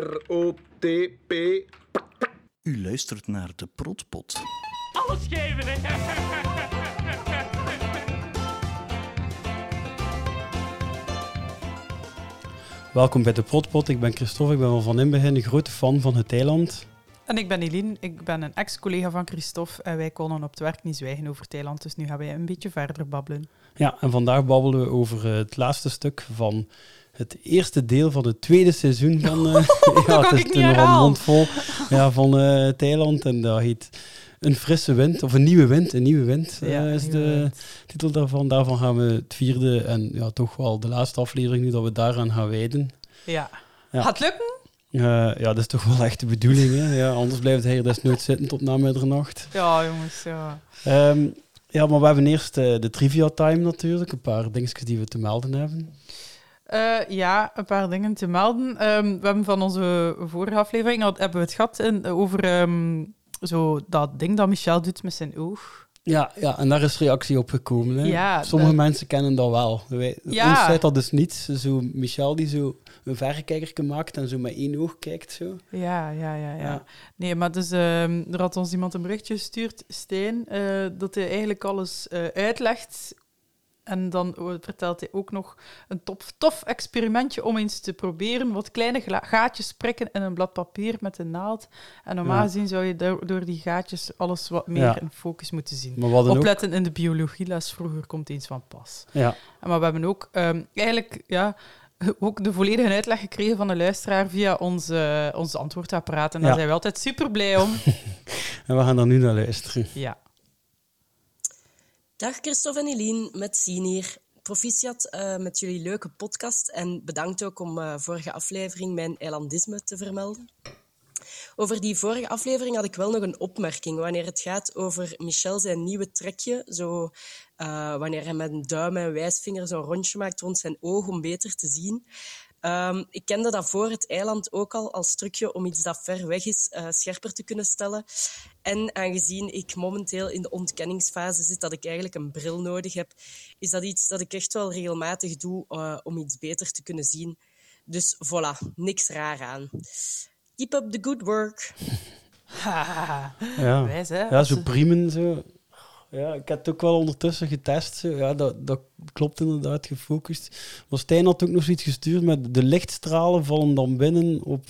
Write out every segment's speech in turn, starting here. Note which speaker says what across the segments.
Speaker 1: P-R-O-T-P.
Speaker 2: U luistert naar de Protpot.
Speaker 3: Alles geven, hè?
Speaker 4: Welkom bij de Potpot. Ik ben Christophe, ik ben wel van inbegin een grote fan van het eiland.
Speaker 5: En ik ben Eline, ik ben een ex-collega van Christophe en wij konden op het werk niet zwijgen over Thailand, dus nu gaan wij een beetje verder babbelen.
Speaker 4: Ja, en vandaag babbelen we over eh, het laatste stuk van het eerste deel van het tweede seizoen van... eh
Speaker 5: kan
Speaker 4: het
Speaker 5: ik
Speaker 4: is
Speaker 5: niet
Speaker 4: toen nogal
Speaker 5: herhalen.
Speaker 4: mondvol ja, van eh Thailand en dat heet Een frisse wind, of Een nieuwe wind, Een nieuwe wind eh, is
Speaker 5: nu,
Speaker 4: de
Speaker 5: eh,
Speaker 4: titel daarvan. Daarvan gaan we het vierde en ja, toch wel de laatste aflevering nu dat we daaraan gaan wijden.
Speaker 5: Ja.
Speaker 4: Ja.
Speaker 5: Gaat lukken?
Speaker 4: Eh, ja, dat is toch wel echt de bedoeling, hè? Ja, anders blijft hij hier desnoods zitten tot na middernacht.
Speaker 5: Ja, jongens, ja.
Speaker 4: Ehm, ja, maar we hebben eerst eh, de trivia time natuurlijk. Een paar dingetjes die we te melden hebben.
Speaker 5: Eh, ja, een paar dingen te melden. Ehm, we hebben van onze vorige aflevering had, hebben we het gehad in, over ehm, zo dat ding dat Michel doet met zijn oog.
Speaker 4: Ja, ja, en daar is reactie op gekomen. Hè?
Speaker 5: Ja,
Speaker 4: Sommige
Speaker 5: dat-
Speaker 4: mensen kennen dat wel. Wij,
Speaker 5: Ja.
Speaker 4: Ons zei dat dus niet. Zo Michel die zo een verrekijker maakt en zo met één oog kijkt. Zo.
Speaker 5: Ja, ja, ja, ja.
Speaker 4: Ja.
Speaker 5: Nee, maar dus ehm, er had ons iemand een berichtje gestuurd, Stijn, eh, dat hij eigenlijk alles eh, uitlegt. En dan eh, vertelt hij ook nog een tof, tof experimentje om eens te proberen. Wat kleine gla- gaatjes prikken in een blad papier met een naald. En normaal
Speaker 4: Ja.
Speaker 5: gezien zou je door, door die gaatjes alles wat meer
Speaker 4: Ja.
Speaker 5: in focus moeten zien.
Speaker 4: Maar wat dan ook.
Speaker 5: Opletten in de biologieles vroeger komt eens van pas.
Speaker 4: Ja,
Speaker 5: En Maar we hebben ook ehm, eigenlijk ja, ook de volledige uitleg gekregen van de luisteraar via ons, eh, ons antwoordapparaat. En daar
Speaker 4: Ja.
Speaker 5: zijn we altijd super blij om.
Speaker 4: en we gaan daar nu naar luisteren.
Speaker 5: ja.
Speaker 6: Dag Christophe en Eline, met Sien hier. Proficiat eh, met jullie leuke podcast en bedankt ook om eh, vorige aflevering mijn eilandisme te vermelden. Over die vorige aflevering had ik wel nog een opmerking wanneer het gaat over Michel zijn nieuwe trekje. Zo, eh, wanneer hij met een duim en wijsvinger zo'n rondje maakt rond zijn oog om beter te zien. Ehm, ik kende dat voor het eiland ook al als trucje om iets dat ver weg is eh, scherper te kunnen stellen. En aangezien ik momenteel in de ontkenningsfase zit dat ik eigenlijk een bril nodig heb, is dat iets dat ik echt wel regelmatig doe eh, om iets beter te kunnen zien. Dus voilà, niks raar aan. Keep up the good work.
Speaker 5: Ah.
Speaker 4: Ja.
Speaker 5: Wijs, hè?
Speaker 4: Ja, zo priemen zo. Ja, ik heb het ook wel ondertussen getest. Zo. Ja, dat, dat klopt inderdaad, gefocust. Maar Stijn had ook nog zoiets gestuurd met de lichtstralen vallen dan binnen op...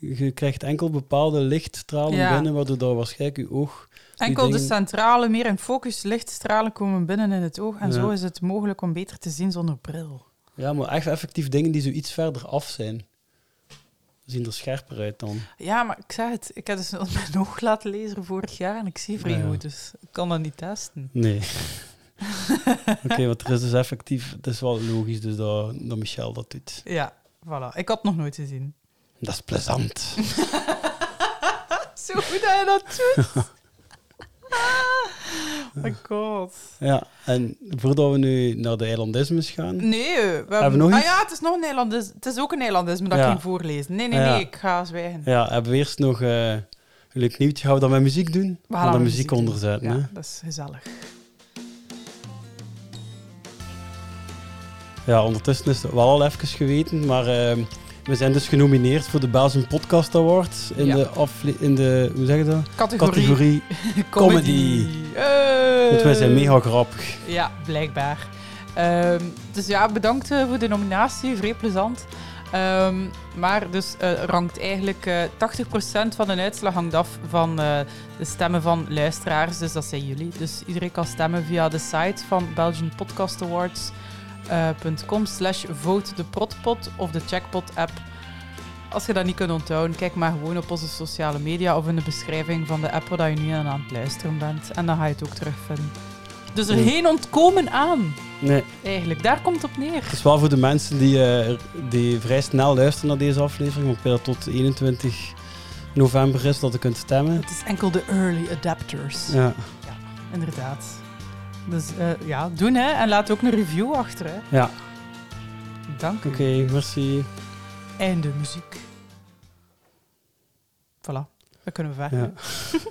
Speaker 4: Je krijgt enkel bepaalde lichtstralen
Speaker 5: Ja.
Speaker 4: binnen, waardoor daar waarschijnlijk je oog... die
Speaker 5: Enkel de
Speaker 4: dingen-
Speaker 5: centrale, meer in focus, lichtstralen komen binnen in het oog. En
Speaker 4: Ja.
Speaker 5: zo is het mogelijk om beter te zien zonder bril.
Speaker 4: Ja, maar echt effectief dingen die zo iets verder af zijn. Zien er scherper uit dan.
Speaker 5: Ja, maar ik zei het, ik heb dus mijn oog laten lezen vorig jaar en ik zie vrij
Speaker 4: Ja.
Speaker 5: goed, dus ik kan dat niet testen.
Speaker 4: Nee. Oké, want er is dus effectief... Het is wel logisch dus dat, dat Michel dat doet.
Speaker 5: Ja, voilà. Ik had het nog nooit gezien.
Speaker 4: Dat is plezant.
Speaker 5: Zo goed dat je dat doet. Oh my god.
Speaker 4: Ja, en voordat we nu naar de eilandismes gaan.
Speaker 5: Nee, we hebben,
Speaker 4: Hebben we nog
Speaker 5: Ah
Speaker 4: iets?
Speaker 5: ja, het is nog een Nederlands. Het is ook een Nederlands, maar dat
Speaker 4: Ja.
Speaker 5: ik ging voorlezen. Nee, nee,
Speaker 4: Ja.
Speaker 5: nee, ik ga zwijgen.
Speaker 4: Ja, hebben we eerst nog eh, een leuk nieuwtje. Gaan we dat met muziek doen?
Speaker 5: We
Speaker 4: Gaan
Speaker 5: gaan
Speaker 4: we
Speaker 5: aan
Speaker 4: de
Speaker 5: de
Speaker 4: muziek
Speaker 5: doen.
Speaker 4: onderzetten,
Speaker 5: Ja,
Speaker 4: hè?
Speaker 5: dat is gezellig.
Speaker 4: Ja, ondertussen is het wel al even geweten, maar eh, we zijn dus genomineerd voor de Belgium Podcast Awards in,
Speaker 5: Ja.
Speaker 4: de, afle- in de, hoe zeg je dat?
Speaker 5: Categorie,
Speaker 4: categorie. comedy.
Speaker 5: Eh.
Speaker 4: Want wij zijn mega grappig.
Speaker 5: Ja, blijkbaar. Ehm, dus ja, bedankt eh, voor de nominatie, vrij plezant. Ehm, maar dus eh, rankt eigenlijk eh 80% van de uitslag hangt af van eh, de stemmen van luisteraars, dus dat zijn jullie. Dus iedereen kan stemmen via de site van Belgian Podcast Awards. eh, .com slash vote de protpot of de checkpot app. Als je dat niet kunt onthouden, kijk maar gewoon op onze sociale media of in de beschrijving van de app waar dat je nu aan aan het luisteren bent. En dan ga je het ook terugvinden. Dus er
Speaker 4: Mm.
Speaker 5: geen ontkomen aan,
Speaker 4: Nee,
Speaker 5: eigenlijk. Daar komt het op neer.
Speaker 4: het is wel voor de mensen die, eh, die vrij snel luisteren naar deze aflevering, want bijna tot 21 november is dat je kunt stemmen.
Speaker 5: Het is enkel de early adapters.
Speaker 4: Ja.
Speaker 5: Inderdaad. Dus eh, ja, doen hè. En laat ook een review achter hè.
Speaker 4: Ja,
Speaker 5: Dank u.
Speaker 4: oké, merci.
Speaker 5: Einde muziek. Voilà. Dan kunnen we verder.
Speaker 4: Ja.
Speaker 5: Ja,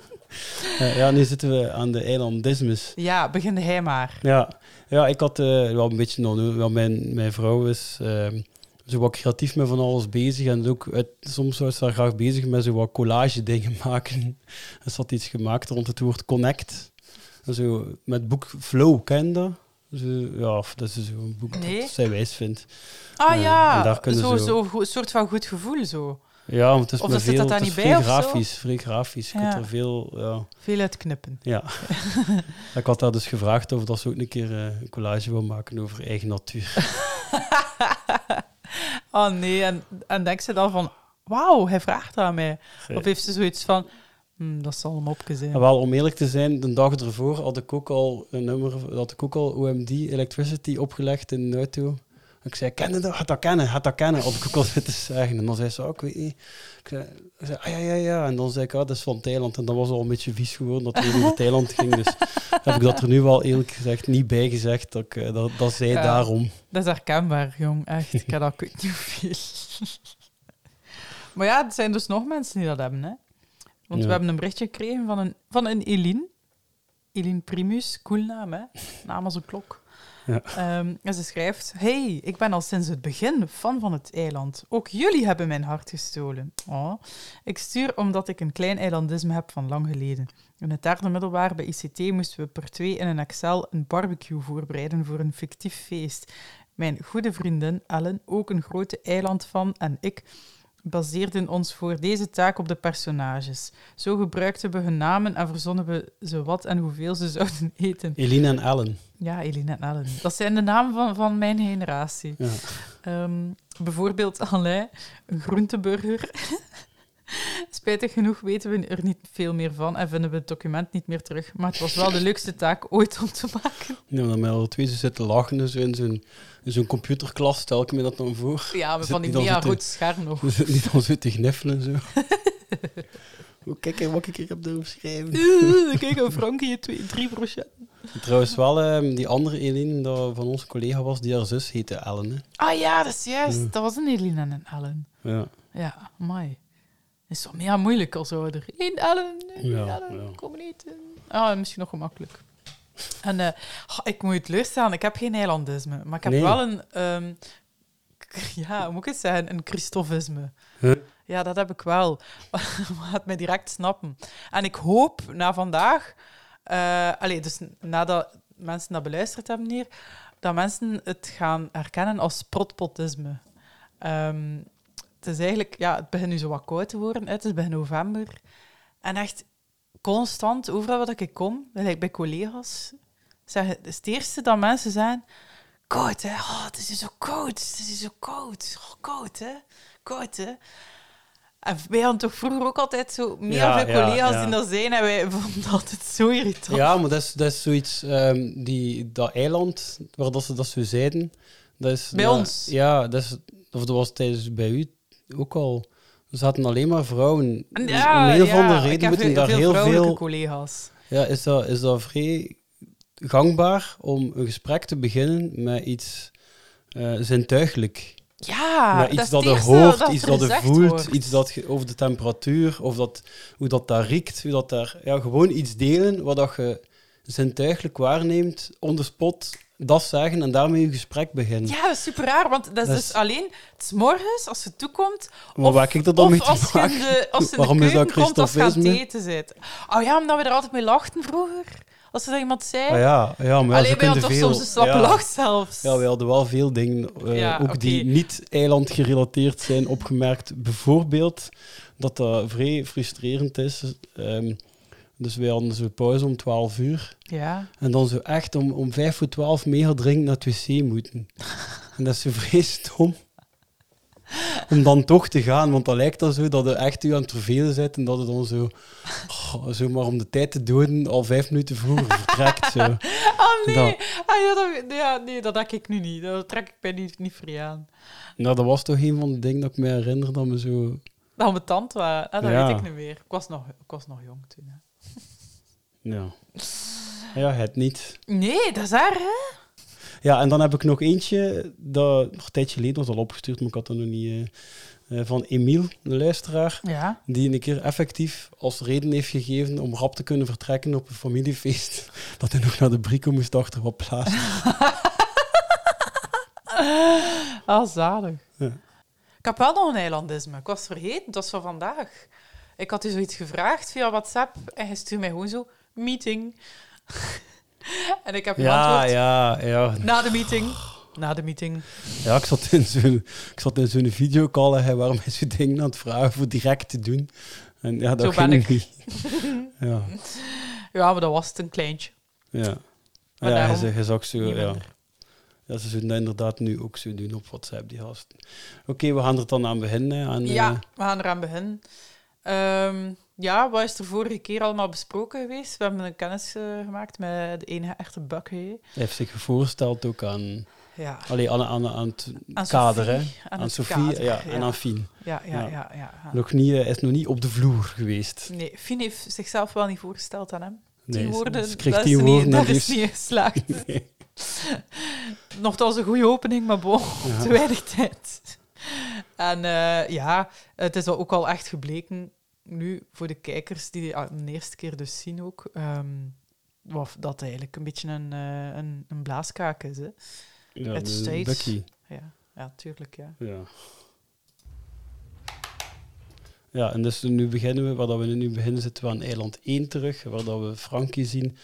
Speaker 4: Eh, ja, nu zitten we aan de eiland Dismus.
Speaker 5: begin hij maar.
Speaker 4: Ja, ja ik had eh, wel een beetje nog. Wel mijn, mijn vrouw is ehm, zo wat creatief met van alles bezig. En ook, uit- soms was ze daar graag bezig met zo wat collage dingen maken. En ze had iets gemaakt rond het woord connect. En zo met boek Flow, ken je dat? Zo, ja, of dat is zo'n boek
Speaker 5: Nee.
Speaker 4: dat zij wijs vindt.
Speaker 5: Ah
Speaker 4: Ja,
Speaker 5: ja,
Speaker 4: en daar kunnen
Speaker 5: zo,
Speaker 4: ze-
Speaker 5: zo go- soort van goed gevoel zo.
Speaker 4: Ja, want het is
Speaker 5: Of
Speaker 4: maar
Speaker 5: dat zit
Speaker 4: veel,
Speaker 5: dat daar
Speaker 4: het is
Speaker 5: niet
Speaker 4: vrij
Speaker 5: bij of zo?
Speaker 4: grafisch, vrij grafisch. Je
Speaker 5: Ja.
Speaker 4: kunt er veel, ja.
Speaker 5: Veel uitknippen.
Speaker 4: Ja. ik had haar dus gevraagd of dat ze ook een keer eh, een collage wil maken over eigen natuur.
Speaker 5: Oh nee, en, en denkt ze dan van, wauw, hij vraagt aan mij.
Speaker 4: Ja.
Speaker 5: Of heeft ze zoiets van, "Hmm, dat zal een mopje zijn.
Speaker 4: En wel, om eerlijk te zijn, de dag ervoor had ik ook al een nummer, had ik ook al OMD Electricity opgelegd in een auto. Ik zei, ken je dat? Gaat dat kennen? Gaat dat kennen? Had ik ook al zitten zeggen. En dan zei ze, oh, ik weet niet. Ik zei, ik zei, ah ja, ja, ja. En dan zei ik, ah, dat is van Thailand. En dat was al een beetje vies geworden dat het over Thailand ging. Dus heb ik dat er nu wel eerlijk gezegd niet bij gezegd. Dat, ik, eh, dat, dat zei
Speaker 5: Ja.
Speaker 4: daarom.
Speaker 5: Dat is herkenbaar, jong. Echt, ik heb dat ik weet niet hoeveel. maar ja, er zijn dus nog mensen die dat hebben, hè. Want
Speaker 4: Ja.
Speaker 5: we hebben een berichtje gekregen van een, van een Eline. Eline Primus, cool naam, hè. Naam als een klok.
Speaker 4: Ja.
Speaker 5: Ehm, en ze schrijft... Hey, ik ben al sinds het begin fan van het eiland. Ook jullie hebben mijn hart gestolen. Oh. Ik stuur omdat ik een klein eilandisme heb van lang geleden. In het derde middelbaar bij ICT moesten we per twee in een Excel een barbecue voorbereiden voor een fictief feest. Mijn goede vriendin Ellen, ook een grote eiland van, en ik baseerden ons voor deze taak op de personages. Zo gebruikten we hun namen en verzonnen we ze wat en hoeveel ze zouden eten.
Speaker 4: Eline en Ellen.
Speaker 5: Ja, Eline en Ellen. Dat zijn de namen van, van mijn generatie.
Speaker 4: Ja.
Speaker 5: Ehm, bijvoorbeeld Alain, een groenteburger. Spijtig genoeg weten we er niet veel meer van en vinden we het document niet meer terug. Maar het was wel de leukste taak ooit om te maken.
Speaker 4: Ja, dan met alle twee ze zitten lachen dus in zo'n in zo'n computerklas, stel ik me dat dan voor.
Speaker 5: Ja, maar
Speaker 4: Zit
Speaker 5: van die
Speaker 4: niet als
Speaker 5: mega
Speaker 4: het, eh,
Speaker 5: rood scherm nog.
Speaker 4: Hoe ze die dan zo te gniffelen zo. Hoe kijk er wat ik hier heb doen schrijven.
Speaker 5: Oeh, Kijk, een Frankie, twee, drie brochetten.
Speaker 4: Trouwens wel, ehm, die andere Eline dat van onze collega was, die haar zus heette Ellen. Hè.
Speaker 5: Ah ja, dat is juist. Dat was een Eline en een Ellen.
Speaker 4: Ja.
Speaker 5: Ja, mooi. Is wel mega moeilijk als ouder. In Ellen, in
Speaker 4: Ja,
Speaker 5: Ellen,
Speaker 4: ja.
Speaker 5: kom niet in. Ah, misschien nog gemakkelijk. En eh, goh, ik moet het luisteren, ik heb geen eilandisme, maar ik heb
Speaker 4: Nee.
Speaker 5: wel een, ehm, k- ja, hoe moet ik het zeggen, een Christofisme.
Speaker 4: Huh?
Speaker 5: Ja, dat heb ik wel. Laat mij direct snappen. En ik hoop na vandaag, eh allee, dus nadat mensen dat beluisterd hebben hier, dat mensen het gaan herkennen als protpotisme. Ehm, het is eigenlijk, ja, het begint nu zo wat koud te worden. hè. Het is begin november. En echt constant, overal waar ik kom, gelijk bij collega's, zeggen, het is het eerste dat mensen zijn. Koud, hè? Oh, het is hier zo koud. Het is hier zo koud. Oh, koud, hè? Koud, hè? En wij hadden toch vroeger ook altijd zo
Speaker 4: Ja,
Speaker 5: mega veel
Speaker 4: ja,
Speaker 5: collega's
Speaker 4: ja.
Speaker 5: die dat zijn. En wij vonden dat altijd zo irritant.
Speaker 4: ja, maar dat is, dat is zoiets, ehm, die, dat eiland waar dat ze dat zo zeiden. Dat is,
Speaker 5: Bij
Speaker 4: dat-
Speaker 5: ons?
Speaker 4: Ja, dat, is, of dat was tijdens bij u ook al. Er zaten alleen maar vrouwen. Dus om een of andere
Speaker 5: ik
Speaker 4: reden
Speaker 5: heb
Speaker 4: moeten daar heel
Speaker 5: vrouwelijke
Speaker 4: veel
Speaker 5: collega's.
Speaker 4: Ja, is dat, is dat vrij gangbaar om een gesprek te beginnen met iets eh zintuigelijk? met
Speaker 5: Ja, Ah, dat
Speaker 4: iets
Speaker 5: is
Speaker 4: dat
Speaker 5: het
Speaker 4: je
Speaker 5: eerste
Speaker 4: hoort,
Speaker 5: dat
Speaker 4: iets
Speaker 5: er
Speaker 4: dat je
Speaker 5: gezegd
Speaker 4: voelt,
Speaker 5: wordt.
Speaker 4: iets dat je over de temperatuur, of dat, hoe dat daar riekt, hoe dat daar... Ja, gewoon iets delen wat dat je zintuigelijk waarneemt, on the spot, dat zeggen en daarmee je gesprek beginnen.
Speaker 5: Ja, dat is super raar, want dat is
Speaker 4: Dat
Speaker 5: dus
Speaker 4: is-
Speaker 5: alleen 's morgens als je toekomt.
Speaker 4: Maar
Speaker 5: of-
Speaker 4: waar heb ik dat dan
Speaker 5: of
Speaker 4: mee te
Speaker 5: als je in de,
Speaker 4: maken?
Speaker 5: als je in de
Speaker 4: Waarom is dat
Speaker 5: keuken komt als je aan het
Speaker 4: Christofisme?
Speaker 5: eten zit. Oh ja, omdat we er altijd mee lachten vroeger. Als er dan iemand zei.
Speaker 4: Ah ja, ja, maar ja,
Speaker 5: Alleen
Speaker 4: zo
Speaker 5: wij
Speaker 4: kun je
Speaker 5: hadden toch
Speaker 4: veel...
Speaker 5: soms een slappe
Speaker 4: ja.
Speaker 5: lach zelfs.
Speaker 4: Ja, we hadden wel veel dingen, eh,
Speaker 5: Ja,
Speaker 4: ook die
Speaker 5: oké.
Speaker 4: niet eiland gerelateerd zijn, opgemerkt. Bijvoorbeeld dat dat vrij frustrerend is. Ehm, dus wij hadden zo pauze om 12 uur.
Speaker 5: Ja.
Speaker 4: En dan zo echt om, om 5 voor 12 mega dringend naar het wc moeten. En dat is zo vrij stom. Om dan toch te gaan, want dan lijkt dat zo dat je echt u aan het vervelen zit en dat het dan zo, oh, zo maar om de tijd te doden al vijf minuten vroeger vertrekt. Zo.
Speaker 5: Oh nee.
Speaker 4: Dat-
Speaker 5: Ah, ja, dat, ja, nee, dat heb ik nu niet. Dat trek ik mij niet, niet voor je aan.
Speaker 4: Nou, dat was toch een van de dingen dat ik me herinner dat me zo
Speaker 5: Dat we tand waren. Ah, dat
Speaker 4: Ja.
Speaker 5: weet ik niet meer. Ik was nog, ik was nog jong toen. hè.
Speaker 4: Ja. Ja, het niet.
Speaker 5: Nee, dat is raar, hè?
Speaker 4: Ja, en dan heb ik nog eentje, dat nog een tijdje geleden was al opgestuurd, maar ik had dat nog niet. eh, eh, van Emiel, de luisteraar,
Speaker 5: Ja.
Speaker 4: die een keer effectief als reden heeft gegeven om rap te kunnen vertrekken op een familiefeest. Dat hij nog naar de brico moest achter wat plaatsen.
Speaker 5: Ah, zalig.
Speaker 4: Ja.
Speaker 5: Ik heb wel nog een eilandisme. Ik was vergeten, dat is van vandaag. Ik had u zoiets gevraagd via WhatsApp en je stuurde mij gewoon zo, meeting. en ik heb je
Speaker 4: Ja,
Speaker 5: antwoord,
Speaker 4: ja, ja.
Speaker 5: na de meeting. Na de meeting.
Speaker 4: Ja, ik zat in zo'n, ik zat in zo'n videocall en hij waren mij zo'n ding aan het vragen voor direct te doen. En ja, dat
Speaker 5: Zo ben
Speaker 4: ging
Speaker 5: ik.
Speaker 4: niet. Ja,
Speaker 5: Ja, maar dat was het een kleintje.
Speaker 4: ja.
Speaker 5: Maar
Speaker 4: ja, hij
Speaker 5: daarom
Speaker 4: zegt, hij is ook zo,
Speaker 5: niet
Speaker 4: ja.
Speaker 5: minder.
Speaker 4: Ja, ze zullen dat inderdaad nu ook zo doen op WhatsApp, die gast. Oké, we gaan er dan aan beginnen. Aan, eh,
Speaker 5: Ja, we gaan eraan beginnen. Ehm, ja, wat is er vorige keer allemaal besproken geweest? We hebben een kennis eh, gemaakt met de enige echte bakker.
Speaker 4: hij heeft zich voorgesteld ook aan,
Speaker 5: Ja.
Speaker 4: allee, aan, aan, aan het
Speaker 5: Aan
Speaker 4: kader,
Speaker 5: Sophie,
Speaker 4: hè.
Speaker 5: aan
Speaker 4: Aan,
Speaker 5: het
Speaker 4: Sophie
Speaker 5: kader,
Speaker 4: ja, en
Speaker 5: ja.
Speaker 4: aan Fien.
Speaker 5: Ja, ja, ja.
Speaker 4: Ja.
Speaker 5: ja, ja.
Speaker 4: Nog niet, eh, hij is nog niet op de vloer geweest.
Speaker 5: Nee, Fien heeft zichzelf wel niet voorgesteld aan hem. Tien
Speaker 4: Nee, ze-
Speaker 5: woorden,
Speaker 4: ze kreeg
Speaker 5: dat
Speaker 4: tien
Speaker 5: is,
Speaker 4: woorden
Speaker 5: niet,
Speaker 4: en
Speaker 5: dat is
Speaker 4: liefst-
Speaker 5: niet geslaagd.
Speaker 4: Nee.
Speaker 5: Nochtans een goede opening, maar bon,
Speaker 4: Ja.
Speaker 5: te weinig tijd. En eh, ja, het is wel ook al echt gebleken, nu voor de kijkers die het de eerste keer dus zien ook, ehm, wat- dat het eigenlijk een beetje een, eh, een, een blaaskaak is. Hè?
Speaker 4: Ja,
Speaker 5: Het
Speaker 4: de-
Speaker 5: steeds.
Speaker 4: Bucky.
Speaker 5: Ja, ja, tuurlijk, ja.
Speaker 4: Ja. Ja, en dus nu beginnen we, waar dat we nu beginnen, zitten we aan eiland 1 terug, waar dat we Frankie zien,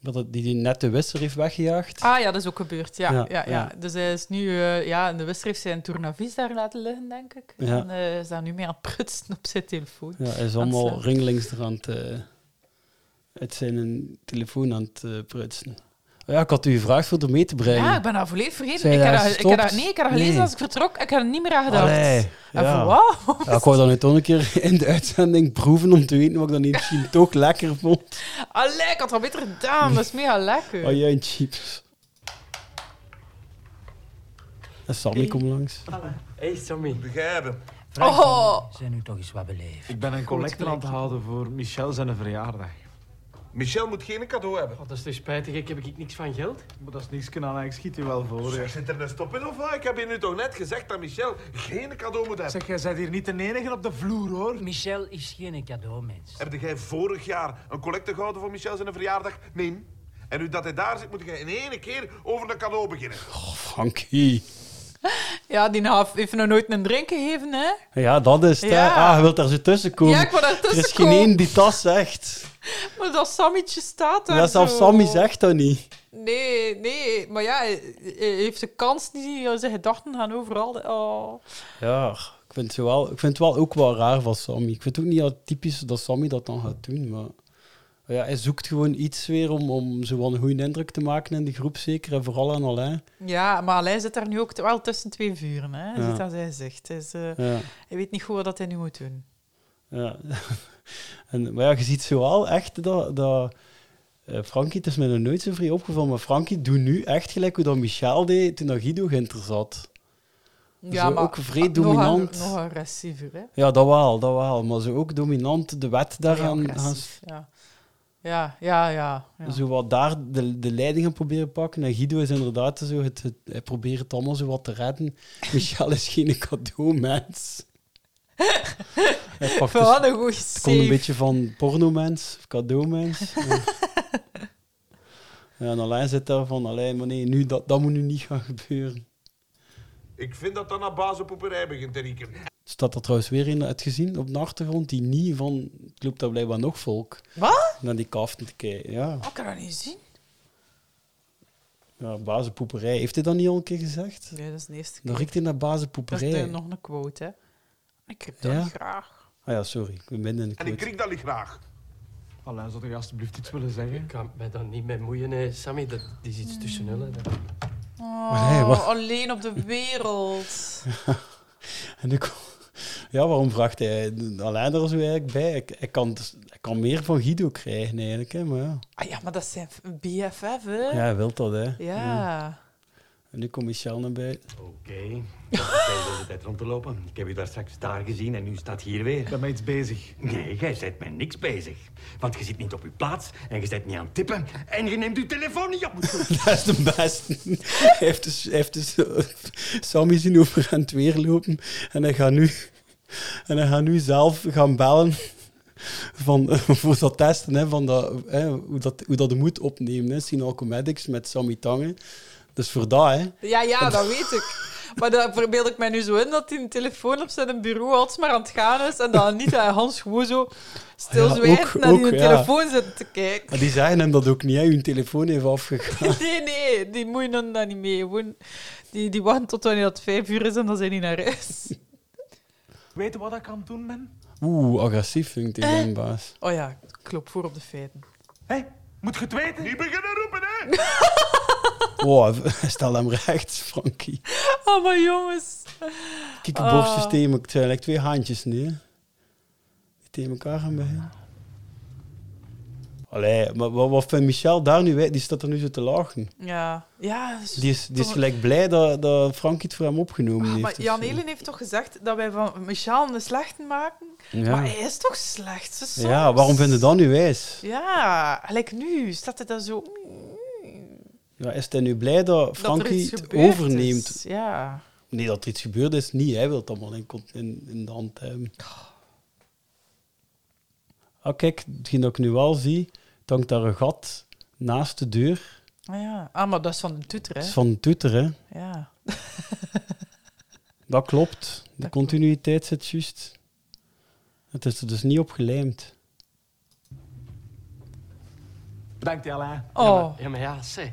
Speaker 4: waar dat, die, die net de wisser heeft weggejaagd.
Speaker 5: Ah ja, dat is ook gebeurd, ja. ja,
Speaker 4: Ja,
Speaker 5: ja,
Speaker 4: ja.
Speaker 5: Dus hij is nu, eh, ja, in de Wester heeft zijn tournavis daar laten liggen, denk ik.
Speaker 4: Ja.
Speaker 5: En eh, is daar nu mee aan het prutsen op zijn telefoon.
Speaker 4: Ja, hij is
Speaker 5: het
Speaker 4: allemaal
Speaker 5: slaan.
Speaker 4: ringlings eraan te, eh, uit zijn telefoon aan het eh, prutsen. Oh ja, ik had u gevraagd voor er mee te brengen.
Speaker 5: Ja, ik ben dat volledig vergeten.
Speaker 4: Zij
Speaker 5: Ik heb
Speaker 4: daar
Speaker 5: dat, ik heb dat,
Speaker 4: stopt?
Speaker 5: nee, ik heb dat gelezen
Speaker 4: Nee.
Speaker 5: als ik vertrok. Ik heb er niet meer aan gedacht.
Speaker 4: Allee,
Speaker 5: En
Speaker 4: ja.
Speaker 5: voor wat?
Speaker 4: Ja, ik wou dat nu toch een keer in de uitzending proeven om te weten wat ik dan misschien toch lekker vond.
Speaker 5: Allee, ik had dat beter gedaan. Dat is mega lekker.
Speaker 4: Oh, jij een chips. En Eh, Sammy
Speaker 5: Oké.
Speaker 4: komt langs.
Speaker 1: Hey Sammy,
Speaker 7: Begrijpen.
Speaker 1: Frank,
Speaker 5: Oh.
Speaker 1: zijn nu toch eens wat beleefd.
Speaker 8: Ik ben een collector aan het
Speaker 5: gelijk.
Speaker 8: houden voor Michel zijn verjaardag.
Speaker 7: Michel moet geen cadeau hebben.
Speaker 1: dat is toch spijtig, ik heb ik niks van geld.
Speaker 8: Maar dat is niks kunnen aan, ik schiet u wel voor. hè.
Speaker 7: Zeg, zit er een stop in of wat? Ik heb je nu toch net gezegd dat Michel geen cadeau moet hebben.
Speaker 8: Zeg, jij bent hier niet de enige op de vloer hoor.
Speaker 1: Michel is geen cadeaumens.
Speaker 7: Heb jij vorig jaar een collecte gehouden voor Michel zijn verjaardag? Nee. En nu dat hij daar zit, moet jij in één keer over een cadeau beginnen.
Speaker 4: Oh, Frankie.
Speaker 5: Ja, die naaf heeft nog nooit een drink gegeven, hè?
Speaker 4: Ja, dat is het. hè.
Speaker 5: Ja.
Speaker 4: Ah, je wilt daar zo tussen komen.
Speaker 5: Ja, ik wil daar
Speaker 4: er is
Speaker 5: tussen
Speaker 4: geen
Speaker 5: komen.
Speaker 4: één die dat zegt.
Speaker 5: Maar dat Sammetje staat daar
Speaker 4: Ja, zelfs
Speaker 5: zo.
Speaker 4: Sammy zegt dat niet.
Speaker 5: Nee, nee. Maar ja, hij hij heeft de kans niet. Zijn gedachten gaan overal. Oh.
Speaker 4: Ja, ik vind, het wel, ik vind het wel ook wel raar van Sammy. Ik vind het ook niet al typisch dat Sammy dat dan gaat doen, maar... Ja, hij zoekt gewoon iets weer om, om zo wel een goede indruk te maken in de groep, zeker. En vooral aan Alain.
Speaker 5: Ja, maar Alain zit daar nu ook te- wel tussen twee vuren, hè? Hij
Speaker 4: Ja.
Speaker 5: Ziet dat hij zegt. Hij, is, eh,
Speaker 4: Ja,
Speaker 5: hij weet niet goed wat hij nu moet doen.
Speaker 4: ja. En, maar ja, je ziet zo wel echt dat... dat eh, Frankie, het is mij nog nooit zo vrij opgevallen, maar Frankie doet nu echt gelijk hoe dat Michel deed toen dat Guido ginter zat.
Speaker 5: Ja,
Speaker 4: Zo
Speaker 5: maar
Speaker 4: ook vrij
Speaker 5: nog een-
Speaker 4: dominant.
Speaker 5: Nog agressiever, hè?
Speaker 4: Ja, dat wel, dat wel. Maar ze ook dominant de wet daaraan
Speaker 5: Vrij
Speaker 4: gaan,
Speaker 5: agressief, ja. Ja, ja, ja. ja.
Speaker 4: zo wat daar de, de leiding aan proberen pakken. En Guido is inderdaad zo, het, het, hij probeert het allemaal zo wat te redden. Michel is geen cadeaumens. Hij pakt dus,
Speaker 5: Wat een goeie
Speaker 4: het komt een
Speaker 5: save.
Speaker 4: beetje van pornomens, of cadeaumens. Ja. Ja, en Alain zit daar van, Alain, maar nee, nu, dat, dat moet nu niet gaan gebeuren.
Speaker 7: Ik vind dat dat naar bazenpoeperij begint te rieken.
Speaker 4: Staat er trouwens weer een uitgezien op de achtergrond, die niet van, het loopt daar blijkbaar nog volk,
Speaker 5: Wat?
Speaker 4: naar die kaften te kijken. Ja.
Speaker 5: Oh, ik kan dat niet zien.
Speaker 4: Ja, bazenpoeperij. Heeft hij dat niet al een keer gezegd?
Speaker 5: Nee, dat is de eerste keer.
Speaker 4: Dan riekt hij naar
Speaker 5: dat
Speaker 4: bazenpoeperij.
Speaker 5: is de- nog een quote, hè. Ik heb dat
Speaker 4: Ja?
Speaker 5: niet graag.
Speaker 4: Ah ja, sorry. Ik ben in de
Speaker 7: En ik
Speaker 4: quote.
Speaker 7: krik dat niet graag.
Speaker 8: Alain, zou je alsjeblieft iets willen zeggen?
Speaker 1: Ik kan mij dan niet mee moeien, hè. Sammy, dat die is iets tussen nullen. Dat...
Speaker 5: Oh,
Speaker 4: nee, wat?
Speaker 5: alleen op de wereld.
Speaker 4: En ik... Ja, waarom vraagt hij Alain er zo eigenlijk bij? Ik, ik, kan, dus- ik kan meer van Guido krijgen eigenlijk, hè. Maar ja,
Speaker 5: Ah ja, maar dat zijn BFF, hè?
Speaker 4: ja hij wil dat, hè.
Speaker 5: Ja.
Speaker 4: En nu komt Michel naar buiten.
Speaker 9: Oké, dat is tijd deze tijd rond te lopen. Ik heb u daar straks daar gezien en u staat hier
Speaker 8: Ik
Speaker 9: weer.
Speaker 8: ben met iets bezig.
Speaker 9: Nee, jij bent met niks bezig. Want je zit niet op uw plaats en je bent niet aan het tippen en je neemt uw telefoon niet op.
Speaker 4: Dat is de beste. hij heeft dus, hij heeft dus eh, Sammy zien over aan het weer lopen. En hij gaat nu, en hij gaat nu zelf gaan bellen van, eh, voor dat testen, hè, van dat, hè, hoe, dat, hoe dat de moed opnemen. Hè. Sinal Comedics met Sammy Tangen. Dus voor dat, hè.
Speaker 5: Ja, ja, dat weet ik. Maar dat verbeeld ik mij nu zo in dat hij een telefoon op zijn bureau altijd maar aan het gaan is en dat Anita en Hans gewoon zo
Speaker 4: Ja,
Speaker 5: stilzwijgend
Speaker 4: ook-
Speaker 5: naar die
Speaker 4: ook, ja.
Speaker 5: telefoon zitten te kijken.
Speaker 4: Maar die zeggen hem dat ook niet, hè. Hun telefoon heeft afgegaan.
Speaker 5: Nee, nee, die moeien dan niet mee. Gewoon, die, die wachten tot wanneer het vijf uur is en dan zijn die naar huis.
Speaker 8: Weet je wat ik aan het doen ben?
Speaker 4: Oeh, agressief vind ik tegen mijn baas.
Speaker 5: Oh ja, ik klop voor op de feiten.
Speaker 8: Hé, moet je het weten?
Speaker 7: Niet beginnen roepen, hè?
Speaker 4: Wow, stel hem recht, Frankie.
Speaker 5: Oh, maar jongens.
Speaker 4: Kijk,
Speaker 5: Oh.
Speaker 4: de borstjes tegen elkaar. Het zijn like twee haantjes nu. hè. Die tegen elkaar gaan beginnen. Allee, maar wat, wat vindt Michel daar nu? uit? Die staat er nu zo te lachen.
Speaker 5: Ja, ja. dat
Speaker 4: Die is, die is
Speaker 5: toch-
Speaker 4: gelijk blij dat, dat Frankie het voor hem opgenomen
Speaker 5: Ah,
Speaker 4: heeft.
Speaker 5: maar
Speaker 4: of
Speaker 5: Jan
Speaker 4: zo.
Speaker 5: Elen heeft toch gezegd dat wij van Michel een slechte maken?
Speaker 4: Ja.
Speaker 5: Maar hij is toch slecht? ze soms?
Speaker 4: ja, waarom vind je dat nu wijs?
Speaker 5: Ja, gelijk nu staat het dan zo.
Speaker 4: Ja, is hij nu blij dat
Speaker 5: Dat er
Speaker 4: Frankie
Speaker 5: iets
Speaker 4: het
Speaker 5: gebeurd
Speaker 4: overneemt?
Speaker 5: is. Ja.
Speaker 4: Nee, dat er iets gebeurd is, niet. Hij wil het allemaal in, cont- in, in de hand hebben. Ah, kijk, hetgeen dat ik nu wel zie, het hangt daar een gat naast de deur.
Speaker 5: Ah, ja. Ah, maar dat is van de tutor,
Speaker 4: Dat is
Speaker 5: hè?
Speaker 4: van de toeter, hè.
Speaker 5: Ja.
Speaker 4: Dat klopt. De continuïteit zit juist. Het is er dus niet op gelijmd.
Speaker 8: Bedankt, Alain.
Speaker 5: Oh.
Speaker 1: Ja, maar ja, zeg.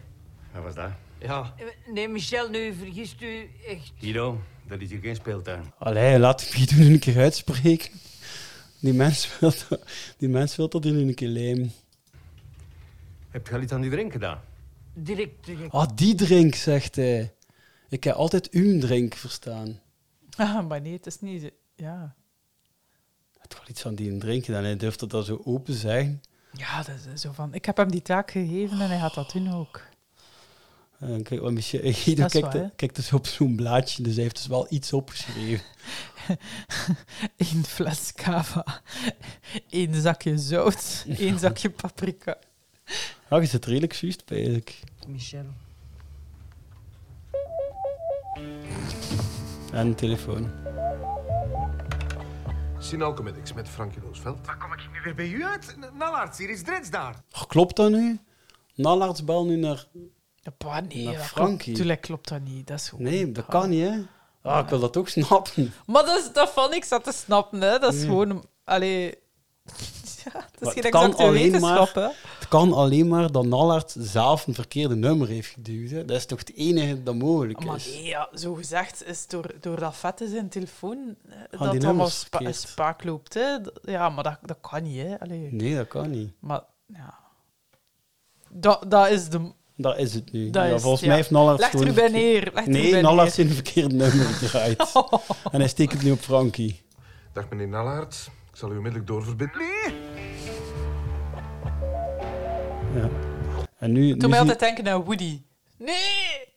Speaker 9: Wat was dat?
Speaker 1: Ja.
Speaker 10: Nee, Michel, nu vergist u echt.
Speaker 9: Guido, dat is hier geen speeltuin.
Speaker 4: Allee, laat ik die nu een keer uitspreken. Die mens wil dat, die mens wil dat in een keer lijmen.
Speaker 9: Heb je al iets aan die drink gedaan?
Speaker 10: Direct, direct.
Speaker 4: Ah, die drink, zegt hij. Ik heb altijd uw drink verstaan.
Speaker 5: Ah, maar nee, het is niet. zo- Ja.
Speaker 4: Het wel iets van die drink gedaan. Hij durft dat dan zo open zeggen.
Speaker 5: Ja, dat is zo van. Ik heb hem die taak gegeven en hij gaat dat doen ook.
Speaker 4: En kijk, wat Michel, Guido
Speaker 5: Dat is
Speaker 4: kijkt,
Speaker 5: waar, hè?
Speaker 4: kijkt dus op zo'n blaadje, dus hij heeft dus wel iets opgeschreven.
Speaker 5: Eén fles kava, één zakje zout, één zakje paprika.
Speaker 4: Ah, je zit redelijk juist bij, eigenlijk.
Speaker 10: Michel.
Speaker 4: En een telefoon.
Speaker 7: Synalcomedics met Frankie Loosveld.
Speaker 8: Waar kom ik nu weer bij u uit? N- Nallard, hier is Drits daar.
Speaker 4: Oh, klopt dat nu? Nalarts bel nu naar
Speaker 5: Bah, nee,
Speaker 4: Maar
Speaker 5: dat
Speaker 4: Frankie.
Speaker 5: klopt- Tuurlijk klopt dat niet. Dat is gewoon
Speaker 4: Nee, dat kan niet, hè? Ah, ik wil dat ook snappen.
Speaker 5: Maar dat is dat van niks dat te snappen, hè. Dat is gewoon... Allee... Ja, dat
Speaker 4: Mm. Maar
Speaker 5: is
Speaker 4: het
Speaker 5: geen
Speaker 4: kan
Speaker 5: exacte
Speaker 4: alleen
Speaker 5: wetenschap, hè.
Speaker 4: Het kan alleen maar dat Nallard zelf een verkeerde nummer heeft geduwd. Hè. Dat is toch het enige dat mogelijk
Speaker 5: Maar
Speaker 4: is?
Speaker 5: nee, ja, zo gezegd is door, door dat vet in zijn telefoon eh,
Speaker 4: die
Speaker 5: dat het allemaal
Speaker 4: nummers
Speaker 5: spa
Speaker 4: verkeerd.
Speaker 5: spaak loopt, hè. D- Ja, maar dat, dat kan niet, hè. Allee.
Speaker 4: Nee, dat kan niet.
Speaker 5: Maar, ja... Dat, dat is de...
Speaker 4: Dat is het nu.
Speaker 5: Dat
Speaker 4: Ja,
Speaker 5: is-
Speaker 4: volgens
Speaker 5: ja.
Speaker 4: mij heeft Nallard
Speaker 5: Leg er u
Speaker 4: gewoon...
Speaker 5: bij
Speaker 4: een verkeer-
Speaker 5: neer. Leg er u bij
Speaker 4: Nee,
Speaker 5: neer. Oh.
Speaker 4: Nallard heeft een verkeerd nummer gedraaid. En hij steekt het nu op Frankie.
Speaker 7: Dag meneer Nallaert. Ik zal u onmiddellijk doorverbinden. Nee!
Speaker 4: En nu...
Speaker 5: Toen
Speaker 4: nu
Speaker 5: mij
Speaker 4: zie-
Speaker 5: altijd denken aan Woody. Nee!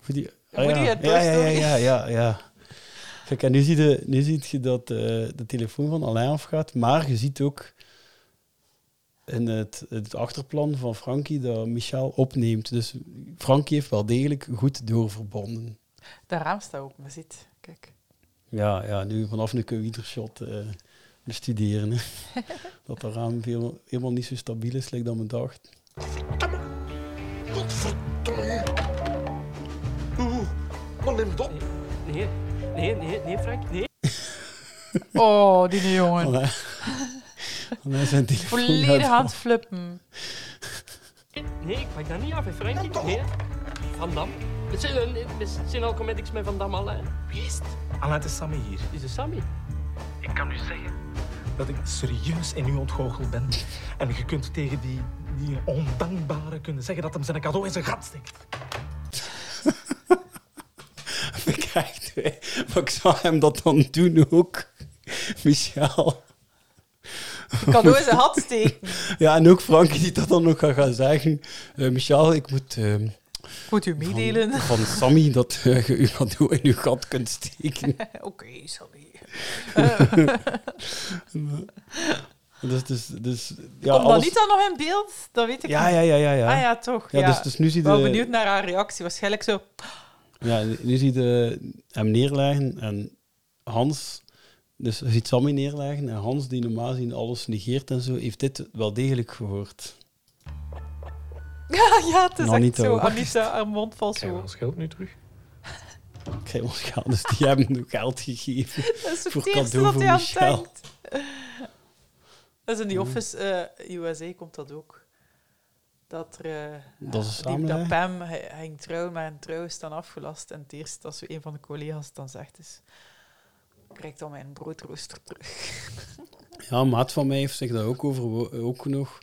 Speaker 4: voor die- ah,
Speaker 5: Woody
Speaker 4: ja.
Speaker 5: uit Toy
Speaker 4: Ja, ja, ja,
Speaker 5: Story.
Speaker 4: ja, ja, ja. Kijk, en nu zie je, nu ziet je dat eh, de telefoon van Alain afgaat, maar je ziet ook in het, het achterplan van Frankie dat Michel opneemt. Dus Frankie heeft wel degelijk goed doorverbonden.
Speaker 5: Dat raam staat open, dat ziet. Kijk.
Speaker 4: Ja, ja nu vanaf een keer ieder shot eh, bestuderen. hè. dat dat raam veel, helemaal niet zo stabiel is, lijkt dat me dacht.
Speaker 10: Nee, nee, nee, nee, Frank, nee.
Speaker 5: Oh, die jongen.
Speaker 4: Alain, Alain zijn telefoon
Speaker 5: Volledig
Speaker 4: uit-
Speaker 5: aan het flippen.
Speaker 10: Nee, ik pak dat niet af, hè, Frankie. Nee. Van Dam. Het zijn, eh, het zijn al comedics met Van Dam alleen. Wie is het?
Speaker 8: Alain, het is Ah, Sammy hier.
Speaker 10: Is het Sammy?
Speaker 8: Ik kan u zeggen dat ik serieus in u ontgoocheld ben. En je kunt tegen die, die ondankbare kunnen zeggen dat hem zijn cadeau in zijn gat steekt.
Speaker 4: Vind ik echt, hè. Maar ik zag hem dat dan doen ook. Michel.
Speaker 5: Ik kan door zijn hand steken.
Speaker 4: Ja, en ook Frankie die dat dan nog gaat gaan zeggen. Eh, Michel, ik moet eh,
Speaker 5: Ik moet u meedelen.
Speaker 4: van, van Sammy dat eh, je uw cadeau in uw gat kunt steken.
Speaker 5: Oké, sorry.
Speaker 4: Dus, dus, dus, ja,
Speaker 5: Komt dat
Speaker 4: alles-
Speaker 5: niet dan nog in beeld? Dat weet ik
Speaker 4: Ja,
Speaker 5: niet.
Speaker 4: ja, ja, ja. ja.
Speaker 5: Ah ja, toch.
Speaker 4: Ja,
Speaker 5: Ja,
Speaker 4: dus- dus nu zie je-
Speaker 5: Wel benieuwd naar haar reactie. Waarschijnlijk zo...
Speaker 4: Ja, nu zie je hem neerleggen en Hans... Dus je ziet Sammy neerleggen en Hans, die normaal zien alles negeert en zo, heeft dit wel degelijk gehoord.
Speaker 5: Ja, ja, het is
Speaker 4: Nou,
Speaker 5: echt
Speaker 4: niet
Speaker 5: zo.
Speaker 4: ook.
Speaker 5: Anita, haar mond vol zo.
Speaker 8: ons geld nu terug?
Speaker 4: Kijk, ons geld. Dus die hebben nu geld gegeven.
Speaker 5: Dat is het
Speaker 4: voor
Speaker 5: eerste
Speaker 4: cadeau
Speaker 5: dat
Speaker 4: voor
Speaker 5: hij aan
Speaker 4: Michel. Mm.
Speaker 5: denkt. Dat is in die Office eh, USA komt dat ook. Dat er... eh,
Speaker 4: Dat is een
Speaker 5: die, dat
Speaker 4: samenleving.
Speaker 5: Pam hij- hij ging trouwen, maar een trouw is dan afgelast. En het eerste dat zo een van de collega's het dan zegt is... "Ik Krijg dan mijn broodrooster terug.
Speaker 4: Ja, een maat van mij heeft zich daar ook over ook nog.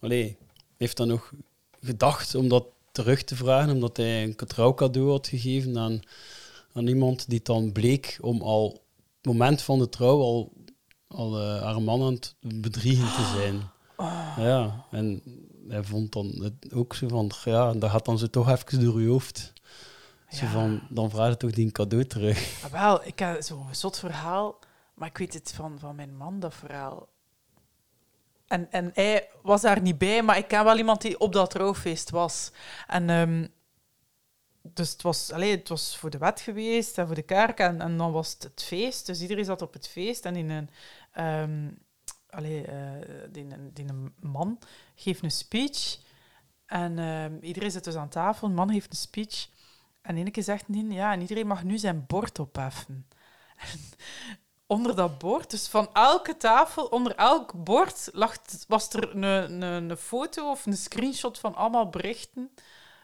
Speaker 4: Allee, heeft dan nog gedacht om dat terug te vragen, omdat hij een trouwcadeau had gegeven aan, aan iemand die het dan bleek om al het moment van de trouw al, al eh, haar man aan het bedriegen te zijn.
Speaker 5: Ah.
Speaker 4: Ja, en hij vond dan het ook zo van, ja, dat gaat dan zo toch even door je hoofd. Zo
Speaker 5: Ja.
Speaker 4: van, dan vraag je toch die cadeau terug.
Speaker 5: Ah, wel, ik heb zo'n zot verhaal, maar ik weet het van, van mijn man, dat verhaal. En, en hij was daar niet bij, maar ik ken wel iemand die op dat trouwfeest was. En ehm, dus het was, allee, het was voor de wet geweest en voor de kerk. En, en dan was het het feest. Dus iedereen zat op het feest. En in een, ehm, allee, eh, die, een- die een man geeft een speech. En ehm, iedereen zit dus aan tafel. Een man heeft een speech. En ene keer zegt hij, ja, en iedereen mag nu zijn bord opheffen. En onder dat bord, dus van elke tafel, onder elk bord, lag, was er een, een, een foto of een screenshot van allemaal berichten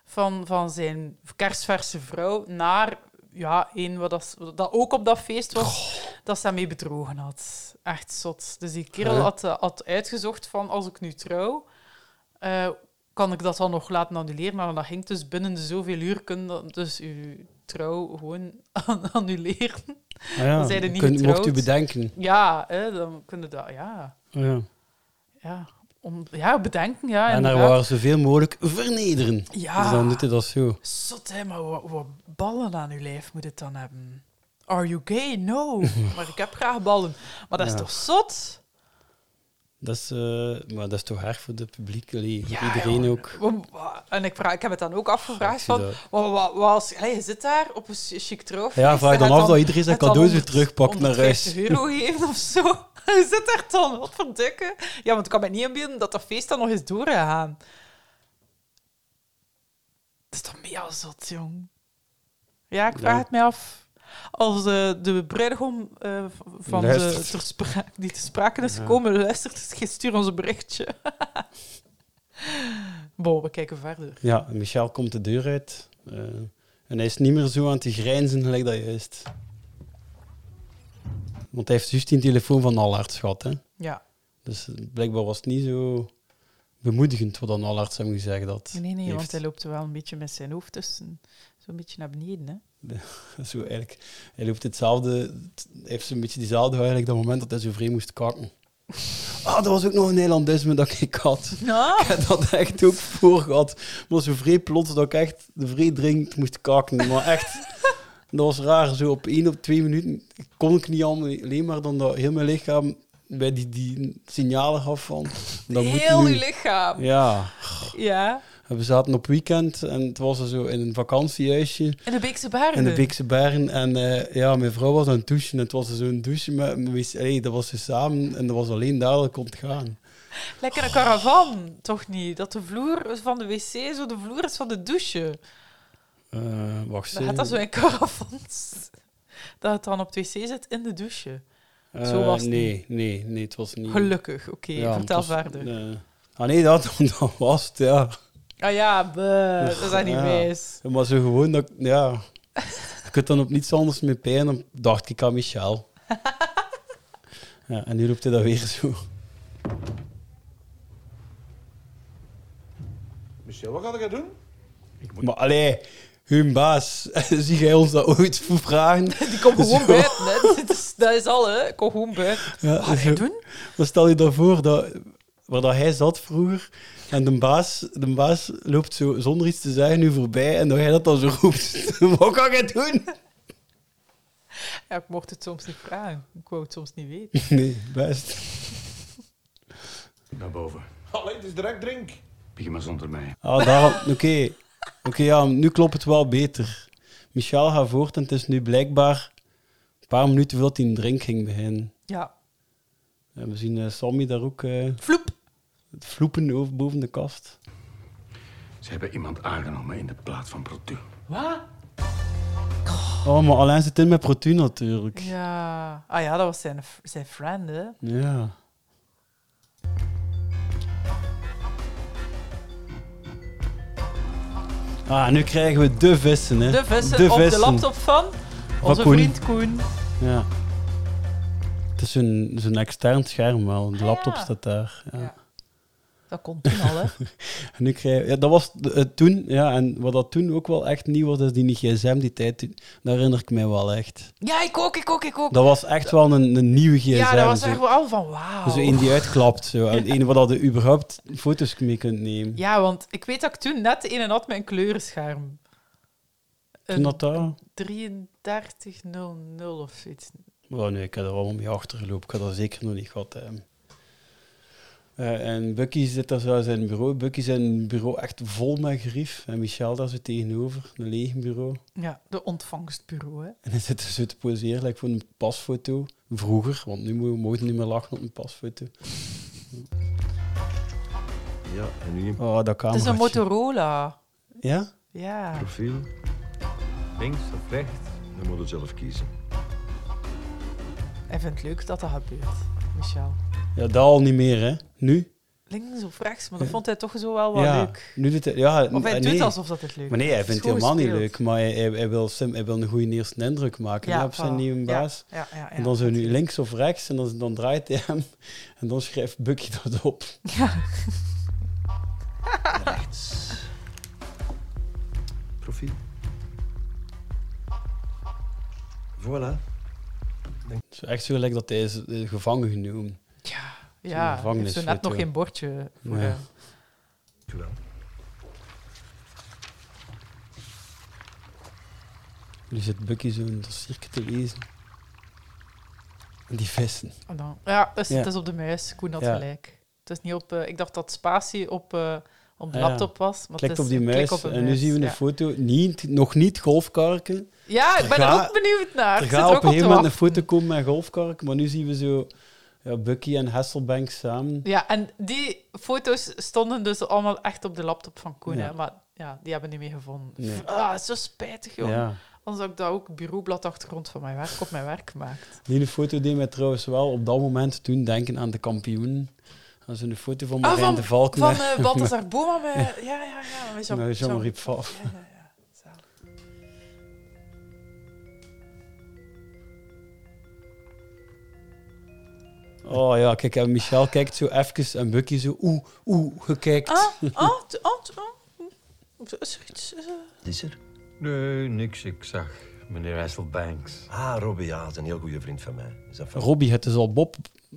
Speaker 5: van, van zijn kerstverse vrouw naar ja, een wat dat, wat dat ook op dat feest was, dat ze daarmee bedrogen had. Echt zot. Dus die kerel
Speaker 4: Huh?
Speaker 5: had, eh, had uitgezocht van, als ik nu trouw, eh, kan ik dat dan nog laten annuleren? Maar dat ging dus binnen de zoveel uur, kun je dus uw trouw gewoon an- annuleren. Dan zijn er niet
Speaker 4: Kun- mocht u
Speaker 5: getrouwd.
Speaker 4: bedenken.
Speaker 5: Ja, hè, dan kunnen dat, ja.
Speaker 4: Ja.
Speaker 5: Ja, om, ja bedenken, ja.
Speaker 4: En daar
Speaker 5: inderdaad.
Speaker 4: waren zoveel mogelijk vernederen.
Speaker 5: Ja.
Speaker 4: Dus dan doet hij dat zo.
Speaker 5: Zot, hè, maar wat, wat ballen aan uw lijf moet het dan hebben? Are you gay? No. maar ik heb graag ballen. Maar dat is
Speaker 4: Ja.
Speaker 5: toch zot?
Speaker 4: Dat is, eh, maar dat is toch erg voor het publiek. allee, voor
Speaker 5: Ja,
Speaker 4: iedereen
Speaker 5: joh.
Speaker 4: ook.
Speaker 5: Wa- wa- eh, En ik, vraag, ik heb het dan ook afgevraagd
Speaker 4: Ja, ik
Speaker 5: van...
Speaker 4: zie
Speaker 5: Wat, wat, wat als, allee, je zit daar op een chi- chic trouwfeest...
Speaker 4: Ja, vraag
Speaker 5: en
Speaker 4: dan
Speaker 5: het
Speaker 4: af dat iedereen zijn
Speaker 5: het dan
Speaker 4: cadeaus weer
Speaker 5: 100
Speaker 4: terugpakt naar huis.
Speaker 5: 150 euro geven of zo. Je zit daar dan, wat verdikken. Ja, want ik kan me niet inbeelden dat dat feest dan nog eens doorgaan. Dat is toch mega zot, jong. Ja, ik vraag
Speaker 4: Ja.
Speaker 5: het mij af. Als eh, de bruidegom eh, v- van de,
Speaker 4: Luistert.
Speaker 5: ter spra- die te sprake is gekomen, luistert, dus stuur ons een berichtje. Bo, we kijken verder.
Speaker 4: Ja, en Michel komt de deur uit. eh, en hij is niet meer zo aan te grijnzen gelijk dat juist. Want hij heeft juist die telefoon van Allard gehad. Hè?
Speaker 5: Ja.
Speaker 4: Dus blijkbaar was het niet zo bemoedigend wat dan Allard hem gezegd had.
Speaker 5: Nee, nee,
Speaker 4: heeft.
Speaker 5: want hij loopt er wel een beetje met zijn hoofd tussen. Zo'n beetje naar beneden, hè.
Speaker 4: Zo eigenlijk, hij loopt hetzelfde, t- hij heeft zo'n beetje diezelfde eigenlijk dat moment dat hij zo vreemd moest kakken. Ah, dat was ook nog een Nederlandisme dat ik had.
Speaker 5: Nou,
Speaker 4: Ik heb dat echt ook voor gehad. Maar zo vrij plots dat ik echt de vrij dringend moest kakken. Maar echt, dat was raar. Zo op één op twee minuten kon ik niet allemaal, alleen maar dan dat heel mijn lichaam bij die, die signalen gaf van... Dat
Speaker 5: Heel
Speaker 4: moet nu.
Speaker 5: uw lichaam.
Speaker 4: Ja,
Speaker 5: Ja.
Speaker 4: En we zaten op weekend en het was er zo in een vakantiehuisje.
Speaker 5: En de Beekse Baarden.
Speaker 4: In de Beekse Baren. En eh, ja, mijn vrouw was aan het douchen. En het was zo'n douche. Met, met wc. Allee, dat was ze samen. En dat was alleen daar dat ik kon gaan.
Speaker 5: Lekker een caravan, toch niet? Dat de vloer van de wc zo de vloer is van de douche.
Speaker 4: Eh, wacht
Speaker 5: Dan
Speaker 4: eens.
Speaker 5: gaat dat zo in caravans. Dat het dan op het wc zit in de douche.
Speaker 4: Eh,
Speaker 5: zo was het
Speaker 4: nee, nee, nee, het was niet.
Speaker 5: Gelukkig, oké.
Speaker 4: Ja, want
Speaker 5: vertel
Speaker 4: het was-
Speaker 5: verder.
Speaker 4: eh, ah nee, dat, dat was het, ja.
Speaker 5: Ah ja, bleh, dat is dat niet
Speaker 4: ja.
Speaker 5: wijs.
Speaker 4: Maar zo gewoon dat ik- ja. Je kunt dan op niets anders mee pijn. Dan dacht ik aan Michel. ja, en nu roept hij dat weer zo.
Speaker 7: Michel, wat ga jij doen?
Speaker 4: Maar allee, hun baas. Zie jij ons dat ooit voor vragen?
Speaker 5: Die komt gewoon
Speaker 4: Zo.
Speaker 5: buiten, hè. Dit is- Dat is al, hè. Ik kom gewoon buiten.
Speaker 4: Ja,
Speaker 5: Wat ga
Speaker 4: zo.
Speaker 5: je doen?
Speaker 4: Maar stel je dan voor dat, waar dat hij zat vroeger en de baas, de baas loopt zo zonder iets te zeggen nu voorbij en dat hij dat dan zo roept. Wat kan ik doen?
Speaker 5: Ja, ik mocht het soms niet vragen. Ik wou het soms niet weten.
Speaker 4: Nee, best.
Speaker 9: Naar boven.
Speaker 7: Allee, het is direct
Speaker 11: Oh,
Speaker 7: drink.
Speaker 9: Begin maar zonder mij.
Speaker 4: Ah, daarom, oké. Oké, ja, nu klopt het wel beter. Michel gaat voort en het is nu blijkbaar een paar minuten voordat hij een drink ging beginnen.
Speaker 5: Ja.
Speaker 4: En we zien eh, Sammy daar ook eh,
Speaker 5: Vloep.
Speaker 4: het vloepen over boven de kast.
Speaker 9: Ze hebben iemand aangenomen in de plaats van Protu.
Speaker 10: Wat?
Speaker 4: Oh, maar alleen zit in met Protu natuurlijk.
Speaker 5: Ja. Ah ja, dat was zijn, zijn friend, hè.
Speaker 4: Ja. Ah, nu krijgen we de vissen, hè.
Speaker 5: De vissen op de laptop van onze
Speaker 4: Koen.
Speaker 5: vriend Koen.
Speaker 4: Ja. Het is zo'n zo'n extern scherm wel. De laptop
Speaker 5: Ah, ja.
Speaker 4: staat daar. Ja.
Speaker 5: Ja. Dat komt toen al, hè.
Speaker 4: En nu krijg ja, dat was de- het toen. Ja, en wat dat toen ook wel echt nieuw was, is die gsm die tijd. toen. Daar herinner ik mij wel echt.
Speaker 5: Ja, ik ook, ik ook, ik ook.
Speaker 4: Dat was echt wel een, een nieuwe gsm.
Speaker 5: ja, dat was
Speaker 4: zo.
Speaker 5: echt wel van wauw.
Speaker 4: Zo één die uitklapt. Zo. En één waar dat je überhaupt foto's mee kunt nemen.
Speaker 5: Ja, want ik weet dat ik toen net in en had met een kleurenscherm.
Speaker 4: Toen dat daar...
Speaker 5: 3300 of zoiets.
Speaker 4: Oh, nee, ik heb er allemaal mee achtergelopen. Ik had dat zeker nog niet gehad. hè. Eh, en Bucky zit daar zo aan zijn bureau. Bucky zijn bureau echt vol met grief. En Michel daar zo tegenover, een leeg bureau.
Speaker 5: Ja, de ontvangstbureau, hè.
Speaker 4: En hij zit er zo te poseren like, voor een pasfoto. Vroeger, want nu mo- mogen we niet meer lachen op een pasfoto.
Speaker 12: Ja, en nu een
Speaker 4: Oh, dat kan.
Speaker 5: Het is een Motorola.
Speaker 4: Ja?
Speaker 5: Ja.
Speaker 12: profiel. Links of rechts? Dan moet je zelf kiezen.
Speaker 5: Hij vindt het leuk dat dat gebeurt, Michel.
Speaker 4: Ja, dat al niet meer, hè? Nu?
Speaker 5: Links of rechts, maar dat vond hij toch zo wel wel
Speaker 4: ja.
Speaker 5: Oh, leuk.
Speaker 4: Nu doet hij, ja,
Speaker 5: Of hij
Speaker 4: eh,
Speaker 5: doet
Speaker 4: nee.
Speaker 5: alsof dat het leuk
Speaker 4: Maar nee, hij
Speaker 5: is.
Speaker 4: vindt het
Speaker 5: Goed
Speaker 4: helemaal niet
Speaker 5: gespeeld.
Speaker 4: leuk. Maar hij, hij, hij wil, sim- hij wil een goede eerste indruk maken hè, op zijn
Speaker 5: voilà.
Speaker 4: nieuwe baas.
Speaker 5: Ja, ja, ja, ja.
Speaker 4: En dan zo nu links of rechts en dan, dan draait hij hem. En dan schrijft Bucky dat op.
Speaker 5: Ja.
Speaker 12: Rechts. Profiel. Voilà.
Speaker 4: Het is echt zo gelijk dat hij is eh, gevangen genomen.
Speaker 5: Ja, ik heb zo net
Speaker 4: gevangenisfoto.
Speaker 5: nog geen bordje eh, voor
Speaker 4: Nee.
Speaker 5: hem.
Speaker 12: Dankjewel.
Speaker 4: Nu zit Bucky zo een dossiertje te lezen. En die vissen.
Speaker 5: En dan- Ja, dus
Speaker 4: Ja.
Speaker 5: het is op de muis. Koen had
Speaker 4: Ja.
Speaker 5: gelijk. Het is niet op... eh, ik dacht dat spatie op, eh, op de
Speaker 4: Ah ja.
Speaker 5: laptop was. Maar
Speaker 4: Klikt
Speaker 5: het
Speaker 4: op
Speaker 5: is
Speaker 4: die
Speaker 5: een klik
Speaker 4: muis
Speaker 5: op een
Speaker 4: en nu
Speaker 5: muis,
Speaker 4: zien we een
Speaker 5: ja.
Speaker 4: foto. Niet, nog niet golfkarken.
Speaker 5: Ja, ik ben er
Speaker 4: Ga-
Speaker 5: ook benieuwd naar.
Speaker 4: er
Speaker 5: Ik zit er
Speaker 4: gaat
Speaker 5: ook
Speaker 4: op een gegeven moment een
Speaker 5: wachten.
Speaker 4: foto komen met golfkarken. Maar nu zien we zo ja, Bucky en Hasselbank samen.
Speaker 5: Ja, en die foto's stonden dus allemaal echt op de laptop van Koen.
Speaker 4: Ja.
Speaker 5: Hè? Maar ja, die hebben niet meer gevonden.
Speaker 4: Nee.
Speaker 5: Ah, zo spijtig, joh.
Speaker 4: Ja.
Speaker 5: Anders had ik dat ook bureaublad achtergrond van mijn werk op mijn werk gemaakt.
Speaker 4: Die foto deed mij trouwens wel op dat moment toen denken aan de kampioen. Dat is een foto van
Speaker 5: Ah,
Speaker 4: Marijn
Speaker 5: van-
Speaker 4: de Valk.
Speaker 5: Van
Speaker 4: met-
Speaker 5: eh Balthazar Boma met... Ja, ja, ja. Met Jean,
Speaker 4: met Jean-Marie
Speaker 5: Jean-
Speaker 4: Pfaff.
Speaker 5: Ja, ja, ja. Zalig.
Speaker 4: Oh ja, kijk, en Michel kijkt zo even en Bucky zo oeh, oeh, gekijkt.
Speaker 5: Ah, ah, t- ah, t- ah. Is er iets... eh,
Speaker 12: Wat is er?
Speaker 9: Nee, niks. Ik zag meneer Hasselbanks.
Speaker 12: Ah, Robbie, ja, dat is een heel goede vriend van mij. Is dat van...
Speaker 4: Robbie, het is al Bob.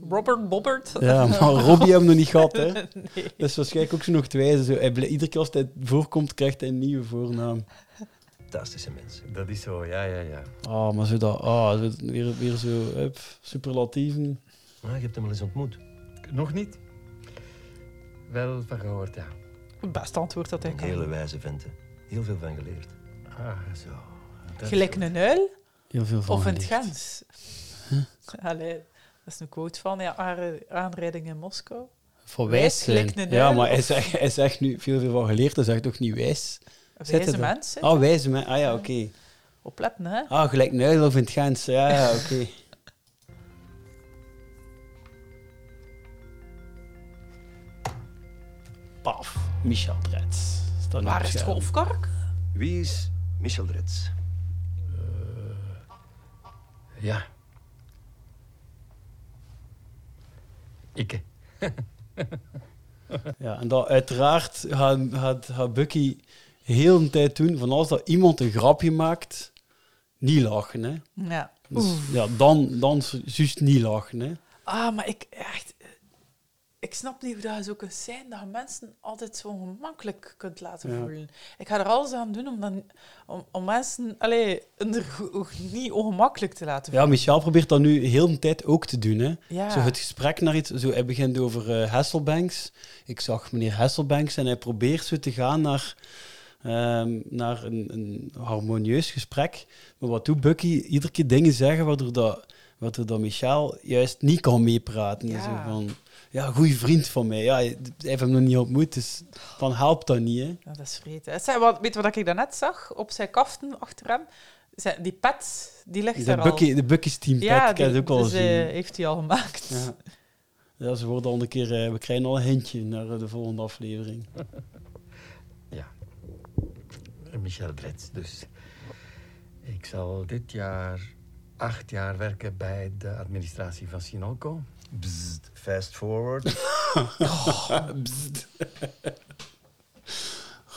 Speaker 5: Robert Bobbert.
Speaker 4: Ja, maar Robbie hebben we nog niet gehad, hè.
Speaker 5: Nee.
Speaker 4: Dat is waarschijnlijk ook zo nog twijzen. Zo, hij blij- iedere keer als hij voorkomt, krijgt hij een nieuwe voornaam.
Speaker 12: Fantastische mensen.
Speaker 9: Dat is zo, ja, ja, ja.
Speaker 4: Ah, maar zo dat... Ah, zo- weer, weer zo, hup, superlatieven.
Speaker 12: Ah, je hebt hem wel eens ontmoet.
Speaker 9: Nog niet? Wel van gehoord, ja.
Speaker 5: Het beste antwoord dat hij
Speaker 12: Een
Speaker 5: kan.
Speaker 12: hele wijze vent. hè. Heel veel van geleerd.
Speaker 9: Ah, zo. Dat-
Speaker 5: Gelijk een uil.
Speaker 4: Oh, Heel veel van
Speaker 5: Of een
Speaker 4: geleerd.
Speaker 5: gens. Allee, dat is een quote van ja, aar- aanrijding in Moskou.
Speaker 4: Van
Speaker 5: wijs
Speaker 4: wijs zijn.
Speaker 5: gelijk een
Speaker 4: Ja,
Speaker 5: uil,
Speaker 4: maar hij
Speaker 5: of-
Speaker 4: zegt, hij zegt nu veel, veel van geleerd. Hij zegt toch niet wijs? Zet
Speaker 5: Wijze
Speaker 4: het dan.
Speaker 5: mensen.
Speaker 4: Ah, wijze man. Ah ja, oké.
Speaker 5: Opletten, hè.
Speaker 4: Ah, gelijk een uil of in het Gens. Ja, ja, oké. Paf, Michel Drets. Staat nu op
Speaker 5: Waar is het
Speaker 4: scherm.
Speaker 5: golfkark?
Speaker 12: Wie is Michel Drets? Eh,
Speaker 9: Ja. Ikke.
Speaker 12: eh,
Speaker 4: Ja, en dat uiteraard gaat, gaat, gaat Bucky heel een tijd doen van als dat iemand een grapje maakt, niet lachen, hè.
Speaker 5: Ja.
Speaker 4: Dus, ja, dan, dan is het juist niet lachen, hè.
Speaker 5: Ah, maar ik echt... eh, Ik snap niet hoe dat je zo kunt zijn dat je mensen altijd zo gemakkelijk kunt laten
Speaker 4: Ja.
Speaker 5: voelen. Ik ga er alles aan doen om, dan, om, om mensen allee, er go- niet ongemakkelijk te laten
Speaker 4: Ja,
Speaker 5: voelen.
Speaker 4: Michel probeert dat nu heel een tijd ook te doen, hè.
Speaker 5: Ja.
Speaker 4: Zo het gesprek naar iets... Zo, hij begint over eh, Hasselbanks. Ik zag meneer Hasselbanks en hij probeert zo te gaan naar, ehm, naar een, een harmonieus gesprek. Maar wat doet Bucky? Iedere keer dingen zeggen waardoor dat... wat er dan Michaal juist niet kan meepraten.
Speaker 5: Ja.
Speaker 4: Zo van, ja, goede vriend van mij. Ja, hij heeft hem nog niet ontmoet, dus dan helpt dat niet. Hè.
Speaker 5: Ja, dat is vreten. Het zijn wat, weet je wat ik daarnet zag? Op zijn kaften achter hem. Zijn- Die pet, die ligt
Speaker 4: De
Speaker 5: er
Speaker 4: Bucky,
Speaker 5: al.
Speaker 4: de Bucky's team pet,
Speaker 5: ja,
Speaker 4: ik heb het
Speaker 5: die-
Speaker 4: ook al
Speaker 5: dus, eh,
Speaker 4: gezien.
Speaker 5: heeft hij al gemaakt.
Speaker 4: Ja. Ja, ze worden al een keer, eh, we krijgen al een hintje naar eh, de volgende aflevering.
Speaker 12: Michel Brets, dus. Ik zal dit jaar acht jaar werken bij de administratie van Sinalco. Bzzt, fast forward.
Speaker 4: Bzzt.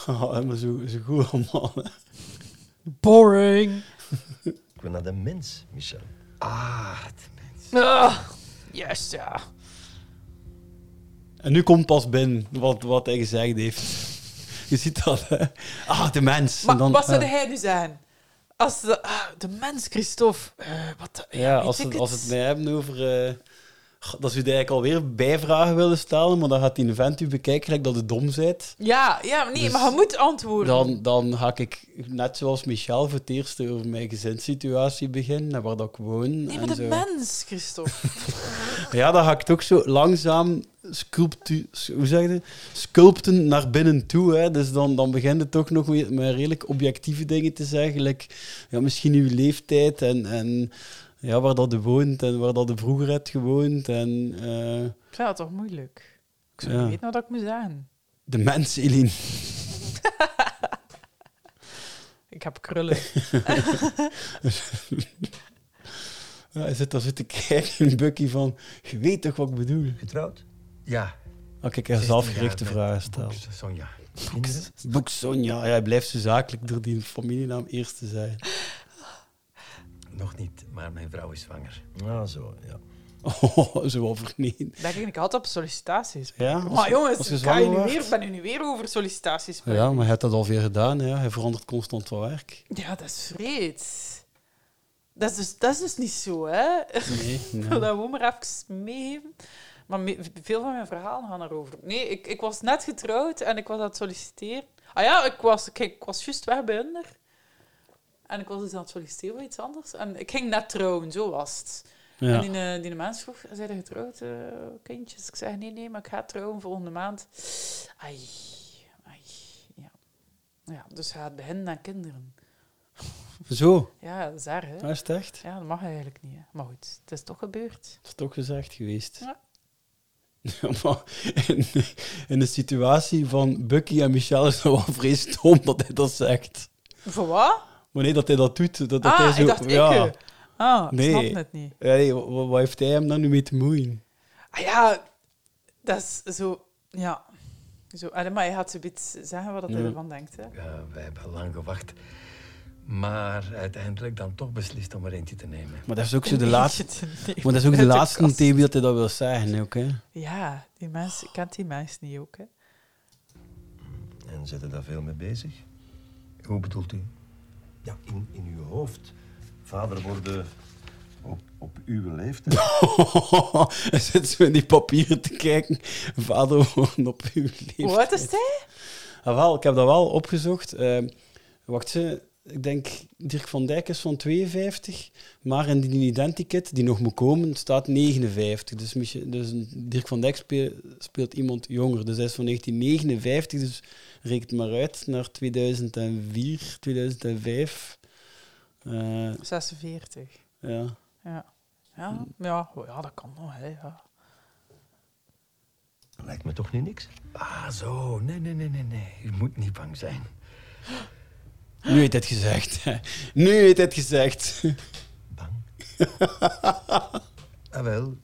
Speaker 4: Oh, maar zo, zo goed allemaal. hè.
Speaker 5: Boring.
Speaker 12: Ik wil naar de mens, Michel. Ah, de mens.
Speaker 5: Ah, yes, ja.
Speaker 4: En nu komt pas binnen wat, wat hij gezegd heeft. Je ziet dat, hè? Ah, de mens. En
Speaker 5: Maar
Speaker 4: dan,
Speaker 5: wat zou
Speaker 4: eh,
Speaker 5: hij nu zijn? Als de, ah, de mens, Christophe. Eh, wat de- ja,
Speaker 4: Ja,
Speaker 5: weet
Speaker 4: als
Speaker 5: ik
Speaker 4: het, als het mij hebben over... eh, goh, dat ze u eigenlijk alweer bijvragen willen stellen, maar dan gaat die vent u bekijken gelijk dat u dom bent.
Speaker 5: Ja, ja maar nee,
Speaker 4: Dus
Speaker 5: maar je moet antwoorden.
Speaker 4: Dan, dan ga ik, net zoals Michel, voor het eerst over mijn gezinssituatie beginnen en waar dat ik woon.
Speaker 5: Nee,
Speaker 4: en
Speaker 5: maar de
Speaker 4: zo.
Speaker 5: mens, Christophe.
Speaker 4: Ja, dan ga ik het ook zo langzaam sculptu, hoe zeg je, dat? sculpten naar binnen toe. Hè. Dus dan, dan begint het toch nog weer met redelijk objectieve dingen te zeggen. Like, ja, misschien uw leeftijd en, en ja, waar dat u woont en waar dat u vroeger hebt gewoond. En eh,
Speaker 5: Ik vind dat toch moeilijk? Ik zou
Speaker 4: Ja.
Speaker 5: niet weten wat ik moet zeggen.
Speaker 4: de mens, Eline.
Speaker 5: Ik heb krullen.
Speaker 4: Ja, hij zit daar zo te kijken in Bucky van, je weet toch wat ik bedoel?
Speaker 12: Getrouwd? Ja.
Speaker 4: Ah, kijk, hij
Speaker 12: 16
Speaker 4: heeft
Speaker 12: jaar
Speaker 4: zelfgerichte
Speaker 12: met
Speaker 4: vragen stellen.
Speaker 12: Boeks, Sonja. Kinderen?
Speaker 4: Boek Sonja, ja, hij blijft zo zakelijk door die familienaam eerst te zijn.
Speaker 12: Nog niet, maar mijn vrouw is zwanger.
Speaker 2: Ah, zo, ja.
Speaker 4: Oh, zo over niet.
Speaker 5: Denk ik niet altijd op sollicitaties.
Speaker 4: Ja, als
Speaker 5: maar
Speaker 4: je- als
Speaker 5: jongens,
Speaker 4: je
Speaker 5: ik
Speaker 4: zwanger
Speaker 5: nu
Speaker 4: wordt.
Speaker 5: weer, ben je nu weer over sollicitaties.
Speaker 4: Ja, maar hij heeft dat alweer gedaan. Hè. Hij verandert constant van werk.
Speaker 5: Ja, dat is vreed. Dat is dus, dat is dus niet zo, hè?
Speaker 4: Nee,
Speaker 5: Ik
Speaker 4: nee.
Speaker 5: wil dat gewoon maar even meegeven. Maar me- veel van mijn verhalen gaan erover. Nee, ik, ik was net getrouwd en ik was aan het solliciteren. Ah ja, ik was, kijk, ik was juist weg bij Under. En ik was dus aan het solliciteren voor iets anders. En ik ging net trouwen, zo was het.
Speaker 4: Ja.
Speaker 5: En die, eh, die mens vroeg, zijn er getrouwd, eh, kindjes? Ik zei, nee, nee, maar ik ga trouwen volgende maand. Ai, ai, ja. Ja, dus hij had beginnen aan kinderen.
Speaker 4: Zo,
Speaker 5: Ja, dat is raar, hè?
Speaker 4: hij is het echt.
Speaker 5: Ja, dat mag eigenlijk niet, hè. Maar goed, het is toch gebeurd.
Speaker 4: Dat is toch gezegd geweest.
Speaker 5: Ja.
Speaker 4: Ja, maar in, in de situatie van Bucky en Michelle is dat wel vreselijk stom dat hij dat zegt.
Speaker 5: Voor wat?
Speaker 4: Maar nee, dat hij dat doet. Dat, dat hij
Speaker 5: ah,
Speaker 4: zo,
Speaker 5: ik dacht
Speaker 4: ja.
Speaker 5: ik. eh. Ah, ik
Speaker 4: Nee.
Speaker 5: snap het niet.
Speaker 4: Ja, nee, wa- wa- wat, heeft hij hem dan nu mee te moeien?
Speaker 5: Ah ja, dat is zo... Ja. Zo, allee, maar hij gaat zoiets zeggen wat dat hij
Speaker 12: Ja.
Speaker 5: ervan denkt, hè.
Speaker 12: Ja, wij Eh, hebben lang gewacht. Maar uiteindelijk dan toch beslist om er eentje te nemen.
Speaker 4: Maar dat is ook zo de
Speaker 5: Nee,
Speaker 4: laatste...
Speaker 5: nee,
Speaker 4: Maar dat is ook de
Speaker 5: uit
Speaker 4: laatste
Speaker 5: kast.
Speaker 4: TV dat hij dat wil zeggen, ook, hè?
Speaker 5: Ja, die mens... ik Kent die mens niet ook, hè?
Speaker 12: En zit er daar veel mee bezig? Hoe bedoelt u?
Speaker 2: Ja, in, in uw hoofd. Vader worden op, op uw leeftijd.
Speaker 4: hij zit zo in die papieren te kijken. Vader woont op uw leven.
Speaker 5: Hoe oud is hij?
Speaker 4: Ah, wel, ik heb dat wel opgezocht. Eh, wacht, ze, ik denk Dirk van Dijk is van 52, maar in die identikit die nog moet komen staat 59. Dus, Miche- dus Dirk van Dijk speel- speelt iemand jonger. Dus hij is van 1959, dus reken het maar uit naar 2004, 2005. Eh,
Speaker 5: 46.
Speaker 4: ja.
Speaker 5: Ja. Ja, ja, oh ja, dat kan nog, hè. Ja.
Speaker 12: Lijkt me toch nu niks? Ah, zo. Nee, nee, nee, nee, nee. U moet niet bang zijn.
Speaker 4: Nu heeft hij het gezegd. Nu heeft hij het gezegd.
Speaker 12: Ah, wel.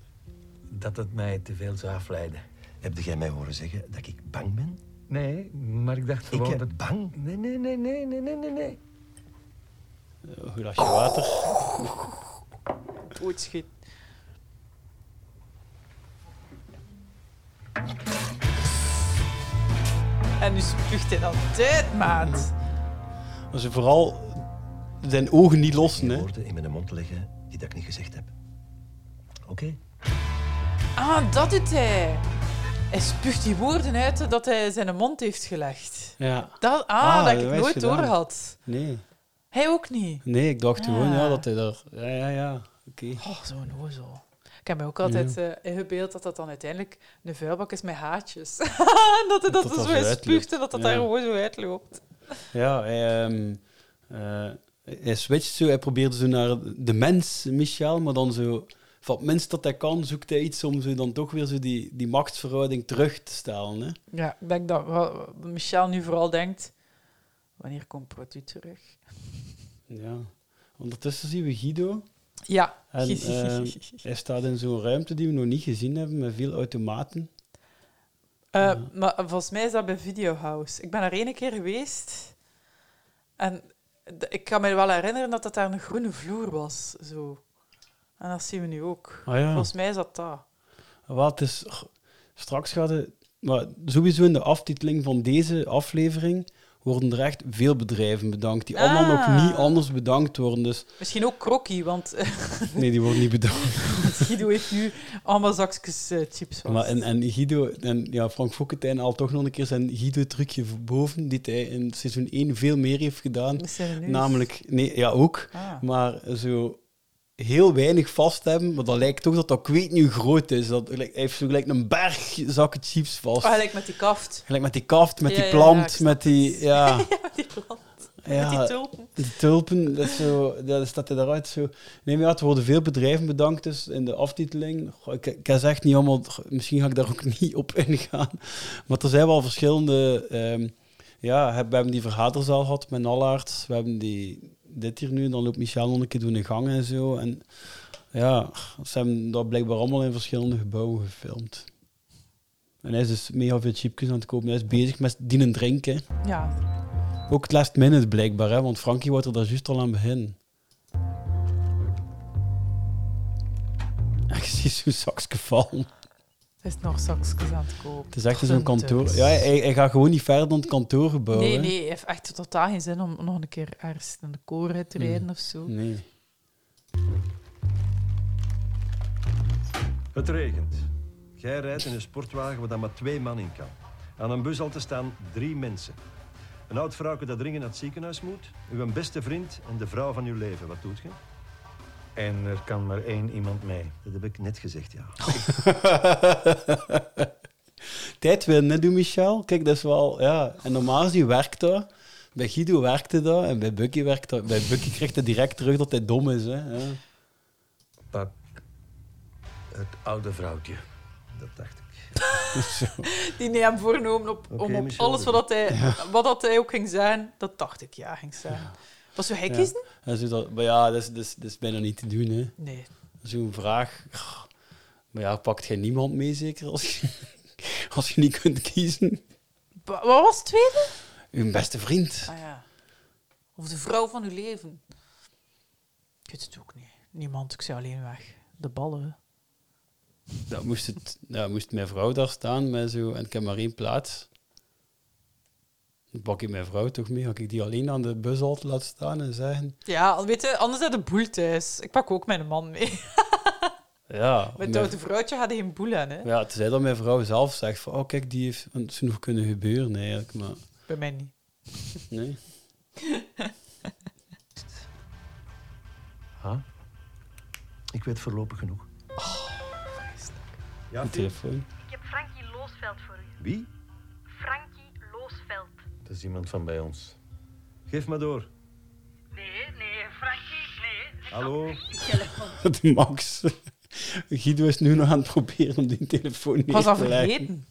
Speaker 12: Dat het mij te veel zou afleiden.
Speaker 2: Heb jij mij horen zeggen dat ik bang ben?
Speaker 12: Nee, maar ik dacht
Speaker 2: ik
Speaker 12: gewoon
Speaker 2: heb
Speaker 12: dat...
Speaker 2: bang.
Speaker 12: Nee, nee, nee, nee, nee, nee, nee, nee.
Speaker 4: Een glasje water.
Speaker 5: Doodschiet. En nu spuugt hij dan dit, maat.
Speaker 4: Maar ze vooral zijn ogen niet lossen, hè.
Speaker 2: Woorden in mijn mond leggen die dat ik niet gezegd heb. Oké?
Speaker 5: Ah, dat doet hij. Hij spuugt die woorden uit dat hij zijn mond heeft gelegd.
Speaker 4: Ja.
Speaker 5: Dat, ah,
Speaker 4: Ah,
Speaker 5: dat ik
Speaker 4: dat
Speaker 5: het
Speaker 4: is
Speaker 5: nooit
Speaker 4: gedaan.
Speaker 5: door had.
Speaker 4: Nee.
Speaker 5: Hij ook niet.
Speaker 4: Nee, ik dacht gewoon ja,
Speaker 5: Ah.
Speaker 4: dat hij daar... Ja, ja, ja.
Speaker 5: Oh, zo'n ozel. Ik heb me ook altijd eh ingebeeld dat dat dan uiteindelijk een vuilbak is met haartjes. En dat hij dat,
Speaker 4: dat
Speaker 5: dus
Speaker 4: dat
Speaker 5: zo
Speaker 4: zo
Speaker 5: in spuugt en
Speaker 4: uitloopt.
Speaker 5: dat dat
Speaker 4: Ja.
Speaker 5: daar gewoon zo uitloopt.
Speaker 4: Ja, hij, ehm, eh, hij switcht zo. Hij probeert zo naar de mens, Michel, maar dan zo... Van het minst dat hij kan, zoekt hij iets om zo dan toch weer zo die, die machtsverhouding terug te stellen. Hè?
Speaker 5: Ja, ik denk dat wat Michel nu vooral denkt, wanneer komt Protu terug?
Speaker 4: Ja. Ondertussen zien we Guido.
Speaker 5: Ja.
Speaker 4: En, ehm,
Speaker 5: Eh,
Speaker 4: hij staat in zo'n ruimte die we nog niet gezien hebben, met veel automaten.
Speaker 5: Eh, Maar volgens mij is dat bij Video House. Ik ben er één keer geweest en d- ik kan me wel herinneren dat dat daar een groene vloer was. Zo. En dat zien we nu ook.
Speaker 4: Ah, ja.
Speaker 5: Volgens mij is dat dat.
Speaker 4: Wat is. oh, Straks gaat het. Maar sowieso in de aftiteling van deze aflevering worden er echt veel bedrijven bedankt. Die allemaal
Speaker 5: Ah.
Speaker 4: nog niet anders bedankt worden. Dus
Speaker 5: Misschien ook Krokkie, want
Speaker 4: nee, die worden niet bedankt.
Speaker 5: Guido heeft nu allemaal zakjes eh, chips vast.
Speaker 4: Maar en, en Guido, en ja, Frank Fokkentijn al toch nog een keer zijn Guido-trucje boven, die hij in seizoen 1 veel meer heeft gedaan.
Speaker 5: Met zijn neus.
Speaker 4: Namelijk, nee, ja ook,
Speaker 5: Ah.
Speaker 4: maar zo heel weinig vast hebben, maar dat lijkt toch dat dat kweet nu groot is. Dat, hij heeft zo gelijk een berg zakken chips vast.
Speaker 5: Oh, gelijk met die kaft.
Speaker 4: Gelijk met die kaft, met
Speaker 5: Ja, ja,
Speaker 4: die
Speaker 5: ja, ik
Speaker 4: plant,
Speaker 5: snap
Speaker 4: met die... Ja,
Speaker 5: met die plant.
Speaker 4: ja,
Speaker 5: Met die tulpen.
Speaker 4: Die tulpen, dat is zo... ja, Dat staat hij daaruit zo... Nee, maar ja, er worden veel bedrijven bedankt dus in de aftiteling. Goh, ik, ik zeg echt niet allemaal... goh, Misschien ga ik daar ook niet op ingaan. Maar er zijn wel verschillende... ehm, ja, heb- we hebben die vergaderzaal gehad met Nallaerts. We hebben die, dit hier nu. Dan loopt Michel nog een keer door de gang en zo. En ja, ze hebben dat blijkbaar allemaal in verschillende gebouwen gefilmd. En hij is dus mega veel chipjes aan het kopen. Hij is bezig met dienen drinken.
Speaker 5: Ja.
Speaker 4: Ook het last minute blijkbaar, hè, want Frankie wordt er daar juist al aan beginnen. En je ziet zo'n zakje vallen.
Speaker 5: Er is nog zakjes aan het kopen.
Speaker 4: Het is echt zo'n kantoor. Ja, hij, hij gaat gewoon niet verder dan het kantoorgebouw.
Speaker 5: Nee,
Speaker 4: hè.
Speaker 5: nee, hij heeft echt totaal geen zin om nog een keer ergens in de koren uit te
Speaker 4: Hmm.
Speaker 5: rijden of zo.
Speaker 4: Nee.
Speaker 2: Het regent. Jij rijdt in een sportwagen waar dan maar twee man in kan. Aan een bus al te staan drie mensen. Een oud vrouwke dat dringend naar het ziekenhuis moet. Uw beste vriend en de vrouw van uw leven. Wat doet je?
Speaker 12: En er kan maar één iemand mee.
Speaker 2: Dat heb ik net gezegd, ja.
Speaker 4: Tijd winnen, hè, doe Michel. Kijk, dat is wel... Ja. En normaal gezien werkt dat. Bij Guido werkte dat en bij Bucky werkt dat. Bij Bucky krijgt hij direct terug dat hij dom is. Hè. Ja.
Speaker 12: Pak het oude vrouwtje. Dat dacht ik.
Speaker 5: Die neemt hem voornomen op,
Speaker 12: Oké,
Speaker 5: om op
Speaker 12: Michel,
Speaker 5: alles wat, dat hij, wat dat hij ook ging zijn, dat dacht ik ja ging zijn. Was zo hij
Speaker 4: Ja.
Speaker 5: kiezen?
Speaker 4: En zo dat, maar ja, dat is, dat, is, dat is bijna niet te doen. Hè.
Speaker 5: Nee.
Speaker 4: Zo'n vraag. Maar ja, pakt jij niemand mee zeker als je, als je niet kunt kiezen?
Speaker 5: Ba- wat was het tweede?
Speaker 4: Uw beste vriend.
Speaker 5: Ah ja. Of de vrouw van uw leven. Ik weet het ook niet. Niemand, ik zou alleen weg. De ballen.
Speaker 4: Dan moest, het, ja, moest mijn vrouw daar staan met zo, en ik heb maar één plaats. Dan pak ik mijn vrouw toch mee? Had ik die alleen aan de bus altijd laten staan en zeggen...
Speaker 5: Ja, weet je, anders had de boel thuis. Ik pak ook mijn man mee.
Speaker 4: Ja,
Speaker 5: Met het
Speaker 4: mijn-
Speaker 5: oude vrouwtje had hij geen boel aan, hè?
Speaker 4: ja, tenzij dat mijn vrouw zelf zegt van... Oh, kijk, die heeft... Het zou nog kunnen gebeuren eigenlijk, maar...
Speaker 5: Bij mij niet.
Speaker 4: Nee.
Speaker 12: Ha?
Speaker 2: Ik weet voorlopig genoeg.
Speaker 12: Oh,
Speaker 2: Ja,
Speaker 4: Een telefoon.
Speaker 13: Ik heb Frankie Loosveld voor u.
Speaker 2: Wie?
Speaker 13: Frankie Loosveld.
Speaker 12: Dat is iemand van bij ons.
Speaker 2: Geef maar door.
Speaker 13: Nee, nee, Frankie, nee.
Speaker 2: Hallo?
Speaker 4: De Max. Guido is nu nog aan het proberen om die telefoon neer te
Speaker 5: was
Speaker 4: leggen.
Speaker 5: al vergeten.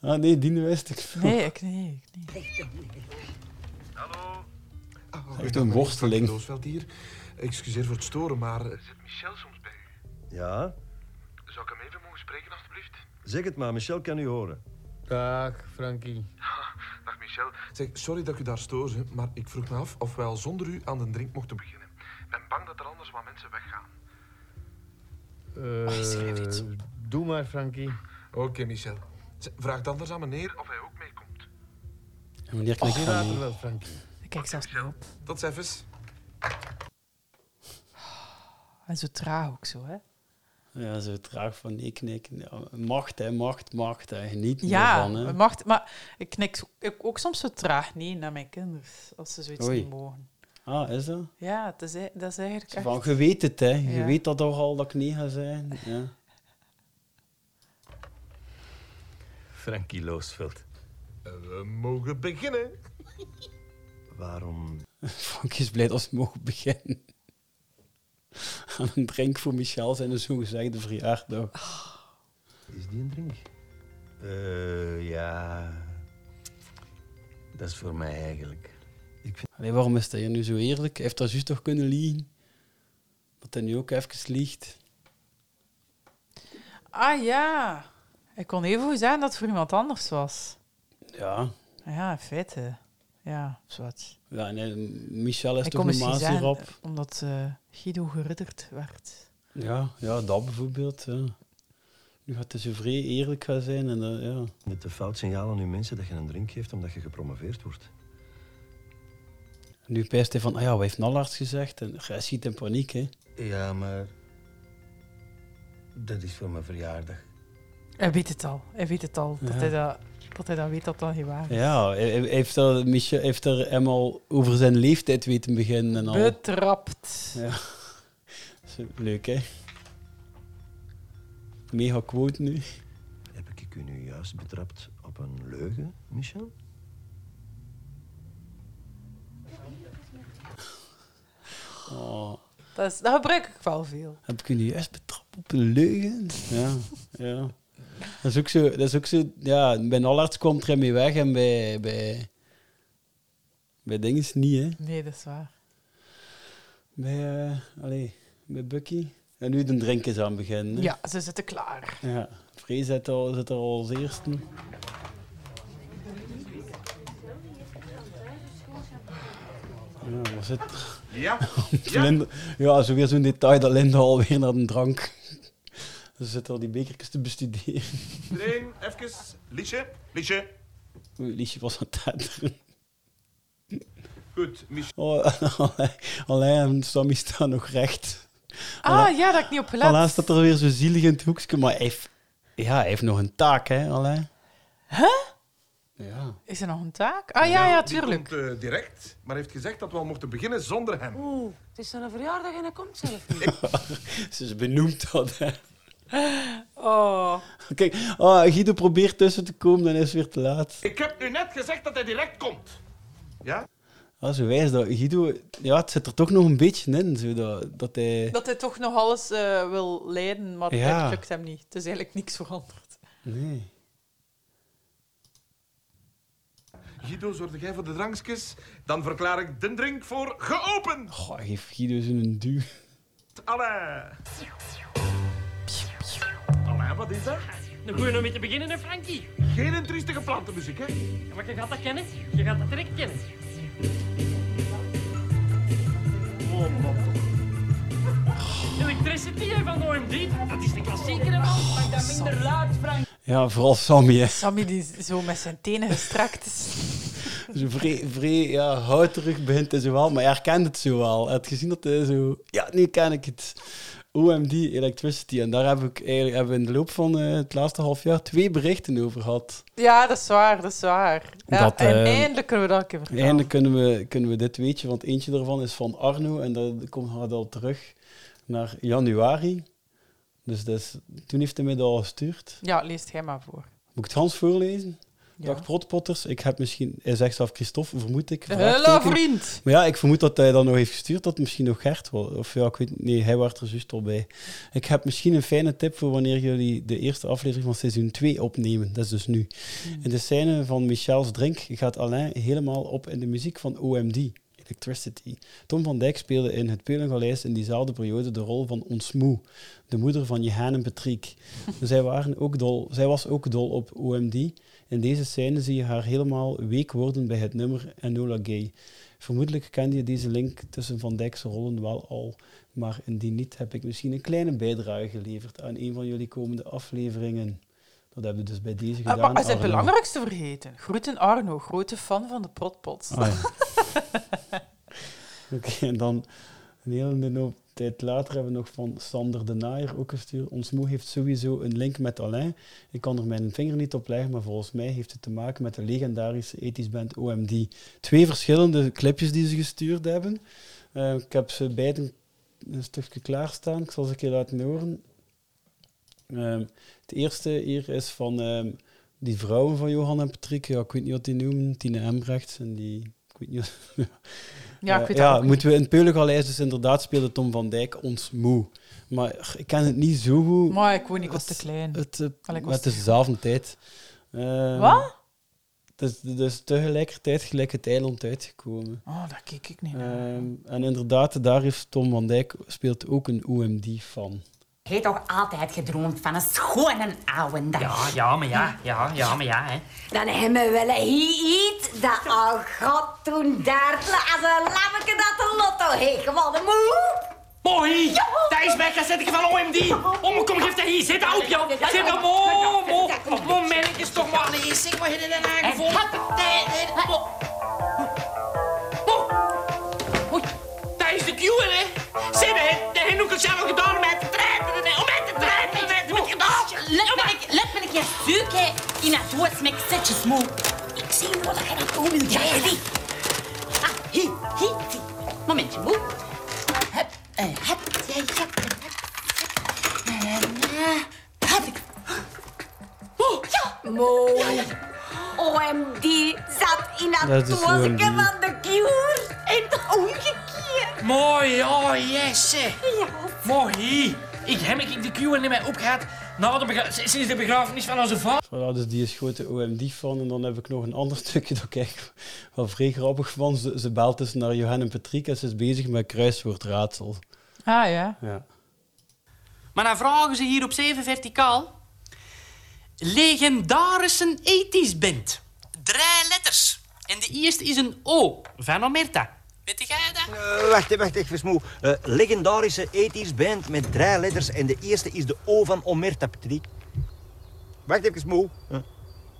Speaker 4: Ah nee, die wist ik nog.
Speaker 5: Nee, ik nee. Ik
Speaker 4: Echt een worsteling.
Speaker 11: Loosveld hier. Excuseer voor het storen, maar... eh, Zit Michel soms bij
Speaker 2: Ja?
Speaker 11: Zou ik hem even mogen spreken, alstublieft?
Speaker 2: Zeg het maar, Michel kan u horen.
Speaker 11: Dag, Frankie. Dag, Michel. Zeg, sorry dat ik u daar stoor, hè, maar ik vroeg me af of wij al zonder u aan de drink mochten beginnen. Ik ben bang dat er anders wat mensen weggaan.
Speaker 14: Doe maar, Frankie.
Speaker 11: Oké, Michel. Zeg, vraag dan anders aan meneer of hij ook meekomt.
Speaker 4: En wanneer klik ik van
Speaker 14: wel, Frankie.
Speaker 5: Kijk zelfs op.
Speaker 11: Tot even.
Speaker 5: En zo traag ook zo, hè?
Speaker 4: Ja, zo traag van nee knikken. Ja, macht, hè, macht, macht. Hè. Geniet
Speaker 5: Ja,
Speaker 4: ervan, hè.
Speaker 5: macht, maar ik knik zo- ik ook soms zo traag nee naar mijn kinderen als ze zoiets
Speaker 4: Oei.
Speaker 5: niet mogen.
Speaker 4: Ah, is dat?
Speaker 5: Ja, het is, e- dat is eigenlijk echt...
Speaker 4: Van, je weet het, hè. Je
Speaker 5: Ja.
Speaker 4: weet dat toch al dat ik nee ga zijn. Ja.
Speaker 12: Frankie Loosveld.
Speaker 7: Eh, We mogen beginnen.
Speaker 2: Waarom?
Speaker 4: Frank is blij dat ze mogen beginnen. Aan een drink voor Michel zijn een zogezegde verjaardag.
Speaker 2: Is die een drink?
Speaker 12: Eh, ja. Dat is voor mij eigenlijk.
Speaker 4: Allee, waarom is hij hier nu zo eerlijk? Hij heeft dat juist toch kunnen liegen? Dat hij nu ook even liegt.
Speaker 5: Ah ja, ik kon even goed zijn dat het voor iemand anders was.
Speaker 4: Ja.
Speaker 5: Ja, in feite. Ja, zwart.
Speaker 4: ja nee, Michel is
Speaker 5: ik
Speaker 4: toch
Speaker 5: kon
Speaker 4: een
Speaker 5: misschien
Speaker 4: maas
Speaker 5: zijn,
Speaker 4: hierop.
Speaker 5: eh, omdat eh, Guido geridderd werd.
Speaker 4: Ja, ja, dat bijvoorbeeld. Ja. Nu gaat hij zo vrij eerlijk gaan zijn. En, eh, ja.
Speaker 2: Het een fout signaal aan uw mensen dat je een drink geeft omdat je gepromoveerd wordt.
Speaker 4: Nu pijst hij van, ah ja, wat heeft Nallarts gezegd? En hij schiet in paniek, hè.
Speaker 12: Ja, maar. Dat is voor mijn verjaardag.
Speaker 5: Hij weet het al. Hij weet het al. Dat,
Speaker 4: Ja.
Speaker 5: hij dat, dat hij dat weet dat dat niet waar is.
Speaker 4: Ja, hij, hij heeft, er, Michel, heeft er hem al over zijn leeftijd weten beginnen en al.
Speaker 5: Betrapt.
Speaker 4: nou. Ja. Zo, Leuk, hè? Mega quote nu.
Speaker 2: Heb ik u nu juist betrapt op een leugen, Michel?
Speaker 4: Oh,
Speaker 5: Dat, is, dat gebruik ik wel veel.
Speaker 4: heb ik u nu juist betrapt op een leugen? Ja, ja. Dat is ook zo, dat is ook zo ja, bij Nallarts komt er mee weg en bij, bij, bij Dinges niet, hè?
Speaker 5: Nee, dat is waar.
Speaker 4: Bij, eh, allee, bij Bucky. En nu de drinkjes aan beginnen. hè.
Speaker 5: Ja, ze zitten klaar.
Speaker 4: Ja, Free zit al- zit er al als eerste. Ja, was het?
Speaker 7: Ja?
Speaker 4: ja. Linda, ja, zo weer zo'n detail dat Linda alweer naar de drank. Ze zit al die bekertjes te bestuderen.
Speaker 7: Iedereen, even. Liesje, Liesje.
Speaker 4: Oei, Liesje was aan het tetteren.
Speaker 7: Goed, Michel.
Speaker 4: Oh, alleen en Sammy staan nog recht.
Speaker 5: Ah, ja, dat heb ik niet op gelet.
Speaker 4: Alleen staat er weer zo zielig in het hoekje, maar hij heeft, ja, hij heeft nog een taak, hè, Alain.
Speaker 5: Huh?
Speaker 4: Ja.
Speaker 5: Is er nog een taak? Ah ja, ja, tuurlijk.
Speaker 7: Die komt eh, direct, maar heeft gezegd dat we al mochten beginnen zonder hem.
Speaker 15: Oeh, het is zijn verjaardag en hij komt zelf niet.
Speaker 4: Ze is benoemd dat, hè.
Speaker 5: Oh.
Speaker 4: Kijk, oh, Guido probeert tussen te komen, dan is het weer te laat.
Speaker 7: Ik heb nu net gezegd dat hij direct komt. Ja?
Speaker 4: Ah, zo wijs dat. Guido, ja, het zit er toch nog een beetje in, zo dat, dat hij...
Speaker 5: Dat hij toch nog alles eh, wil leiden, maar
Speaker 4: Ja.
Speaker 5: dat lukt hem niet. Het is eigenlijk niks veranderd.
Speaker 4: Nee.
Speaker 7: Guido, zorg jij voor de drankjes? Dan verklaar ik de drink voor geopend.
Speaker 4: Goh, hij geeft Guido zo'n duw.
Speaker 7: Alle. Alle, wat is dat?
Speaker 10: Een goeie om mee te beginnen, hè, Frankie?
Speaker 7: Geen intristige plantenmuziek, hè?
Speaker 10: Ja, maar je gaat dat kennen. Je gaat dat direct kennen.
Speaker 7: Oh, man.
Speaker 10: Electricity hè, van OM3. Dat is de klassieker, hè, man. Maak dat minder luid, Frank.
Speaker 4: Ja, vooral Sammy, hè.
Speaker 5: Sammy die z- zo met zijn tenen gestrekt is.
Speaker 4: Zo vrij, vrij ja, houterig begint hij zo wel, maar hij herkent het zo wel. Hij had gezien dat hij zo... Ja, nu ken ik het. OMD Electricity. En daar heb ik eigenlijk hebben we in de loop van eh, het laatste half jaar twee berichten over gehad.
Speaker 5: Ja, dat is waar, dat is waar. Ja,
Speaker 4: Dat,
Speaker 5: en
Speaker 4: eh,
Speaker 5: eindelijk kunnen we dat een keer vertellen.
Speaker 4: Eindelijk kunnen we, kunnen we dit weetje, want eentje daarvan is van Arno en dat komt gaat al terug naar januari. Dus dat is- toen heeft hij mij dat al gestuurd.
Speaker 5: Ja, leest jij maar voor.
Speaker 4: Moet ik het Hans voorlezen?
Speaker 5: Ja.
Speaker 4: Dag Protpotters, ik heb misschien... Hij zegt zelf Christophe, vermoed ik.
Speaker 5: Hallo,
Speaker 4: vraagteken.
Speaker 5: vriend.
Speaker 4: Maar ja, ik vermoed dat hij dat nog heeft gestuurd, dat misschien nog Gert was. Of ja, ik weet Nee, hij was er juist al bij. Ik heb misschien een fijne tip voor wanneer jullie de eerste aflevering van seizoen 2 opnemen. Dat is dus nu. In de scène van Michels Drink gaat Alain helemaal op in de muziek van OMD. Electricity. Tom van Dijk speelde in Het Pelengaleis in diezelfde periode de rol van Ons Moe, de moeder van Jehan en Patrick. Zij, waren ook dol, zij was ook dol op OMD. In deze scène zie je haar helemaal week worden bij het nummer Enola Gay. Vermoedelijk kende je deze link tussen Van Dijk's rollen wel al, maar indien niet heb ik misschien een kleine bijdrage geleverd aan een van jullie komende afleveringen. Dat hebben we dus bij deze
Speaker 5: Ah,
Speaker 4: gedaan.
Speaker 5: maar hij is het
Speaker 4: Arno.
Speaker 5: belangrijkste vergeten. Groeten Arno, grote fan van de Protpot.
Speaker 4: Ah, ja. Oké, en dan Een hele hoop tijd later hebben we nog van Sander de Naaier ook gestuurd. Ons moe heeft sowieso een link met Alain. Ik kan er mijn vinger niet op leggen, maar volgens mij heeft het te maken met de legendarische ethisch band OMD. Twee verschillende clipjes die ze gestuurd hebben. Eh, ik heb ze beiden een stukje klaarstaan. Ik zal ze een keer laten horen. Ehm, het eerste hier is van ehm, die vrouwen van Johan en Patrick. Ja, ik weet niet wat die noemen. Tine Embrechts en die... Ik weet niet wat-
Speaker 5: Ja, ik
Speaker 4: Eh,
Speaker 5: weet dat
Speaker 4: ja,
Speaker 5: ook
Speaker 4: moeten we in Peulengaleis dus inderdaad speelde Tom van Dijk ons moe. Maar ach, ik ken het niet zo goed.
Speaker 5: Maar ik woon, ik was te klein.
Speaker 4: Het, eh,
Speaker 5: Allee, ik
Speaker 4: maar
Speaker 5: was
Speaker 4: het is dezelfde tijd. Ehm,
Speaker 5: Wat?
Speaker 4: Het is dus tegelijkertijd gelijk het eiland uitgekomen.
Speaker 5: Oh, daar keek ik niet
Speaker 4: Ehm, en inderdaad, daar heeft Tom van Dijk speelt ook een OMD-fan.
Speaker 16: Je hebt toch altijd gedroomd van een schone oude dag?
Speaker 17: Ja, ja, maar ja, ja, ja, maar ja, hè.
Speaker 16: Dan hebben we wel hier iets dat al Oh, god toen daartle als een lammeke dat de lotto heeft gewonnen. Moe!
Speaker 17: Mooi! Daar is weg, daar zit ik van OMD! Oh, kom, geef dat hier, zit op, joh! Zit op, oh, oh, oh, momentjes toch maar, nee, zeg maar, heb je dat aangevonden? Oei, daar is de cue, hè? Zit, hè? De Hennoek had zelf gedaan met te treiteren, hè? Om mij te treiteren, met te gedaan!
Speaker 16: Let me, let me een keer zoeken in het woord met zetjes moe. Ik zie wel dat je dat doen wil, Jerry. Ah, hier, hier, hier. Momentje, moe. Hup, eh, hup, ja, ja, ja, hup. Eh, eh, Heb ik. Oh, ja. Mooi. OMD zat in
Speaker 17: Dat
Speaker 16: dat
Speaker 17: is
Speaker 16: doosje
Speaker 17: OMD.
Speaker 16: van de cure. En omgekeerd.
Speaker 17: Mooi, oh yes. hè. Mooi. Ik heb ik de cue in mij opgehaald na de begra- sinds de begrafenis van onze vader.
Speaker 4: Voilà, dus die is grote OMD-fan. En dan heb ik nog een ander stukje dat ik echt wel vrij grappig vond. Ze, ze belt dus naar Johan en Patrick en ze is bezig met kruiswoordraadsel.
Speaker 5: Ah ja.
Speaker 4: Ja.
Speaker 17: Maar dan vragen ze hier op 7 verticaal. Legendarische ethisch band. Drie letters. En de eerste is een O van Omerta. Weet jij dat?
Speaker 18: Eh, wacht, hè, wacht, ik versmoe. Eh, legendarische ethisch band met drie letters en de eerste is de O van Omerta, Patrick. Wacht even, moe.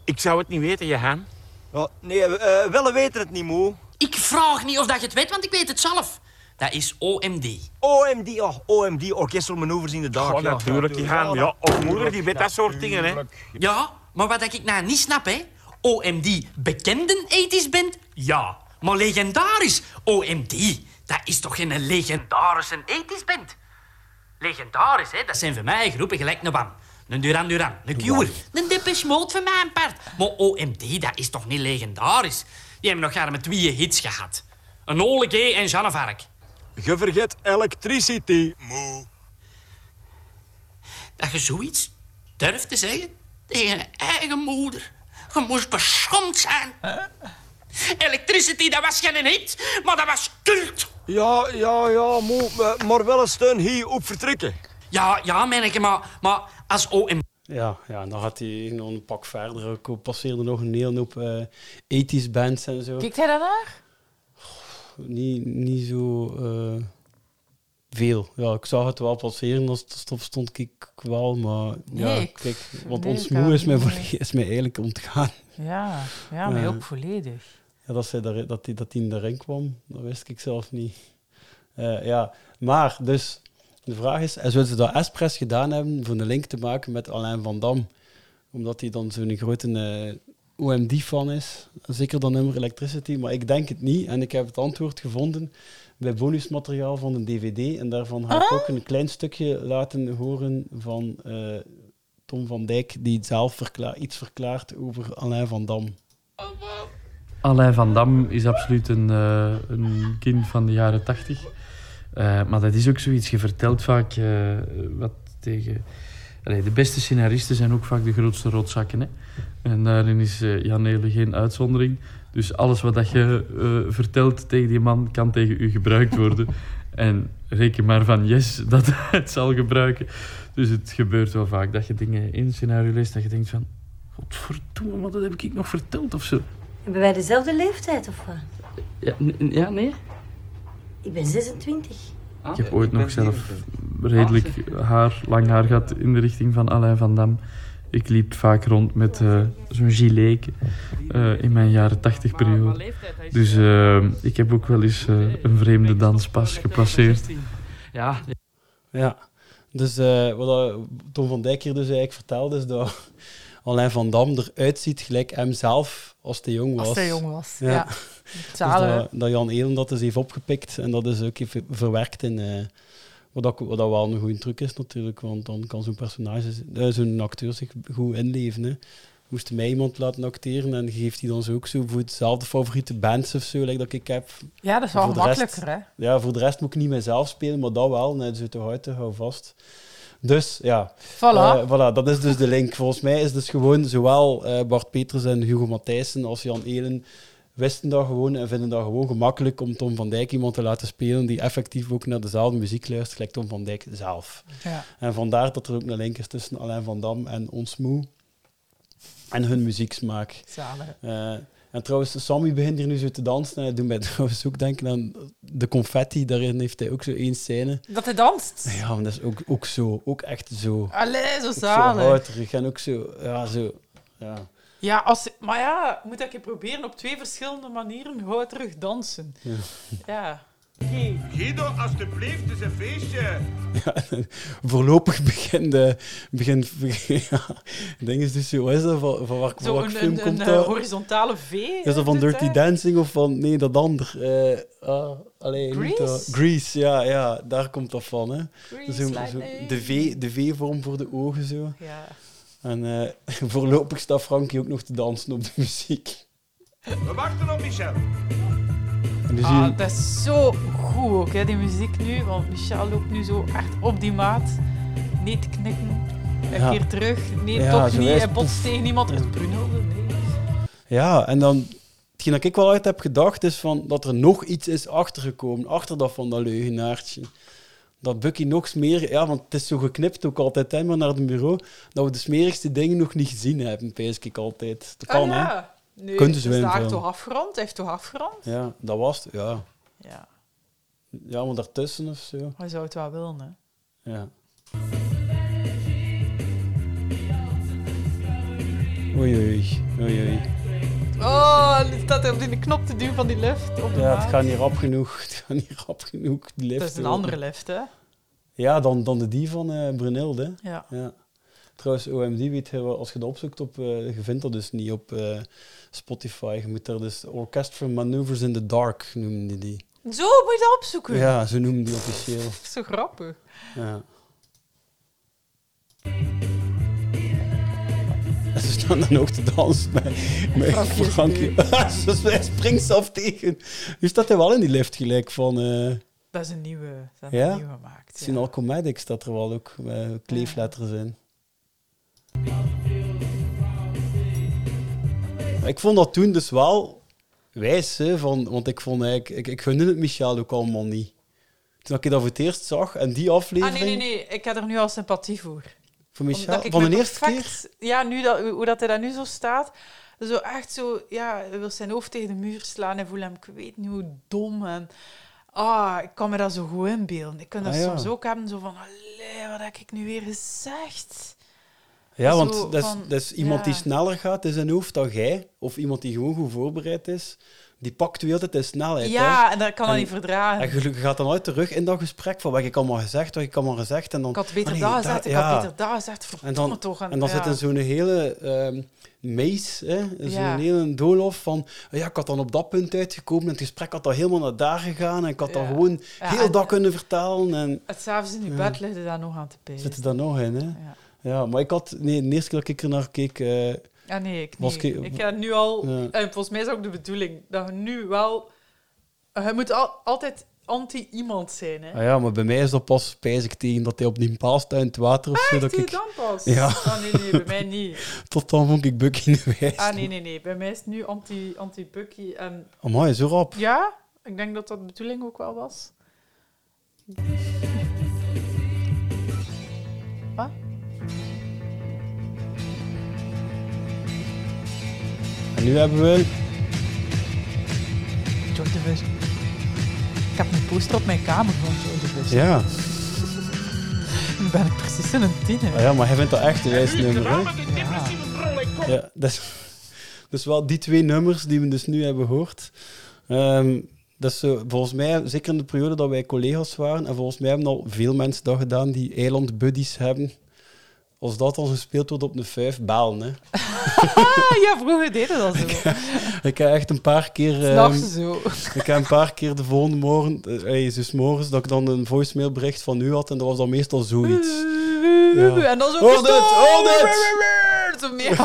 Speaker 17: Ik zou het niet weten, Jehan.
Speaker 18: Ja, nee, eh wel weten het niet, moe.
Speaker 17: Ik vraag niet of dat je het weet, want ik weet het zelf. Dat is OMD.
Speaker 18: OMD, oh, OMD, orkestelmanoeuvres inderdaad.
Speaker 17: Ja, natuurlijk,
Speaker 18: gaan.
Speaker 17: Jehan. Ja, of moeder, die weet dat soort dingen, hè. Ja, maar wat ik nou niet snap, hè. OMD, bekenden ethisch bent, ja. Maar legendarisch, OMD, dat is toch geen legendarische ethisch band? Legendarisch, hè, dat zijn voor mij groepen gelijk een Wam. Een Duran Duran, een Cure, een Depeche Mode van mijn part. Maar OMD, dat is toch niet legendarisch? Die hebben nog maar met twee hits gehad. Een Ole G en Jeanne Vark.
Speaker 19: Je vergeet electricity. Moe.
Speaker 17: Dat je zoiets durft te zeggen tegen je eigen moeder. Je moest beschamd zijn. Electricity, dat was geen hit, maar dat was cult.
Speaker 18: Ja, ja, ja, moe, eh, maar wel een steun hier op vertrekken.
Speaker 17: Ja, ja, manneke, maar, maar als OM...
Speaker 4: Ja, ja, en dan had hij nog een pak verder. ook passeerde nog een hele hoop eh, 80s bands en zo.
Speaker 5: Kijkt hij daarnaar?
Speaker 4: Niet, niet zo eh, veel. Ja, ik zag het wel passeren als het stop stond, keek ik wel. Maar
Speaker 5: Nee,
Speaker 4: ja,
Speaker 5: ik-
Speaker 4: kijk, want
Speaker 5: nee,
Speaker 4: ons
Speaker 5: ik had
Speaker 4: moe is
Speaker 5: het
Speaker 4: mij,
Speaker 5: niet
Speaker 4: volledig- is mij eigenlijk ontgaan.
Speaker 5: Ja, ja maar
Speaker 4: Eh,
Speaker 5: ook volledig.
Speaker 4: Ja, dat hij daar, dat die, dat die in de ring kwam, dat wist ik zelf niet. Eh, ja, maar dus de vraag is: en zouden ze dat expres gedaan hebben voor een link te maken met Alain Van Dam? Omdat hij dan zo'n grote eh, OMD-fan is. Zeker dan nummer Electricity, maar ik denk het niet. En ik heb het antwoord gevonden bij bonusmateriaal van de DVD. En daarvan ga ik ook een klein stukje laten horen van eh, Tom van Dijk, die zelf verkla- iets verklaart over Alain Van Dam.
Speaker 20: Alain Van Dam is absoluut een, eh, een kind van de jaren tachtig. Eh, maar dat is ook zoiets. Je vertelt vaak eh, wat tegen. Allee, de beste scenaristen zijn ook vaak de grootste rotzakken. Hè? En daarin is eh, Jan Hele geen uitzondering. Dus alles wat dat je eh, vertelt tegen die man kan tegen u gebruikt worden. en reken maar van yes dat hij het zal gebruiken. Dus het gebeurt wel vaak dat je dingen in een scenario leest dat je denkt van... Godverdomme, maar dat heb ik nog verteld of zo.
Speaker 21: Hebben wij dezelfde leeftijd of wat?
Speaker 20: Ja, n- n- ja nee?
Speaker 21: Ik ben 26.
Speaker 20: Ik heb ooit nog zelf redelijk haar, lang haar gehad in de richting van Alain Van Dam. Ik liep vaak rond met eh, zo'n gilet eh, in mijn jaren 80 periode. Dus eh, ik heb ook wel eens eh, een vreemde danspas geplaceerd.
Speaker 17: Ja.
Speaker 4: Ja, dus eh, wat dat Tom van Dijk hier dus eigenlijk vertelde, is dat Alain van Dam eruit ziet gelijk hemzelf als hij jong was.
Speaker 5: Als hij jong was, ja. Zalig,
Speaker 4: Dus
Speaker 5: hè?
Speaker 4: dat, dat Jan Elen dat dus heeft opgepikt en dat is ook heeft verwerkt in... eh, wat, dat, wat dat wel een goede truc is natuurlijk, want dan kan zo'n personage, z- eh, zo'n acteur zich goed inleven. Hè. Moest mij iemand laten acteren en geeft hij dan zo ook zo voor hetzelfde favoriete bands of zo, like dat ik heb.
Speaker 5: Ja, dat is wel
Speaker 4: Voor de rest-
Speaker 5: makkelijker,
Speaker 4: Ja, voor de rest moet ik niet mezelf spelen, maar dat wel. Nee, dus uit de huid, hou vast. Dus ja,
Speaker 5: Voilà.
Speaker 4: Eh, voilà, dat is dus de link. Volgens mij is dus gewoon zowel eh, Bart Peters en Hugo Matthijssen als Jan Elen wisten dat gewoon en vinden dat gewoon gemakkelijk om Tom van Dijk iemand te laten spelen die effectief ook naar dezelfde muziek luistert, gelijk Tom van Dijk zelf.
Speaker 5: Ja.
Speaker 4: En vandaar dat er ook een link is tussen Alain van Dam en Ons Moe en hun muzieksmaak.
Speaker 5: Zalig.
Speaker 4: Eh, en trouwens, Sammy begint hier nu zo te dansen en hij doet mij trouwens ook denken aan de confetti. Daarin heeft hij ook zo één scène.
Speaker 5: Dat hij danst.
Speaker 4: Ja, maar dat is ook, ook zo. Ook echt zo.
Speaker 5: Allee, zo
Speaker 4: Ook
Speaker 5: zalig.
Speaker 4: Zo houterig en ook zo... Ja, zo... Ja.
Speaker 5: Ja, als, maar ja, moet dat je proberen op twee verschillende manieren gewoon terug dansen.
Speaker 4: Ja.
Speaker 5: Ja.
Speaker 7: Guido, alstublieft, het is een feestje.
Speaker 4: Voorlopig begint... eh, begint ja, het ding is dus zo... Wat is dat? Van, van waar, van
Speaker 5: Zo
Speaker 4: welk
Speaker 5: een,
Speaker 4: film
Speaker 5: een,
Speaker 4: komt
Speaker 5: een, eh,
Speaker 4: dat?
Speaker 5: horizontale V. hè,
Speaker 4: Is dat van
Speaker 5: doet
Speaker 4: Dirty
Speaker 5: hij.
Speaker 4: Dancing of van... Nee, dat ander. Eh, ah, allee, niet dat.
Speaker 5: Grease?
Speaker 4: Grease, ja, ja. Daar komt dat van, hè.
Speaker 5: Grease,
Speaker 4: Zo- zo-
Speaker 5: lightning.
Speaker 4: de V- de V-vorm voor de ogen, zo.
Speaker 5: Ja.
Speaker 4: En eh, voorlopig staat Frankie ook nog te dansen op de muziek.
Speaker 7: We wachten op Michel.
Speaker 4: En dus
Speaker 5: Ah,
Speaker 4: hier-
Speaker 5: dat is zo goed ook, hè, die muziek nu. Want Michel loopt nu zo echt op die maat. Niet knikken. Een
Speaker 4: Ja.
Speaker 5: keer terug. Nee,
Speaker 4: Ja,
Speaker 5: toch
Speaker 4: zo
Speaker 5: niet.
Speaker 4: is-
Speaker 5: Hij botst tegen iemand. Het brunelde. Nee. Ah,
Speaker 4: Ja, en dan... Hetgeen dat ik wel uit heb gedacht is van dat er nog iets is achtergekomen, achter dat van dat leugenaartje. Dat Bucky nog smerig... Ja, want het is zo geknipt ook altijd, hè, maar naar het bureau, dat we de smerigste dingen nog niet gezien hebben, pees ik altijd. Dat kan,
Speaker 5: ah,
Speaker 4: hè?
Speaker 5: ja. Nee,
Speaker 4: Kunnen
Speaker 5: dus
Speaker 4: ze
Speaker 5: daar
Speaker 4: wel
Speaker 5: heeft
Speaker 4: invullen.
Speaker 5: toch afgerond? Hij heeft toch afgerond?
Speaker 4: Ja, dat was het, ja.
Speaker 5: Ja.
Speaker 4: Ja, maar daartussen of zo.
Speaker 5: Hij zou het wel willen, hè.
Speaker 4: Ja. Oei, oei, oei, oei.
Speaker 5: Oh, en die staat hij op die knop te duwen van die lift. Op de
Speaker 4: Ja,
Speaker 5: maat.
Speaker 4: het gaat niet rap genoeg. Het gaat niet rap genoeg. Die lift
Speaker 5: Dat is een
Speaker 4: open.
Speaker 5: andere lift, hè?
Speaker 4: Ja, dan, dan de die van eh Brunilde.
Speaker 5: Ja.
Speaker 4: Trouwens, OMD, weet je, wel, als je dat opzoekt, op, eh, je vindt dat dus niet op eh, Spotify. Je moet daar dus Orchestra Maneuvers in the Dark noemen die die.
Speaker 5: Zo moet je dat opzoeken.
Speaker 4: Ja, ze noemen die officieel.
Speaker 5: Zo grappig.
Speaker 4: Ja. En ze staan dan ook te dansen met, met
Speaker 5: Frankie is
Speaker 4: Frankie. Dus hij springt zelf tegen. Nu staat hij wel in die lift gelijk van... eh,
Speaker 5: Dat is een nieuwe. Dat is
Speaker 4: ja?
Speaker 5: een nieuwe gemaakt.
Speaker 4: Het zijn al comedics dat er wel ook eh, kleefletters in. Maar Ik vond dat toen dus wel wijs, hè, van, want ik vond eigenlijk, ik, ik gunde het Michel ook allemaal niet. Toen ik dat voor het eerst zag en die
Speaker 5: Ah,
Speaker 4: aflevering
Speaker 5: nee, nee, nee. Ik heb er nu al sympathie voor.
Speaker 4: voor Michel,
Speaker 5: Omdat ik
Speaker 4: van
Speaker 5: me
Speaker 4: de eerste keer.
Speaker 5: perfect- Ja, nu dat, hoe dat hij daar nu zo staat. Zo echt zo, ja, hij wil zijn hoofd tegen de muur slaan en voelt hem, ik weet niet hoe dom. En, ah, ik kan me dat zo goed inbeelden. Ik kan dat
Speaker 4: Ah, ja.
Speaker 5: soms ook hebben, zo van, allee, wat heb ik nu weer gezegd?
Speaker 4: Ja,
Speaker 5: Zo
Speaker 4: want dat is,
Speaker 5: van,
Speaker 4: dat is iemand
Speaker 5: ja.
Speaker 4: die sneller gaat in zijn hoofd dan jij, of iemand die gewoon goed voorbereid is, die pakt weer altijd de snelheid.
Speaker 5: Ja,
Speaker 4: hè.
Speaker 5: en dat kan dat niet verdragen.
Speaker 4: En gelukkig gaat dan uit terug in dat gesprek van wat ik allemaal gezegd, wat ik allemaal gezegd. En dan,
Speaker 5: Ik had beter
Speaker 4: Ah, nee,
Speaker 5: daar gezegd, ik
Speaker 4: ja.
Speaker 5: had beter daar gezegd,
Speaker 4: En
Speaker 5: verdomme
Speaker 4: dan,
Speaker 5: toch.
Speaker 4: en dan
Speaker 5: ja.
Speaker 4: zit in zo'n hele ehm maze, hè? zo'n
Speaker 5: Ja.
Speaker 4: hele doolhof van... "Oh Ja, ik had dan op dat punt uitgekomen en het gesprek had al helemaal naar daar gegaan. En ik had dan
Speaker 5: Ja.
Speaker 4: gewoon
Speaker 5: Ja,
Speaker 4: heel
Speaker 5: en-
Speaker 4: dat kunnen vertalen. En
Speaker 5: Het s'avonds in je
Speaker 4: Ja.
Speaker 5: bed liggen daar nog aan te pijlen.
Speaker 4: zit er dan nog in, hè?
Speaker 5: Ja.
Speaker 4: Ja. maar ik had... Nee, de eerste keer dat ik er naar keek... eh,
Speaker 5: Ja, Ah, nee, ik
Speaker 4: was
Speaker 5: niet.
Speaker 4: ik-
Speaker 5: Ik ga nu al...
Speaker 4: Ja.
Speaker 5: En volgens mij is dat ook de bedoeling, dat je nu wel... Je moet al, altijd anti-iemand zijn, hè.
Speaker 4: Ah ja, maar bij mij is dat pas spijzig tegen dat hij op die paal staat in het water of zo. dat
Speaker 5: die
Speaker 4: ik...
Speaker 5: dan pas?
Speaker 4: Ja.
Speaker 5: Ah, nee, nee, bij mij niet.
Speaker 4: Tot dan vond ik Bucky in de wijs.
Speaker 5: Ah, nee, nee, nee. Bij mij is het nu anti- anti-Bucky. en
Speaker 4: Amai, zo rap.
Speaker 5: ja, ik denk dat dat de bedoeling ook wel was. Wat?
Speaker 4: En nu hebben we...
Speaker 5: George de Bus. Ik heb een poster op mijn kamer van George de Bus.
Speaker 4: Ja.
Speaker 5: Nu ben ik precies in een tiener.
Speaker 4: Ah ja, maar hij vindt dat echt de juiste nummer, hè?
Speaker 5: Ja.
Speaker 4: Ja, dus, dus wel die twee nummers die we dus nu hebben gehoord. Ehm dat is zo, volgens mij, zeker in de periode dat wij collega's waren, en volgens mij hebben al veel mensen dat gedaan die eilandbuddies hebben. Als dat al gespeeld wordt op een vijf, balen. Hè.
Speaker 5: Ah, ja, vroeger deden dat zo.
Speaker 4: Ik heb echt een paar keer... ehm,
Speaker 5: S'nachts zo.
Speaker 4: Ik heb een paar keer de volgende morgen, eh, hey, zus morgens, dat ik dan een voicemailbericht van u had en dat was dan meestal zoiets. Ja.
Speaker 5: En dan zo...
Speaker 4: Hold it, hold
Speaker 5: it! Zo meer.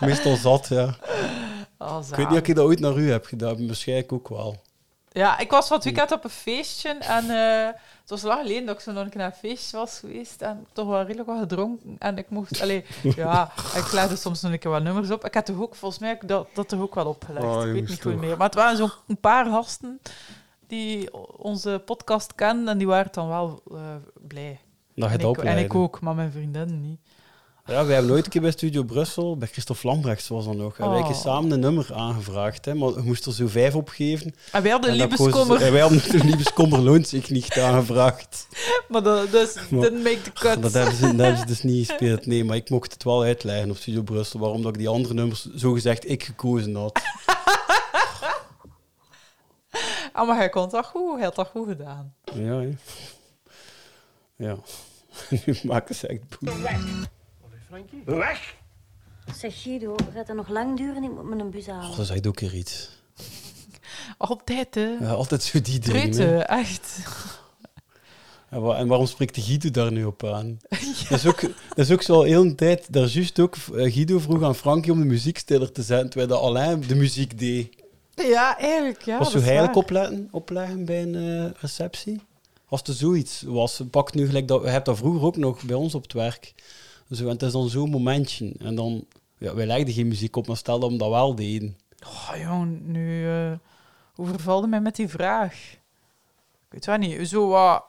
Speaker 4: Meestal zat, ja.
Speaker 5: Ah,
Speaker 4: ik weet niet of ik dat ooit naar u heb gedaan, waarschijnlijk ook wel.
Speaker 5: Ja, ik was van het weekend op een feestje en eh, het was lang geleden dat ik zo nog een keer naar een feestje was geweest en toch wel redelijk wat gedronken. En ik mocht, allee, ja, ik legde soms nog een keer wat nummers op. Ik had toch ook, volgens mij, heb ik dat, dat toch ook wel opgelegd.
Speaker 3: Ah,
Speaker 5: ik weet
Speaker 3: jongens,
Speaker 5: niet goed
Speaker 3: toch.
Speaker 5: meer. Maar het waren zo'n paar gasten die o- onze podcast kenden en die waren dan wel eh, blij.
Speaker 4: Dat je
Speaker 5: en,
Speaker 4: het
Speaker 5: ik, en
Speaker 4: opleidde.
Speaker 5: ik ook, maar mijn vriendinnen niet.
Speaker 4: Ja, wij hebben ooit een keer bij Studio Brussel, bij Christophe Lambrechts was dan nog, hebben wij een keer
Speaker 5: Oh.
Speaker 4: samen een nummer aangevraagd. Hè, maar je moest er zo vijf opgeven.
Speaker 5: En wij hadden
Speaker 4: dat
Speaker 5: Liebeskummer.
Speaker 4: kozen ze- En wij hadden de Liebeskommer loont zich niet aangevraagd.
Speaker 5: Maar dat dus, didn't make the cut.
Speaker 4: Dat hebben, ze, dat hebben ze dus niet gespeeld. Nee, maar ik mocht het wel uitleggen op Studio Brussel, waarom dat ik die andere nummers zogezegd ik gekozen had.
Speaker 5: Ah, maar hij kon dat goed, hij had dat goed gedaan.
Speaker 4: Ja, hè. Ja. nu maken ze echt boel.
Speaker 21: Frankie?
Speaker 9: Weg!
Speaker 21: Zeg Guido, gaat dat nog lang duren? Ik moet me een bus halen.
Speaker 4: Oh, dat zegt ook weer iets.
Speaker 5: Altijd, hè.
Speaker 4: Ja, altijd zo die dingen.
Speaker 5: Truten,
Speaker 4: hè.
Speaker 5: echt.
Speaker 4: En, wa- en waarom spreekt Guido daar nu op aan? dat, is ook, dat is ook zo al heel een tijd. Daar juist ook, eh, Guido vroeg aan Frankie om de muziekstiller te zetten, terwijl dat alleen de muziek deed.
Speaker 5: Ja, eigenlijk, ja.
Speaker 4: was zo
Speaker 5: dat is
Speaker 4: heilig
Speaker 5: waar.
Speaker 4: opleggen, opleggen bij een eh, receptie? Als er zoiets was, pak nu gelijk dat... Je hebt dat vroeger ook nog bij ons op het werk. Zo, en het is dan zo'n momentje. En dan... Ja, wij legden geen muziek op, maar stel dat we dat wel deden.
Speaker 5: Oh, jong, nu... eh hoe vervalde mij met die vraag? Ik weet wel niet. Zo wat...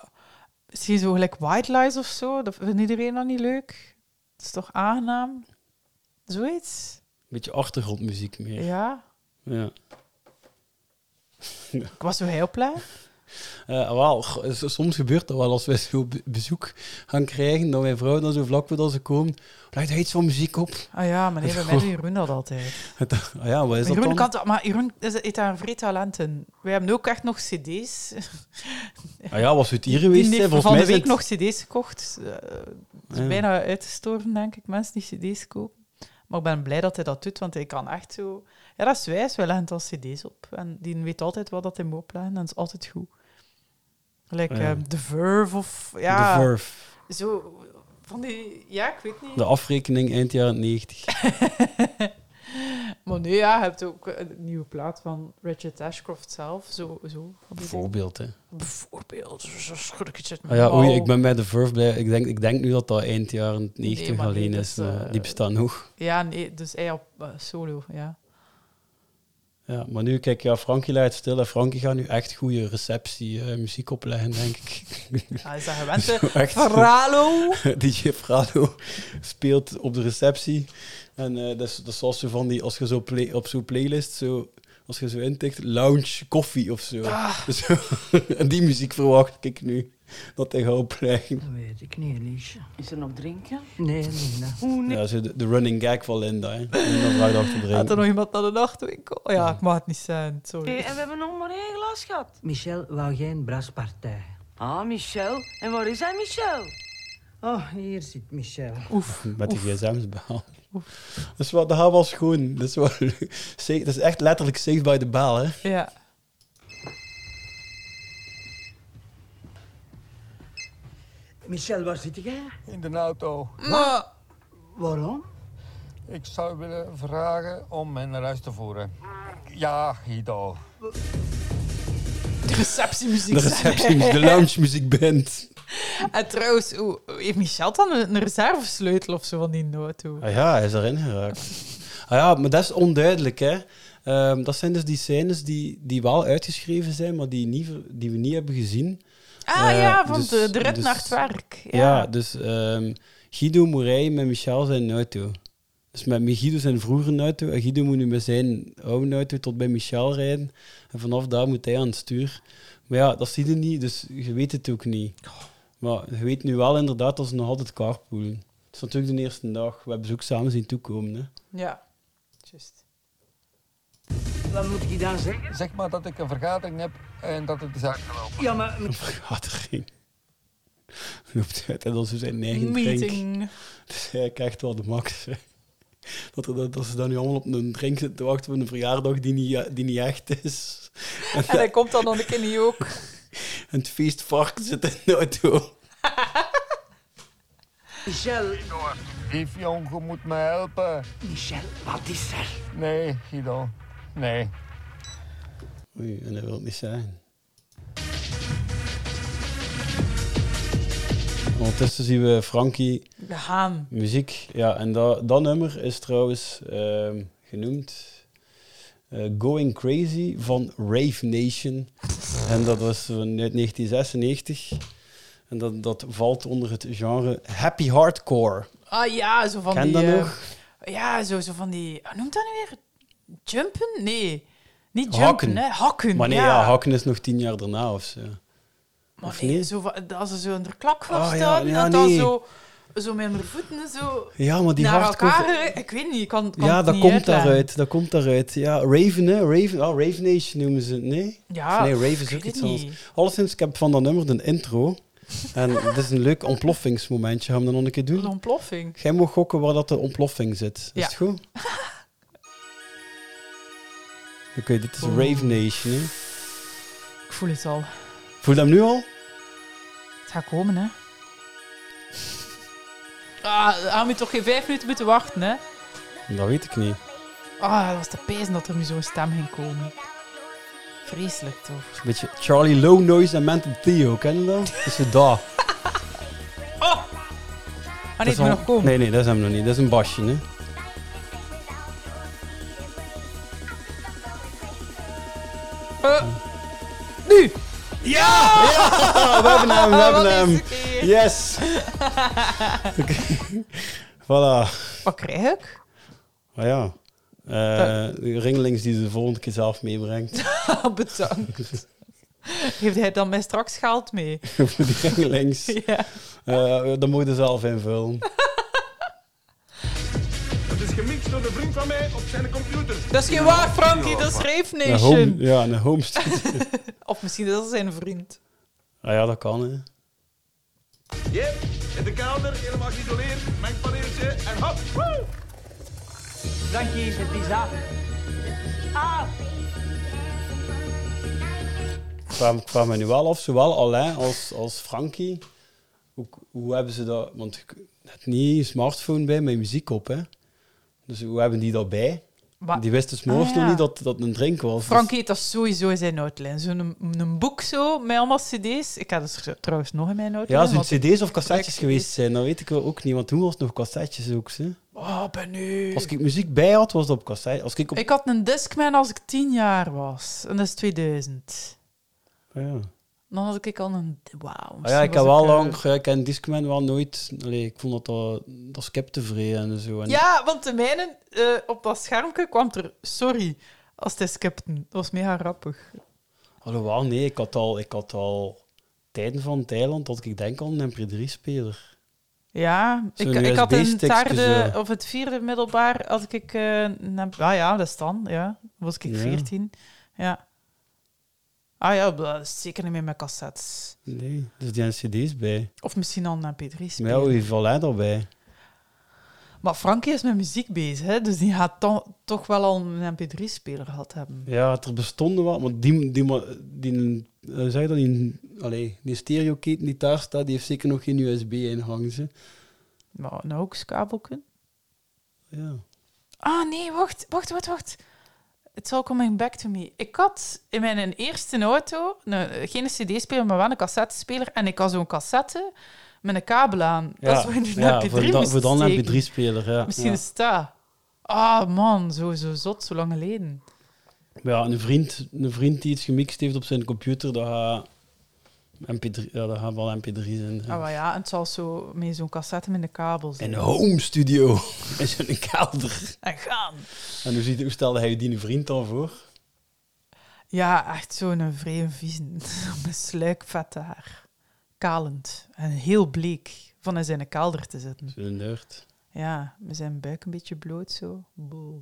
Speaker 5: misschien zo gelijk White Lies of zo? Dat vindt iedereen dan niet leuk? Dat is toch aangenaam? Zoiets?
Speaker 4: Beetje achtergrondmuziek meer.
Speaker 5: Ja.
Speaker 4: Ja.
Speaker 5: Ik was zo heel blij.
Speaker 4: Eh, wel, g- s- soms gebeurt dat wel als wij zo be- bezoek gaan krijgen, dat wij vrouwen dan zo vlak voordat ze komen, legt hij iets van muziek op.
Speaker 5: Ah ja, maar nee, bij mij doet Jeroen dat altijd.
Speaker 4: ah ja, wat is dat
Speaker 5: Jeroen
Speaker 4: dan?
Speaker 5: kan dat, maar Jeroen is, heeft daar een vreed talent in. Wij hebben ook echt nog cd's.
Speaker 4: Ah ja, was het hier
Speaker 5: Die
Speaker 4: geweest,
Speaker 5: neef
Speaker 4: hè? Volgens
Speaker 5: van
Speaker 4: mij
Speaker 5: de week
Speaker 4: zijn
Speaker 5: nog
Speaker 4: het-
Speaker 5: cd's gekocht. Eh, het is
Speaker 4: Ja.
Speaker 5: bijna uitgestorven, denk ik, mensen die cd's kopen. Maar ik ben blij dat hij dat doet, want hij kan echt zo... Ja, dat is wijs. Wij leggen dan cd's op. En die weet altijd wat dat hij moet opleggen. En dat is altijd goed. Gelijk
Speaker 4: Ah, Ja.
Speaker 5: eh, The Verve of... Ja,
Speaker 4: The Verve.
Speaker 5: Zo, van die... Ja, ik weet niet.
Speaker 4: De afrekening eind jaren 90.
Speaker 5: Maar nee, ja, je hebt ook een nieuwe plaat van Richard Ashcroft zelf. Zo, zo, van die
Speaker 4: Bijvoorbeeld, hè.
Speaker 5: dingen. Bijvoorbeeld. Zo schud ik het uit
Speaker 4: Ah
Speaker 5: mijn
Speaker 4: ja, oei,
Speaker 5: mouw.
Speaker 4: ik ben bij de Verve blij. Ik denk, ik denk nu dat dat eind jaren 90
Speaker 5: Nee, maar nee,
Speaker 4: alleen
Speaker 5: dat
Speaker 4: is.
Speaker 5: is,
Speaker 4: maar
Speaker 5: eh,
Speaker 4: die bestaan nog.
Speaker 5: Ja, nee, dus hij op eh, solo, ja.
Speaker 4: Ja, maar nu, kijk, ja, Frankie leidt stil en Frankie gaat nu echt goede receptie eh, muziek opleggen, denk ik.
Speaker 5: Hij is dat gewend, hè.
Speaker 4: Zo echt.
Speaker 5: Fralo.
Speaker 4: DJ Fralo speelt op de receptie. En eh, dat, is, dat is zoals zo van die, als je zo play, op zo'n playlist zo... Als je zo intikt, lounge koffie of zo.
Speaker 22: Ah.
Speaker 4: Zo. en die muziek verwacht ik nu dat hij gaat opleggen.
Speaker 22: Weet ik niet, Liesje. Is er nog drinken? Nee, Nina. Hoe
Speaker 4: Ja, zo de, de running gag van Linda. Hè. Linda vraagt af te
Speaker 5: Had er
Speaker 4: drinken.
Speaker 5: nog iemand naar de nachtwinkel? Oh ja, ik mag het niet zijn, sorry.
Speaker 22: en we hebben nog maar één glas gehad. Michel wou geen braspartij. Ah, Michel. En waar is hij, Michel? Oh, hier zit Michel. Oef.
Speaker 4: Met die gsm's bel. Dat is wel, dat gaat wel schoon. Dat is, wel, leuk. Safe- dat is echt letterlijk safe by the bell, hè.
Speaker 5: Ja.
Speaker 22: Michel, waar zit jij?
Speaker 23: in de auto.
Speaker 22: Wat? Waarom?
Speaker 23: Ik zou willen vragen om mij naar huis te voeren. Ja, Guido.
Speaker 5: De receptiemuziek.
Speaker 4: De receptie, de lounge muziekband.
Speaker 5: En trouwens, hoe, heeft Michel dan een reservesleutel of zo van die auto?
Speaker 4: Ah ja, hij is erin geraakt. Ah ja, maar dat is onduidelijk, hè. Ehm, dat zijn dus die scènes die, die wel uitgeschreven zijn, maar die, niet, ver- die we niet hebben gezien.
Speaker 5: Ah
Speaker 4: Eh,
Speaker 5: ja, van
Speaker 4: dus-
Speaker 5: de, de rit
Speaker 4: dus-
Speaker 5: naar het werk.
Speaker 4: Ja, dus ehm, Guido Moerij met Michel zijn auto. Dus met met Guido zijn vroeger auto. En Guido moet nu met zijn oude auto tot bij Michel rijden. En vanaf daar moet hij aan het stuur. Maar ja, dat zie je niet, dus je weet het ook niet. Maar je weet nu wel inderdaad dat ze nog altijd carpoolen. Het is natuurlijk de eerste dag. We hebben ze ook samen zien toekomen. Hè.
Speaker 5: Ja, juist.
Speaker 22: Wat moet ik dan zeggen?
Speaker 23: Zeg maar dat ik een vergadering heb en dat het is uitgelopen.
Speaker 22: Ja, maar...
Speaker 4: Vergadering. Loopt uit en dan zo zijn eigen drink.
Speaker 5: Meeting.
Speaker 4: Dus hij krijgt wel de max. hè. Dat, er, dat, dat ze dan nu allemaal op een drink zitten te wachten voor een verjaardag die niet, eh, die niet echt is.
Speaker 5: En hij komt dan nog een keer niet ook.
Speaker 4: En het feestvarken zit in de auto.
Speaker 22: Michel.
Speaker 23: Yves, jong, je moet me helpen.
Speaker 22: Michel, wat is er?
Speaker 23: Nee, Guido. Nee.
Speaker 4: Oei, en dat wil het niet zijn. Ondertussen zien we Frankie.
Speaker 5: De haan.
Speaker 4: Muziek. Ja, en dat, dat nummer is trouwens ehm, genoemd eh, Going Crazy van Rave Nation. En dat was van uit 1996. En dat, dat valt onder het genre happy hardcore.
Speaker 5: Ah ja, zo van
Speaker 4: Ken
Speaker 5: die...
Speaker 4: dat
Speaker 5: eh,
Speaker 4: nog?
Speaker 5: Ja, zo, zo van die... Hoe noemt dat nu weer? Jumpen? Nee. Niet jumpen,
Speaker 4: Hakken.
Speaker 5: hè. Hakken,
Speaker 4: Maar nee,
Speaker 5: ja.
Speaker 4: ja. hakken is nog tien jaar daarna of zo.
Speaker 5: Maar
Speaker 4: Of
Speaker 5: nee,
Speaker 4: niet?
Speaker 5: zo van- eh, als ze zo onder klak voor
Speaker 4: Ah, ja,
Speaker 5: staan,
Speaker 4: ja,
Speaker 5: dat dan
Speaker 4: nee.
Speaker 5: zo, zo met mijn voeten zo
Speaker 4: Ja, maar die
Speaker 5: naar
Speaker 4: hardcore-
Speaker 5: elkaar... eh, Ik weet niet, ik kan, kan
Speaker 4: ja,
Speaker 5: het
Speaker 4: dat
Speaker 5: niet
Speaker 4: komt
Speaker 5: uitleggen.
Speaker 4: daaruit. Dat komt daaruit. Ja, Raven, hè? Raven, oh, Raven Nation noemen ze het, nee?
Speaker 5: Ja,
Speaker 4: Of nee,
Speaker 5: pff,
Speaker 4: Raven
Speaker 5: ik
Speaker 4: is ook
Speaker 5: weet
Speaker 4: iets
Speaker 5: het
Speaker 4: anders.
Speaker 5: niet.
Speaker 4: Alleszins, ik heb van dat nummer de intro. En het is een leuk ontploffingsmomentje. Gaan we dat nog een keer doen? Een
Speaker 5: ontploffing?
Speaker 4: Jij mag gokken waar dat de ontploffing zit.
Speaker 5: Ja.
Speaker 4: Is het goed? Oké, dit is
Speaker 5: Oeh.
Speaker 4: Raven Nation, hè?
Speaker 5: Ik voel het al.
Speaker 4: Voel je hem nu al?
Speaker 5: Het gaat komen, hè. Ah, aan moet toch geen vijf minuten moeten wachten, hè.
Speaker 4: Dat weet ik niet.
Speaker 5: Ah, dat was te pezen dat er nu zo'n stem ging komen. Vreselijk, toch?
Speaker 4: Een beetje Charlie Low Noise en Mental Theo, kennen dat? Dat is het daar.
Speaker 5: Ah,
Speaker 4: Dat is
Speaker 5: nee, het moet
Speaker 4: al-
Speaker 5: nog komen.
Speaker 4: Nee, nee, dat is hem nog niet. Dat is een basje, hè?
Speaker 5: Eh, nu!
Speaker 4: Ja! Ja, we hebben hem, we nou
Speaker 5: Oh,
Speaker 4: hebben
Speaker 5: Wat is
Speaker 4: hem.
Speaker 5: het hier?
Speaker 4: Yes. Oké. Voilà.
Speaker 5: Wat krijg ik?
Speaker 4: Maar ja, eh, de ringelings die ze de volgende keer zelf meebrengt.
Speaker 5: Ah, Bedankt. Geeft hij dan mij straks geld mee?
Speaker 4: Voor die ringelings.
Speaker 5: Ja.
Speaker 4: Eh, dat moet je zelf invullen.
Speaker 7: Het is gemixt door de vriend van mij op zijn computer.
Speaker 5: Dat is geen waar, Frankie. Dat is Rave
Speaker 4: Een
Speaker 5: Nation.
Speaker 4: home, ja, een homestead.
Speaker 5: Of misschien dat is zijn vriend.
Speaker 4: ah ja, dat kan, hè.
Speaker 7: Yep, in de kelder, helemaal geïsoleerd, mengpaneeltje en hop, woe!
Speaker 22: Frankie, is het is af. Ah,
Speaker 4: Ik vraag, ik vraag me nu wel af, zowel Alain als, als Frankie, hoe, hoe hebben ze dat... Want ik had niet een smartphone bij met muziek op, hè. Dus hoe hebben die dat bij?
Speaker 5: Wa-
Speaker 4: Die wisten s'morgens
Speaker 5: Ah,
Speaker 4: nog
Speaker 5: ja.
Speaker 4: niet dat dat een drink was. Dus-
Speaker 5: Frankie heeft dat sowieso in zijn noodlijn. Zo'n een boek zo, met allemaal cd's. Ik had dus trouwens nog in mijn noodlijn.
Speaker 4: Ja, ze
Speaker 5: want-
Speaker 4: het cd's of cassettes geweest zijn, dat weet ik wel ook niet. Want toen was het nog cassettes ook. Hè.
Speaker 5: Oh, ben nu...
Speaker 4: Als ik muziek bij had, was dat op cassette. Als ik op...
Speaker 5: Ik had een Discman als ik tien jaar was. En dat is 2000.
Speaker 4: Ah, ja.
Speaker 5: Dan had ik al een... Wauw.
Speaker 4: Ah, ja,
Speaker 5: misschien
Speaker 4: ik
Speaker 5: was
Speaker 4: heb wel
Speaker 5: eh,
Speaker 4: lang... ja, ik ken Discman wel nooit... Allee, ik vond dat dat, dat skeptevreden en zo. En
Speaker 5: Ja, want de mijne, eh, op dat schermpje kwam er... Sorry, als het is Captain. Dat was mega grappig.
Speaker 4: Alhoewel, nee, ik had al... Ik had al Tijden van Thailand dat ik denk aan een MP3-speler.
Speaker 5: Ja,
Speaker 4: Zo'n
Speaker 5: ik, ik had een
Speaker 4: USB-stickje
Speaker 5: taarde...
Speaker 4: zo.
Speaker 5: Of het vierde middelbaar had ik... eh, een- ah ja, dat is dan. Ja, was ik
Speaker 4: Ja.
Speaker 5: veertien. Ja. Ah ja, dat is zeker niet meer met cassettes.
Speaker 4: Nee, dus die hadden cd's bij.
Speaker 5: Of misschien al een mp 3
Speaker 4: Maar ja,
Speaker 5: speler.
Speaker 4: hoe heeft Alain daarbij?
Speaker 5: Maar Frankie is met muziek bezig, hè? dus die gaat to- toch wel al een mp3-speler gehad hebben.
Speaker 4: Ja, er bestonden wel, maar die, die, ma- die, eh, zeg je dat, die, allee, die stereoketen die daar staat, die heeft zeker nog geen USB-ingang. ze.
Speaker 5: Maar nou een hoekskabelke.
Speaker 4: Ja.
Speaker 5: Ah nee, wacht, wacht, wacht, wacht. It's all coming back to me. Ik had in mijn eerste auto een, geen cd-speler, maar wel een cassettespeler. En ik had zo'n cassette met een kabel aan. dat is waar je nu een mp3
Speaker 4: voor, dan
Speaker 5: moest
Speaker 4: voor dan een
Speaker 5: steken.
Speaker 4: MP3-speler. Ja.
Speaker 5: Misschien
Speaker 4: Ja.
Speaker 5: is het dat. Ah man, zo, zo zot, zo lang geleden.
Speaker 4: Maar ja, een vriend, een vriend die iets gemixt heeft op zijn computer, dat gaat, MP3, ja, dat gaat wel MP3 zijn.
Speaker 5: Ah, maar ja, en het zal zo met zo'n cassette met een kabel zijn.
Speaker 4: In een home studio, in zo'n kelder.
Speaker 5: En gaan.
Speaker 4: En hoe, ziet, hoe stelde hij je die vriend dan voor?
Speaker 5: Ja, echt zo'n vreemde vies. Mijn sluikvette haar. kalend en heel bleek van in zijn kelder te zitten.
Speaker 4: Zo'n nerd.
Speaker 5: Ja, met zijn buik een beetje bloot zo. Boe.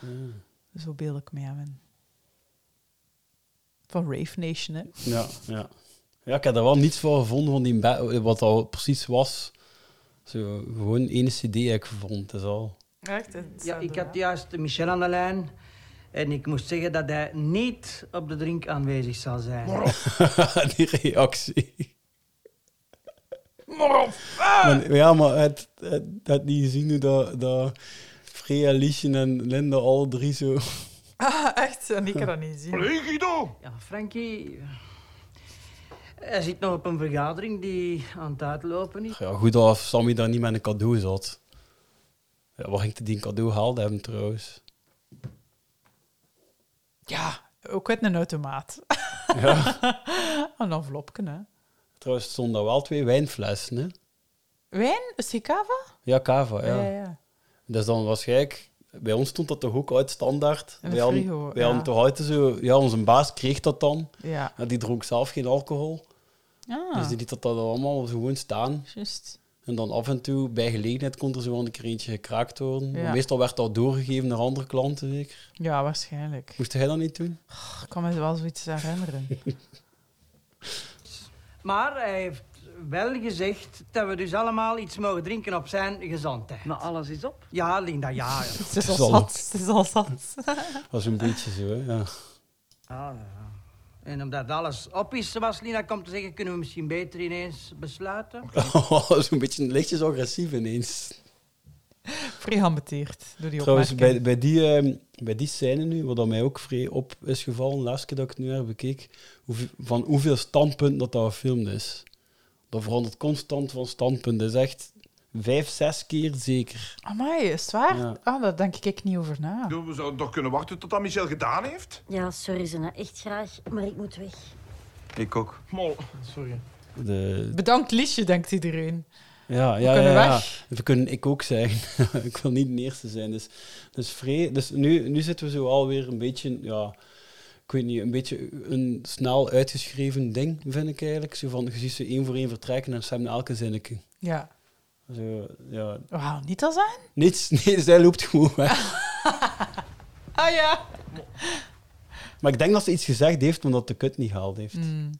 Speaker 4: Mm.
Speaker 5: Zo beeld ik me hem in. Van Rave Nation, hè?
Speaker 4: Ja, ja. Ja, ik heb er wel niets van gevonden van die ba- eh, wat dat precies was. Zo, gewoon één cd heb ik gevonden, dat is al.
Speaker 22: Ja, ik had juist Michel aan de lijn. En ik moest zeggen dat hij niet op de drink aanwezig zal zijn.
Speaker 4: die reactie.
Speaker 7: Maar op.
Speaker 4: Maar- ja, maar het, het, het niet gezien hoe dat, dat Freya, Liesje en Linda alle drie zo...
Speaker 5: Ah, echt? En ik kan dat niet zien.
Speaker 22: Allee, Ja, Frankie... Hij zit nog op een vergadering die aan het uitlopen is.
Speaker 4: Ja, goed dat Sammy daar niet met een cadeau zat. Ja, waar ging die een cadeau haalde hem trouwens?
Speaker 5: Ja, ook uit een automaat.
Speaker 4: Ja.
Speaker 5: een envelopje, hè?
Speaker 4: Trouwens, er stonden daar wel twee wijnflessen, hè?
Speaker 5: Wijn? Sikava?
Speaker 4: Ja, cava, ja.
Speaker 5: Ja, ja.
Speaker 4: Dus dan waarschijnlijk... Bij ons stond dat toch ook uit standaard.
Speaker 5: In de
Speaker 4: wij hadden,
Speaker 5: frigo,
Speaker 4: wij
Speaker 5: ja.
Speaker 4: hadden toch altijd zo... Ja, onze baas kreeg dat dan.
Speaker 5: Ja.
Speaker 4: En die dronk zelf geen alcohol.
Speaker 5: Ah.
Speaker 4: Dus die liet dat dan allemaal zo gewoon staan.
Speaker 5: Juist.
Speaker 4: En dan af en toe, bij gelegenheid, kon er zo wel een keer eentje gekraakt worden.
Speaker 5: Ja.
Speaker 4: Maar Meestal werd dat doorgegeven naar andere klanten, zeker.
Speaker 5: Ja, waarschijnlijk.
Speaker 4: Moest hij dat niet doen?
Speaker 5: Ik kan me wel zoiets herinneren.
Speaker 22: Maar hij heeft wel gezegd dat we dus allemaal iets mogen drinken op zijn gezondheid. Maar alles is op. Ja, Linda, ja.
Speaker 5: Het
Speaker 4: is al Zal zat,
Speaker 5: het is al zat.
Speaker 4: Dat is een beetje zo, hè. Ja.
Speaker 22: En omdat alles op is, zoals Linda komt te zeggen, kunnen we misschien beter ineens besluiten.
Speaker 4: Zo'n beetje lichtjes agressief ineens.
Speaker 5: Vrij geambeteerd door die
Speaker 4: Trouwens, bij,
Speaker 5: opmerking.
Speaker 4: bij, die, ehm, bij die scène nu, wat dat mij ook vrij op is gevallen, de laatste keer dat ik het nu heb bekeek, hoeveel- van hoeveel standpunten dat dat gefilmd is. Dat verandert constant van standpunt. Dat is echt vijf, zes keer zeker.
Speaker 5: Amai, is het waar?
Speaker 4: Ja.
Speaker 5: Ah, daar denk ik niet over na.
Speaker 7: We zouden toch kunnen wachten tot dat Michel gedaan heeft?
Speaker 21: Ja, sorry Zena, echt graag, maar ik moet weg.
Speaker 18: Ik ook.
Speaker 7: Mol, sorry.
Speaker 4: De,
Speaker 5: Bedankt Liesje, denkt iedereen.
Speaker 4: ja,
Speaker 5: We
Speaker 4: ja,
Speaker 5: kunnen
Speaker 4: ja, ja.
Speaker 5: weg.
Speaker 4: We kunnen ik ook zijn. ik wil niet de eerste zijn. Dus, dus, vrij, dus nu, nu zitten we zo alweer een beetje, ja, ik weet niet, een beetje een snel uitgeschreven ding, vind ik eigenlijk. Zo van, je ziet ze één voor één vertrekken en ze hebben elke zinnetje.
Speaker 5: Ja.
Speaker 4: Zo, ja.
Speaker 5: Wauw, niet al zijn?
Speaker 4: Niets, nee, zij loopt gewoon weg.
Speaker 5: Ah ja.
Speaker 4: Maar ik denk dat ze iets gezegd heeft, omdat de kut niet gehaald heeft.
Speaker 5: Hmm.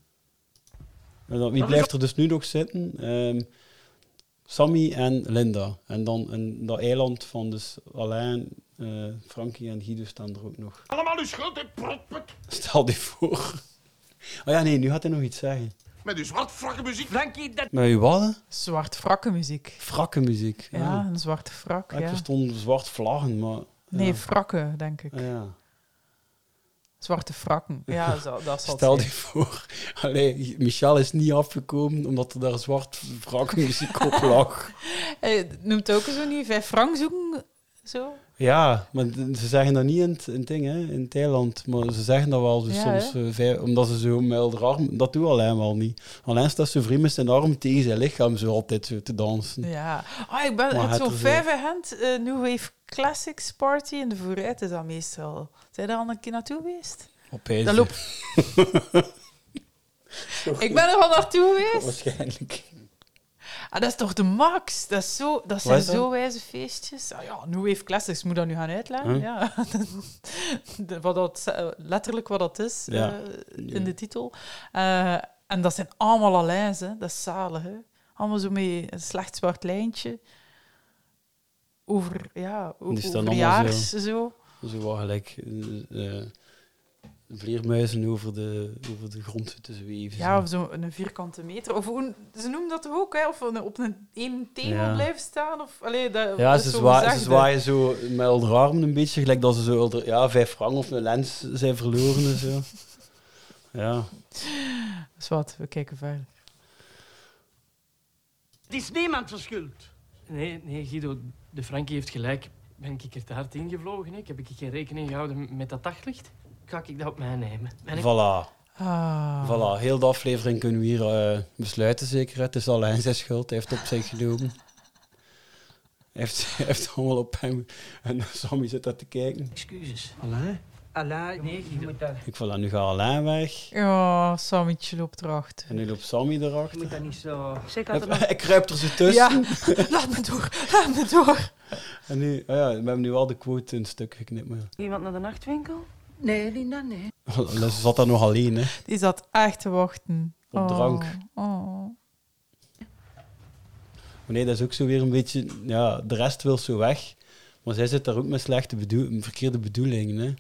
Speaker 4: En dan, wie blijft er dus nu nog zitten? Ehm, Sammy en Linda. En dan een, dat eiland van dus Alain, eh, Frankie en Guido staan er ook nog.
Speaker 7: Allemaal uw schuld, hè, protput.
Speaker 4: Stel je voor. Oh ja, nee, nu gaat hij nog iets zeggen.
Speaker 7: Met uw zwartfrakke muziek.
Speaker 22: Frankie, dat...
Speaker 4: Maar je wat? hè?
Speaker 5: Zwart frakke muziek.
Speaker 4: Frakke muziek.
Speaker 5: Ja, een zwarte
Speaker 4: Oh.
Speaker 5: frak,
Speaker 4: Ah, Ik
Speaker 5: ja.
Speaker 4: verstond zwart vlaggen, maar...
Speaker 5: Nee,
Speaker 4: ja.
Speaker 5: frakken, denk ik.
Speaker 4: Ja.
Speaker 5: Zwarte frakken. Ja, zo, dat zal het
Speaker 4: Stel je
Speaker 5: zijn.
Speaker 4: voor, allee, Michel is niet afgekomen omdat er daar zwart wrakmuziek op lag.
Speaker 5: Hey, noemt ook zo niet vijf frank zoeken? Zo?
Speaker 4: Ja, maar d- ze zeggen dat niet in het, in het ding, hè, in Thailand. Maar ze zeggen dat wel zo
Speaker 5: Ja,
Speaker 4: soms,
Speaker 5: hè?
Speaker 4: eh, vij- omdat ze zo met haar arm... Dat doet Alain wel niet. Alain staat zijn vriend met zijn arm tegen zijn lichaam zo altijd zo te dansen.
Speaker 5: Ja. Ah, ik ben
Speaker 4: Maar
Speaker 5: het
Speaker 4: het
Speaker 5: zo'n
Speaker 4: is, eh,
Speaker 5: vijf hand eh, New Wave Classics Party in de vooruit is dat meestal. Zijn daar al een keer naartoe geweest?
Speaker 4: Opeens.
Speaker 5: Dat loopt- Ik ben er al naartoe
Speaker 4: Oh,
Speaker 5: geweest.
Speaker 4: Waarschijnlijk.
Speaker 5: Ah, dat is toch de max? Dat, is zo, dat zijn
Speaker 4: is dat?
Speaker 5: zo wijze feestjes. Ah ja, New Wave Classics, moet dat nu gaan uitleggen?
Speaker 4: Huh?
Speaker 5: Ja. De- wat dat, eh, letterlijk wat dat is
Speaker 4: Ja.
Speaker 5: eh, in de titel. Eh, en dat zijn allemaal alijns, hè. dat is zalig. Hè. Allemaal zo mee een slecht zwart lijntje. Over, ja, o-
Speaker 4: Die staan
Speaker 5: over
Speaker 4: allemaal
Speaker 5: jaars,
Speaker 4: zo.
Speaker 5: zo.
Speaker 4: Zo wat gelijk eh, eh, vleermuizen over de, over de grond zitten zweven.
Speaker 5: Ja,
Speaker 4: zo.
Speaker 5: of zo een vierkante meter. Of hoe, ze noemen dat toch ook, hè? Of een- op een één thema
Speaker 4: Ja.
Speaker 5: blijven staan. Of, allee, dat,
Speaker 4: Ja,
Speaker 5: dat
Speaker 4: ze,
Speaker 5: is zo
Speaker 4: zwa- ze
Speaker 5: gezegd, hè.
Speaker 4: zwaaien zo met elkaar armen een beetje, gelijk dat ze zo elder- ja, vijf frank of een lens zijn verloren en zo. Ja.
Speaker 5: Dus wat, we kijken verder.
Speaker 22: Het is niemand zijn schuld.
Speaker 10: Nee, nee, Guido, de Frankie heeft gelijk. Ben ik er te hard ingevlogen? hè? Ik heb ik geen rekening gehouden met dat daglicht? Ga ik dat op mij nemen? Ben ik-
Speaker 4: Voilà.
Speaker 5: Ah.
Speaker 4: Voilà, heel de aflevering kunnen we hier eh, besluiten, zeker. Het is alleen zijn schuld, hij heeft het op zich genomen. Hij heeft, hij heeft allemaal op hem. En Sammy zit daar te kijken.
Speaker 10: Excuses.
Speaker 12: Alain?
Speaker 22: Alain, nee, je moet dat...
Speaker 4: Ik voilà, nu gaat Alain weg.
Speaker 5: Ja, Sammetje loopt erachter.
Speaker 4: En nu loopt Sammy
Speaker 22: Je
Speaker 4: erachter.
Speaker 22: moet dat niet zo... Zeg
Speaker 4: Hij kruipt er zo tussen.
Speaker 22: laat me door, laat me door.
Speaker 4: En nu, oh ja, we hebben nu al de quote in stuk geknipt. Maar...
Speaker 15: Iemand naar de nachtwinkel? Nee, Linda, nee.
Speaker 4: Ze zat daar nog alleen, hè.
Speaker 5: Die zat echt te wachten.
Speaker 4: Op drank.
Speaker 5: Oh.
Speaker 4: Maar nee, dat is ook zo weer een beetje... Ja, de rest wil zo weg. Maar zij zit daar ook met slechte bedoel, verkeerde bedoelingen, hè.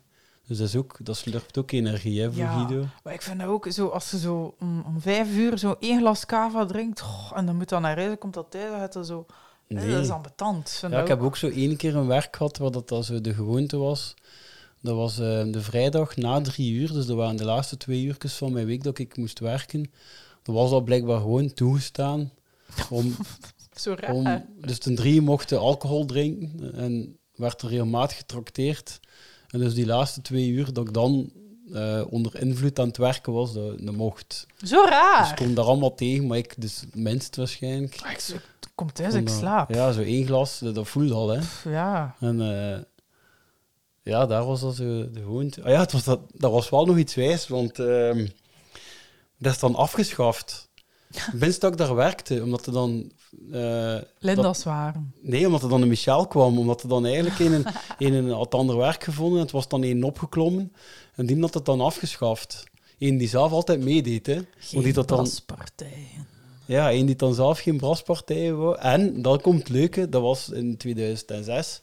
Speaker 4: Dus dat, is ook, dat slurpt ook energie, hè, voor Guido.
Speaker 5: maar ik vind dat ook zo, als ze zo om, om vijf uur zo één glas cava drinkt, goh, en dan moet dan naar huis, komt dat thuis, dan gaat dat zo... eh,
Speaker 4: Nee.
Speaker 5: Dat is ambetant. vind
Speaker 4: Ja,
Speaker 5: ik
Speaker 4: ik heb ook zo één keer een werk gehad waar dat, dat zo de gewoonte was. Dat was eh, de vrijdag na drie uur, dus dat waren de laatste twee uurtjes van mijn week dat ik moest werken. Dat was al blijkbaar gewoon toegestaan om...
Speaker 5: Zo raar.
Speaker 4: om dus ten drie mochten alcohol drinken en werd er regelmatig getrakteerd. En dus die laatste twee uur dat ik dan eh, onder invloed aan het werken was, dat, dat mocht.
Speaker 5: Zo raar.
Speaker 4: Dus ik kom daar allemaal tegen, maar ik dus minst waarschijnlijk.
Speaker 5: Ah, ik zo- ik kom thuis, ik slaap.
Speaker 4: eh, Ja, zo één glas, dat, dat voelde al, hè.
Speaker 5: ja.
Speaker 4: En eh, ja, daar was dat zo de gewoonte. Ah ja, het was dat, dat was wel nog iets wijs, want ehm, dat is dan afgeschaft. Minst dat ik daar werkte, omdat er dan... eh,
Speaker 5: Linda's waren.
Speaker 4: Nee, omdat er dan een Michel kwam. Omdat er dan eigenlijk een, een, een, een had ander werk gevonden. En het was dan één opgeklommen. En die had het dan afgeschaft. Eén die zelf altijd meedeed. Hè. Want die dat dan, ja, één die dan zelf geen braspartijen wou. En, dan komt het leuke, dat was in 2006.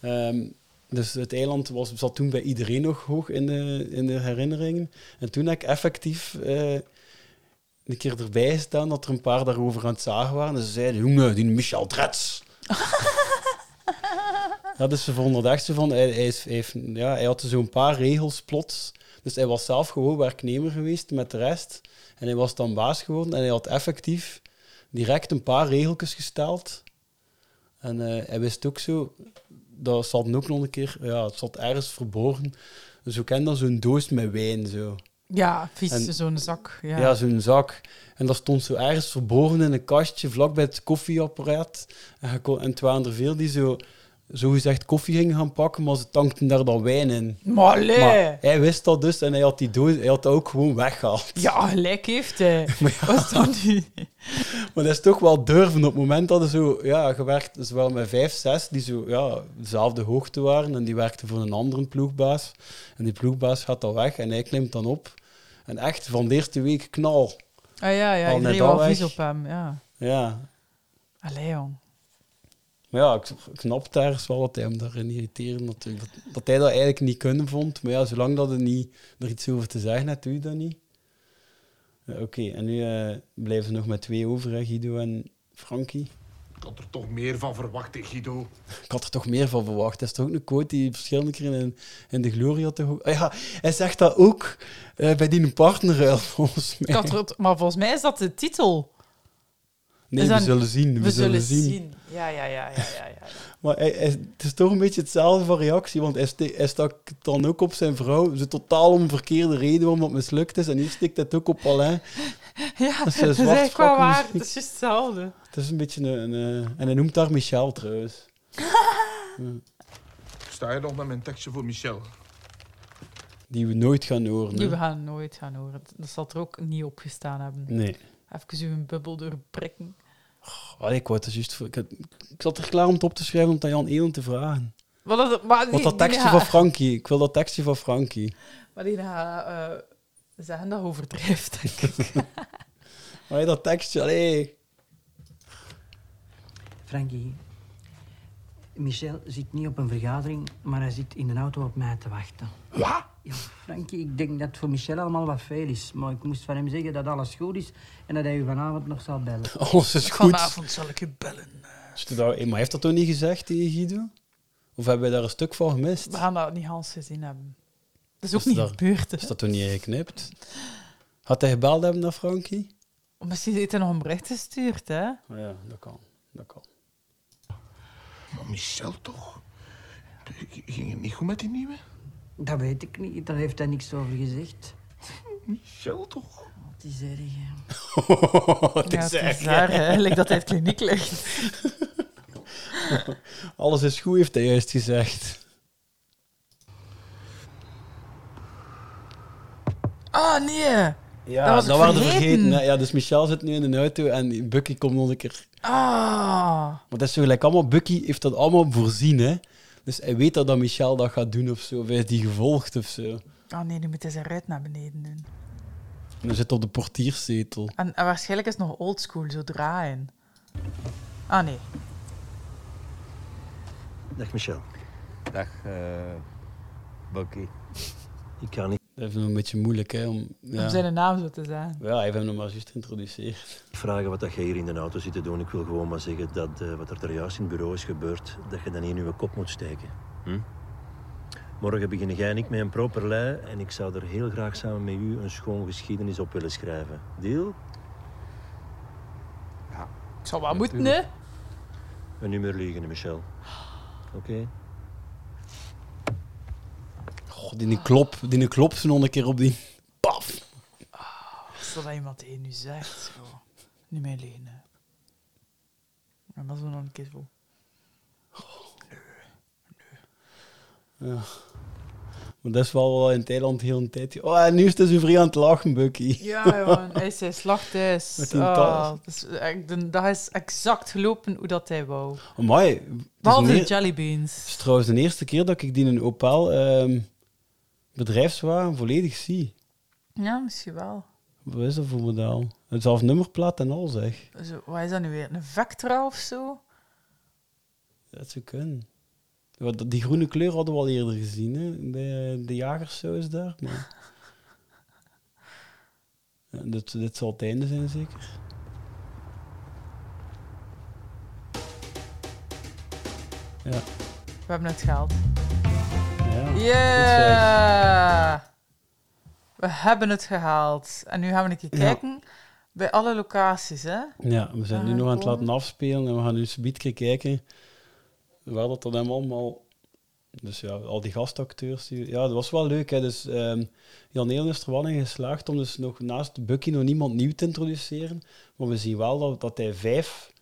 Speaker 4: Ehm, dus het eiland was, zat toen bij iedereen nog hoog in de, in de herinneringen. En toen heb ik effectief... eh, een keer erbij gestaan dat er een paar daarover aan het zagen waren. En ze zeiden, jongen, die Michel Drets. Ja, dus ze vonden er echt zo van. Hij, hij, is- hij heeft, ja, hij had zo'n paar regels plots. Dus hij was zelf gewoon werknemer geweest met de rest. En hij was dan baas geworden. En hij had effectief direct een paar regeltjes gesteld. En eh, hij wist ook zo... Dat zat ook nog een keer... Ja, het zat ergens verborgen. Dus ook ken dan zo'n doos met wijn, zo.
Speaker 5: Ja, vies,
Speaker 4: En-
Speaker 5: zo'n zak. Ja.
Speaker 4: ja, zo'n zak. En dat stond zo ergens verborgen in een kastje, vlak bij het koffieapparaat. En, je kon- en het waren er veel die zo, zogezegd koffie gingen gaan pakken, maar ze tankten daar dan wijn in.
Speaker 5: Maar allee!
Speaker 4: hij wist dat dus en hij had die doos, hij had dat ook gewoon weggehaald.
Speaker 5: Ja, gelijk heeft hij. Wat is dat nu?
Speaker 4: Maar dat is toch wel durven. Op het moment dat er zo, ja, je werkt zowel met vijf, zes, die zo, ja, dezelfde hoogte waren. En die werkten voor een andere ploegbaas. En die ploegbaas gaat dan weg en hij klimt dan op. En echt, van de eerste week knal.
Speaker 5: Ah ja, ja,
Speaker 4: Al
Speaker 5: iedereen
Speaker 4: net al
Speaker 5: wel vies
Speaker 4: weg.
Speaker 5: op hem. Ja.
Speaker 4: Ja,
Speaker 5: Allee, jong.
Speaker 4: Maar ja, ik ik snap ergens wel wat hij hem daarin irriteerde. Natuurlijk. Dat, dat hij dat eigenlijk niet kunnen vond. Maar ja, zolang dat er, niet, er iets over te zeggen had, doe je dat niet. Ja, Oké, en nu eh, blijven ze nog met twee over, hè, Guido en Frankie.
Speaker 7: Ik had er toch meer van verwacht, hè, Guido.
Speaker 4: Ik had er toch meer van verwacht. Dat is toch ook een quote die verschillende keren in, in de Gloria te horen. Ah ja, hij zegt dat ook eh, bij die partnerruil, volgens mij.
Speaker 5: Ik had er het- maar volgens mij is dat de titel.
Speaker 4: Nee,
Speaker 5: Is
Speaker 4: we
Speaker 5: dat-
Speaker 4: zullen zien. We, zullen zien.
Speaker 5: Ja, ja, ja, ja, ja. ja.
Speaker 4: Maar hij, hij- het is toch een beetje hetzelfde van reactie, want hij, ste- hij stak het dan ook op zijn vrouw. Ze totaal om een verkeerde reden waarom dat mislukt is. En hier stikt het ook op Alain.
Speaker 5: Ja,
Speaker 4: Dat is
Speaker 5: dat
Speaker 4: een
Speaker 5: is
Speaker 4: zwart
Speaker 5: echt wel
Speaker 4: vak
Speaker 5: waar.
Speaker 4: muziek.
Speaker 5: Het is juist hetzelfde.
Speaker 4: Het is een beetje een... een, eh, en hij noemt daar Michel trouwens. Ja,
Speaker 7: Ik sta hier nog met mijn tekstje voor Michel.
Speaker 4: Die we nooit gaan horen.
Speaker 5: Die
Speaker 4: hè.
Speaker 5: we gaan nooit gaan horen. Dat zal er ook niet op gestaan hebben.
Speaker 4: Nee.
Speaker 5: Even uw bubbel doorprikken.
Speaker 4: Oh, ik, wou het er juist voor, ik, had- ik zat er klaar om het op te schrijven om het aan Jan Elen te vragen.
Speaker 5: Maar dat, maar die,
Speaker 4: Want dat
Speaker 5: die
Speaker 4: tekstje
Speaker 5: gaan-
Speaker 4: van Frankie. Ik wil dat tekstje van Frankie.
Speaker 5: Maar die gaat eh, zeggen dat overdrijft, denk ik.
Speaker 4: Maar hey, dat tekstje, allee.
Speaker 22: Frankie, Michel zit niet op een vergadering, maar hij zit in een auto op mij te wachten.
Speaker 7: Wat?
Speaker 22: Ja, Frankie, ik denk dat het voor Michel allemaal wat veel is. Maar ik moest van hem zeggen dat alles goed is en dat hij u vanavond nog zal bellen.
Speaker 4: Alles is goed. Vanavond
Speaker 22: zal ik u bellen.
Speaker 4: Is het nou- hey, maar heeft dat toch niet gezegd tegen Guido? Of hebben we daar een stuk van gemist?
Speaker 5: We gaan dat niet Hans gezien hebben. Dat is ook
Speaker 4: dat
Speaker 5: niet
Speaker 4: daar-
Speaker 5: gebeurd. hè.
Speaker 4: Is dat toen niet geknipt? Had hij gebeld hebben naar Frankie?
Speaker 5: Misschien heeft hij nog een bericht gestuurd, hè?
Speaker 4: Oh Ja, dat kan. Dat kan.
Speaker 7: Maar Michel toch? G- Ging het niet goed met die nieuwe?
Speaker 22: Dat weet ik niet, daar heeft hij niks over gezegd.
Speaker 7: Michel toch?
Speaker 22: Het is erg, hè.
Speaker 4: Oh, het
Speaker 22: Ja,
Speaker 4: is
Speaker 22: het
Speaker 4: erg,
Speaker 22: is raar,
Speaker 4: hè.
Speaker 22: hè. Lijkt dat hij in het kliniek ligt.
Speaker 4: Alles is goed, heeft hij juist gezegd.
Speaker 5: Ah, nee.
Speaker 4: Ja,
Speaker 5: dat was ik
Speaker 4: waren
Speaker 5: vergeten.
Speaker 4: hè. Ja, dus Michel zit nu in een auto en Bucky komt nog een keer.
Speaker 5: Ah.
Speaker 4: Maar dat is zo gelijk allemaal... Bucky heeft dat allemaal voorzien, hè. Dus hij weet dat, dat Michel dat gaat doen of zo. Of hij is die gevolgd of zo.
Speaker 5: Ah nee, nu moet hij zijn ruit naar beneden doen.
Speaker 4: En hij zit op de portierszetel.
Speaker 5: En, en waarschijnlijk is het nog oldschool, zo draaien. Ah nee.
Speaker 2: Dag Michel.
Speaker 18: Dag, Bucky.
Speaker 4: Ik kan niet. Dat is nog een beetje moeilijk, hè. Om, ja.
Speaker 5: Om zijn naam zo te zeggen.
Speaker 4: ja, hij heeft hem nog maar juist geïntroduceerd.
Speaker 2: Vragen wat dat jij hier in de auto zit te doen. Ik wil gewoon maar zeggen dat eh, wat er daar juist in het bureau is gebeurd, dat je dan in je kop moet steken. Hm? Morgen beginnen jij en ik met een proper lei en ik zou er heel graag samen met u een schoon geschiedenis op willen schrijven. Deal?
Speaker 5: Ik zou wel moeten, hè.
Speaker 2: Een nummer liegen, Michel. Oké?
Speaker 4: God, die klop, die klop zo nog een keer op die... Paf!
Speaker 5: Zodat iemand tegen nu zegt, zo. Niet meer lenen. En dat is nog een keer zo.
Speaker 4: Ja. Maar dat is wel wel in Thailand heel een tijdje. Oh, en nu is dus uw vriend aan het lachen, Bucky.
Speaker 5: Ja, jongen, hij is hij slacht thuis.
Speaker 4: Met die
Speaker 5: Ah,
Speaker 4: tas.
Speaker 5: dat is echt- de- dat is exact gelopen hoe dat hij wou.
Speaker 4: Amai. Het
Speaker 5: Behalve de
Speaker 4: is een eer-
Speaker 5: jellybeans.
Speaker 4: Het is trouwens de eerste keer dat ik die in een Opel ehm bedrijfswagen volledig zie.
Speaker 5: Ja, misschien wel.
Speaker 4: Wat is dat voor model? Hetzelfde nummerplaat en al, zeg.
Speaker 5: Zo, wat is dat nu weer? Een Vectra of zo?
Speaker 4: Dat zou kunnen. Wat- Die groene kleur hadden we al eerder gezien, hè? De, de jagerssaus daar. Maar... Ja, dit, dit zal het einde zijn, zeker. Ja.
Speaker 5: We hebben het gehaald.
Speaker 4: Ja.
Speaker 5: Yeah! We hebben het gehaald. En nu gaan we een
Speaker 4: Ja.
Speaker 5: keer kijken bij alle locaties, hè?
Speaker 4: Ja, we zijn nu
Speaker 5: Waar
Speaker 4: nog aan het
Speaker 5: komen?
Speaker 4: laten afspelen en we gaan nu een keer kijken waar dat dan allemaal... Dus ja, al die gastacteurs. Die, ja, dat was wel leuk. Hè. Dus, ehm, Jan Eelen is er wel in geslaagd om dus nog naast Bucky nog niemand nieuw te introduceren. Maar we zien wel dat, dat hij vijf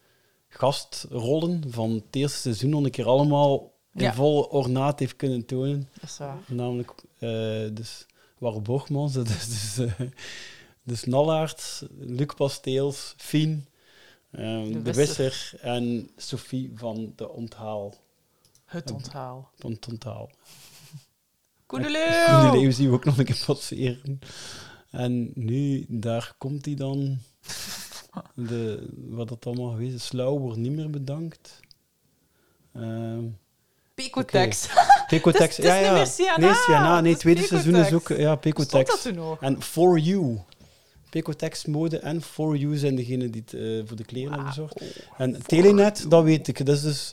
Speaker 4: gastrollen van het eerste seizoen nog een keer allemaal in
Speaker 5: Ja.
Speaker 4: volle ornaat heeft kunnen tonen.
Speaker 5: Dat is waar.
Speaker 4: Namelijk, eh dus War Borgmans, dat is dus, eh, dus Nallaert, Luc Pasteels, Fien, ehm,
Speaker 5: De
Speaker 4: de,
Speaker 5: Wisser.
Speaker 4: Wisser en Sophie van de Onthaal.
Speaker 5: Het onthaal.
Speaker 4: Van het Onthaal.
Speaker 5: Koen de
Speaker 4: En
Speaker 5: Leeuw!
Speaker 4: Koen de Leeuw zien we ook nog een keer passeren. En nu, daar komt hij dan. De, wat dat allemaal geweest is. Slauw wordt niet meer bedankt. Ehm
Speaker 5: Picotex.
Speaker 4: oké. Picotex,
Speaker 5: Het is-
Speaker 4: ja,
Speaker 5: het is niet
Speaker 4: ja.
Speaker 5: meer Sienna,
Speaker 4: Nee, Sienna.
Speaker 5: het
Speaker 4: Nee,
Speaker 5: is
Speaker 4: tweede seizoen is ook...
Speaker 5: Picotex.
Speaker 4: Ja, Picotex.
Speaker 5: Stond dat toen nog?
Speaker 4: En For You. Picotex Mode en For You zijn degene die het eh, voor de kleren
Speaker 5: Ah,
Speaker 4: hebben
Speaker 5: oh,
Speaker 4: gezorgd. en Telenet, dat weet ik. Dat is dus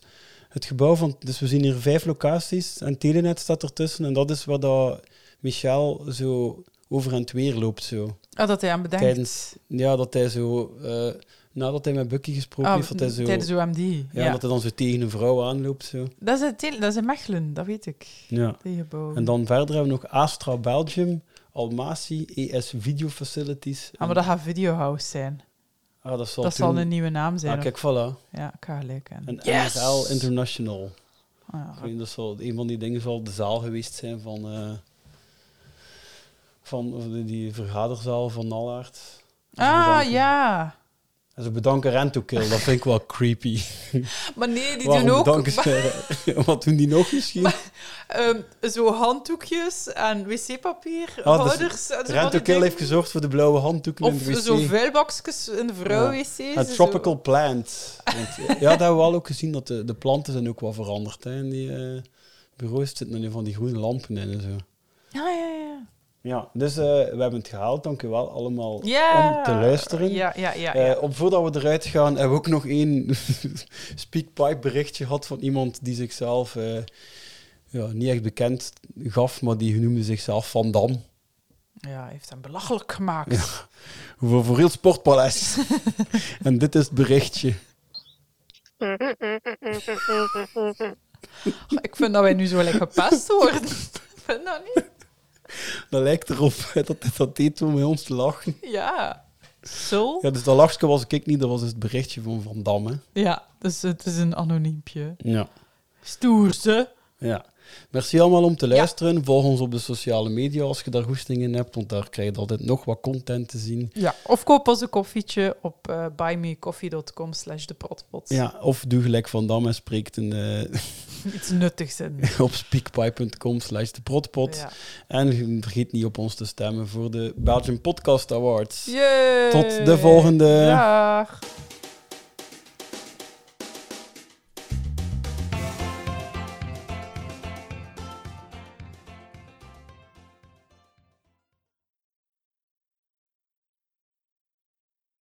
Speaker 4: het gebouw van... Dus we zien hier vijf locaties en Telenet staat ertussen. En dat is waar dat Michel zo over en het weer loopt. Zo.
Speaker 5: Ah, dat hij aan bedenkt.
Speaker 4: Tijdens, ja, dat hij zo... eh, nadat hij met Bucky gesproken
Speaker 5: Ah,
Speaker 4: heeft, dat hij zo...
Speaker 5: tijdens OMD,
Speaker 4: Ja,
Speaker 5: ja.
Speaker 4: dat hij dan zo tegen een vrouw aanloopt. Zo.
Speaker 5: Dat is, in Tele- dat is in Mechelen, dat weet ik.
Speaker 4: Ja.
Speaker 5: Die gebouwen.
Speaker 4: En dan verder hebben we nog Astra Belgium, Almacy, ES Video Facilities.
Speaker 5: Ah, maar dat gaat Videohouse zijn.
Speaker 4: Ah, dat zal,
Speaker 5: dat zal
Speaker 4: toen-
Speaker 5: een nieuwe naam zijn.
Speaker 4: Ah, kijk,
Speaker 5: of-
Speaker 4: voilà.
Speaker 5: Ja, ik ga gelijk kennen.
Speaker 4: En
Speaker 5: Yes!
Speaker 4: NSL International.
Speaker 5: Ah, ja.
Speaker 4: Ik weet, dat zal, een van die dingen zal de zaal geweest zijn van, eh, van of die, die vergaderzaal van Nallaert.
Speaker 5: Ah, ja.
Speaker 4: En ze bedanken Rento Kill, dat vind ik wel creepy.
Speaker 5: Maar nee, die
Speaker 4: Waarom
Speaker 5: doen ook...
Speaker 4: bedanken ze- wat doen die nog misschien?
Speaker 5: Ehm, zo handdoekjes en wc-papier,
Speaker 4: Ah, dus
Speaker 5: houders. en zo van
Speaker 4: Rento
Speaker 5: die
Speaker 4: Kill
Speaker 5: dingen.
Speaker 4: heeft gezorgd voor de blauwe handdoeken in
Speaker 5: Of
Speaker 4: de wc.
Speaker 5: zo vuilbakjes in de vrouwenwc's.
Speaker 4: Ja. Een tropical plant. Want, eh, ja, dat hebben we wel ook gezien dat de, de planten zijn ook wel veranderd. Hè. In die eh, bureaus zitten er nu van die groene lampen in en zo.
Speaker 5: Ja, ja, ja.
Speaker 4: Ja, dus eh, we hebben het gehaald. Dank u wel allemaal
Speaker 5: Ja.
Speaker 4: om te luisteren.
Speaker 5: Ja, ja, ja,
Speaker 4: Eh,
Speaker 5: ja.
Speaker 4: op, voordat we eruit gaan, hebben we ook nog één speakpipe berichtje gehad van iemand die zichzelf eh, ja, niet echt bekend gaf, maar die noemde zichzelf Van Dam.
Speaker 5: Ja, hij heeft hem belachelijk gemaakt.
Speaker 4: Ja. Voor, voor heel Sportpaleis. en dit is het berichtje.
Speaker 5: Ik vind dat wij nu zo lekker gepest worden. Ik vind dat niet.
Speaker 4: Dat lijkt erop hè, dat dat deed toen met ons te lachen.
Speaker 5: Ja. Zo.
Speaker 4: Ja, dus dat lachje was ik niet, dat was dus het berichtje van Van Damme.
Speaker 5: Ja, dus het is een anoniempje.
Speaker 4: Ja.
Speaker 5: Stoer, ze.
Speaker 4: Ja. Merci allemaal om te luisteren. Volg ons op de sociale media als je daar goesting in hebt, want daar krijg je altijd nog wat content te zien.
Speaker 5: Ja, of koop ons een koffietje op eh buymeacoffee.com slash de
Speaker 4: Ja, of doe gelijk Van Dam en spreekt een, eh,
Speaker 5: Iets nuttigs in.
Speaker 4: op speakpipe.com slash de protpot.
Speaker 5: Ja.
Speaker 4: En vergeet niet op ons te stemmen voor de Belgian Podcast Awards.
Speaker 5: Yay!
Speaker 4: Tot de volgende.
Speaker 5: Dag.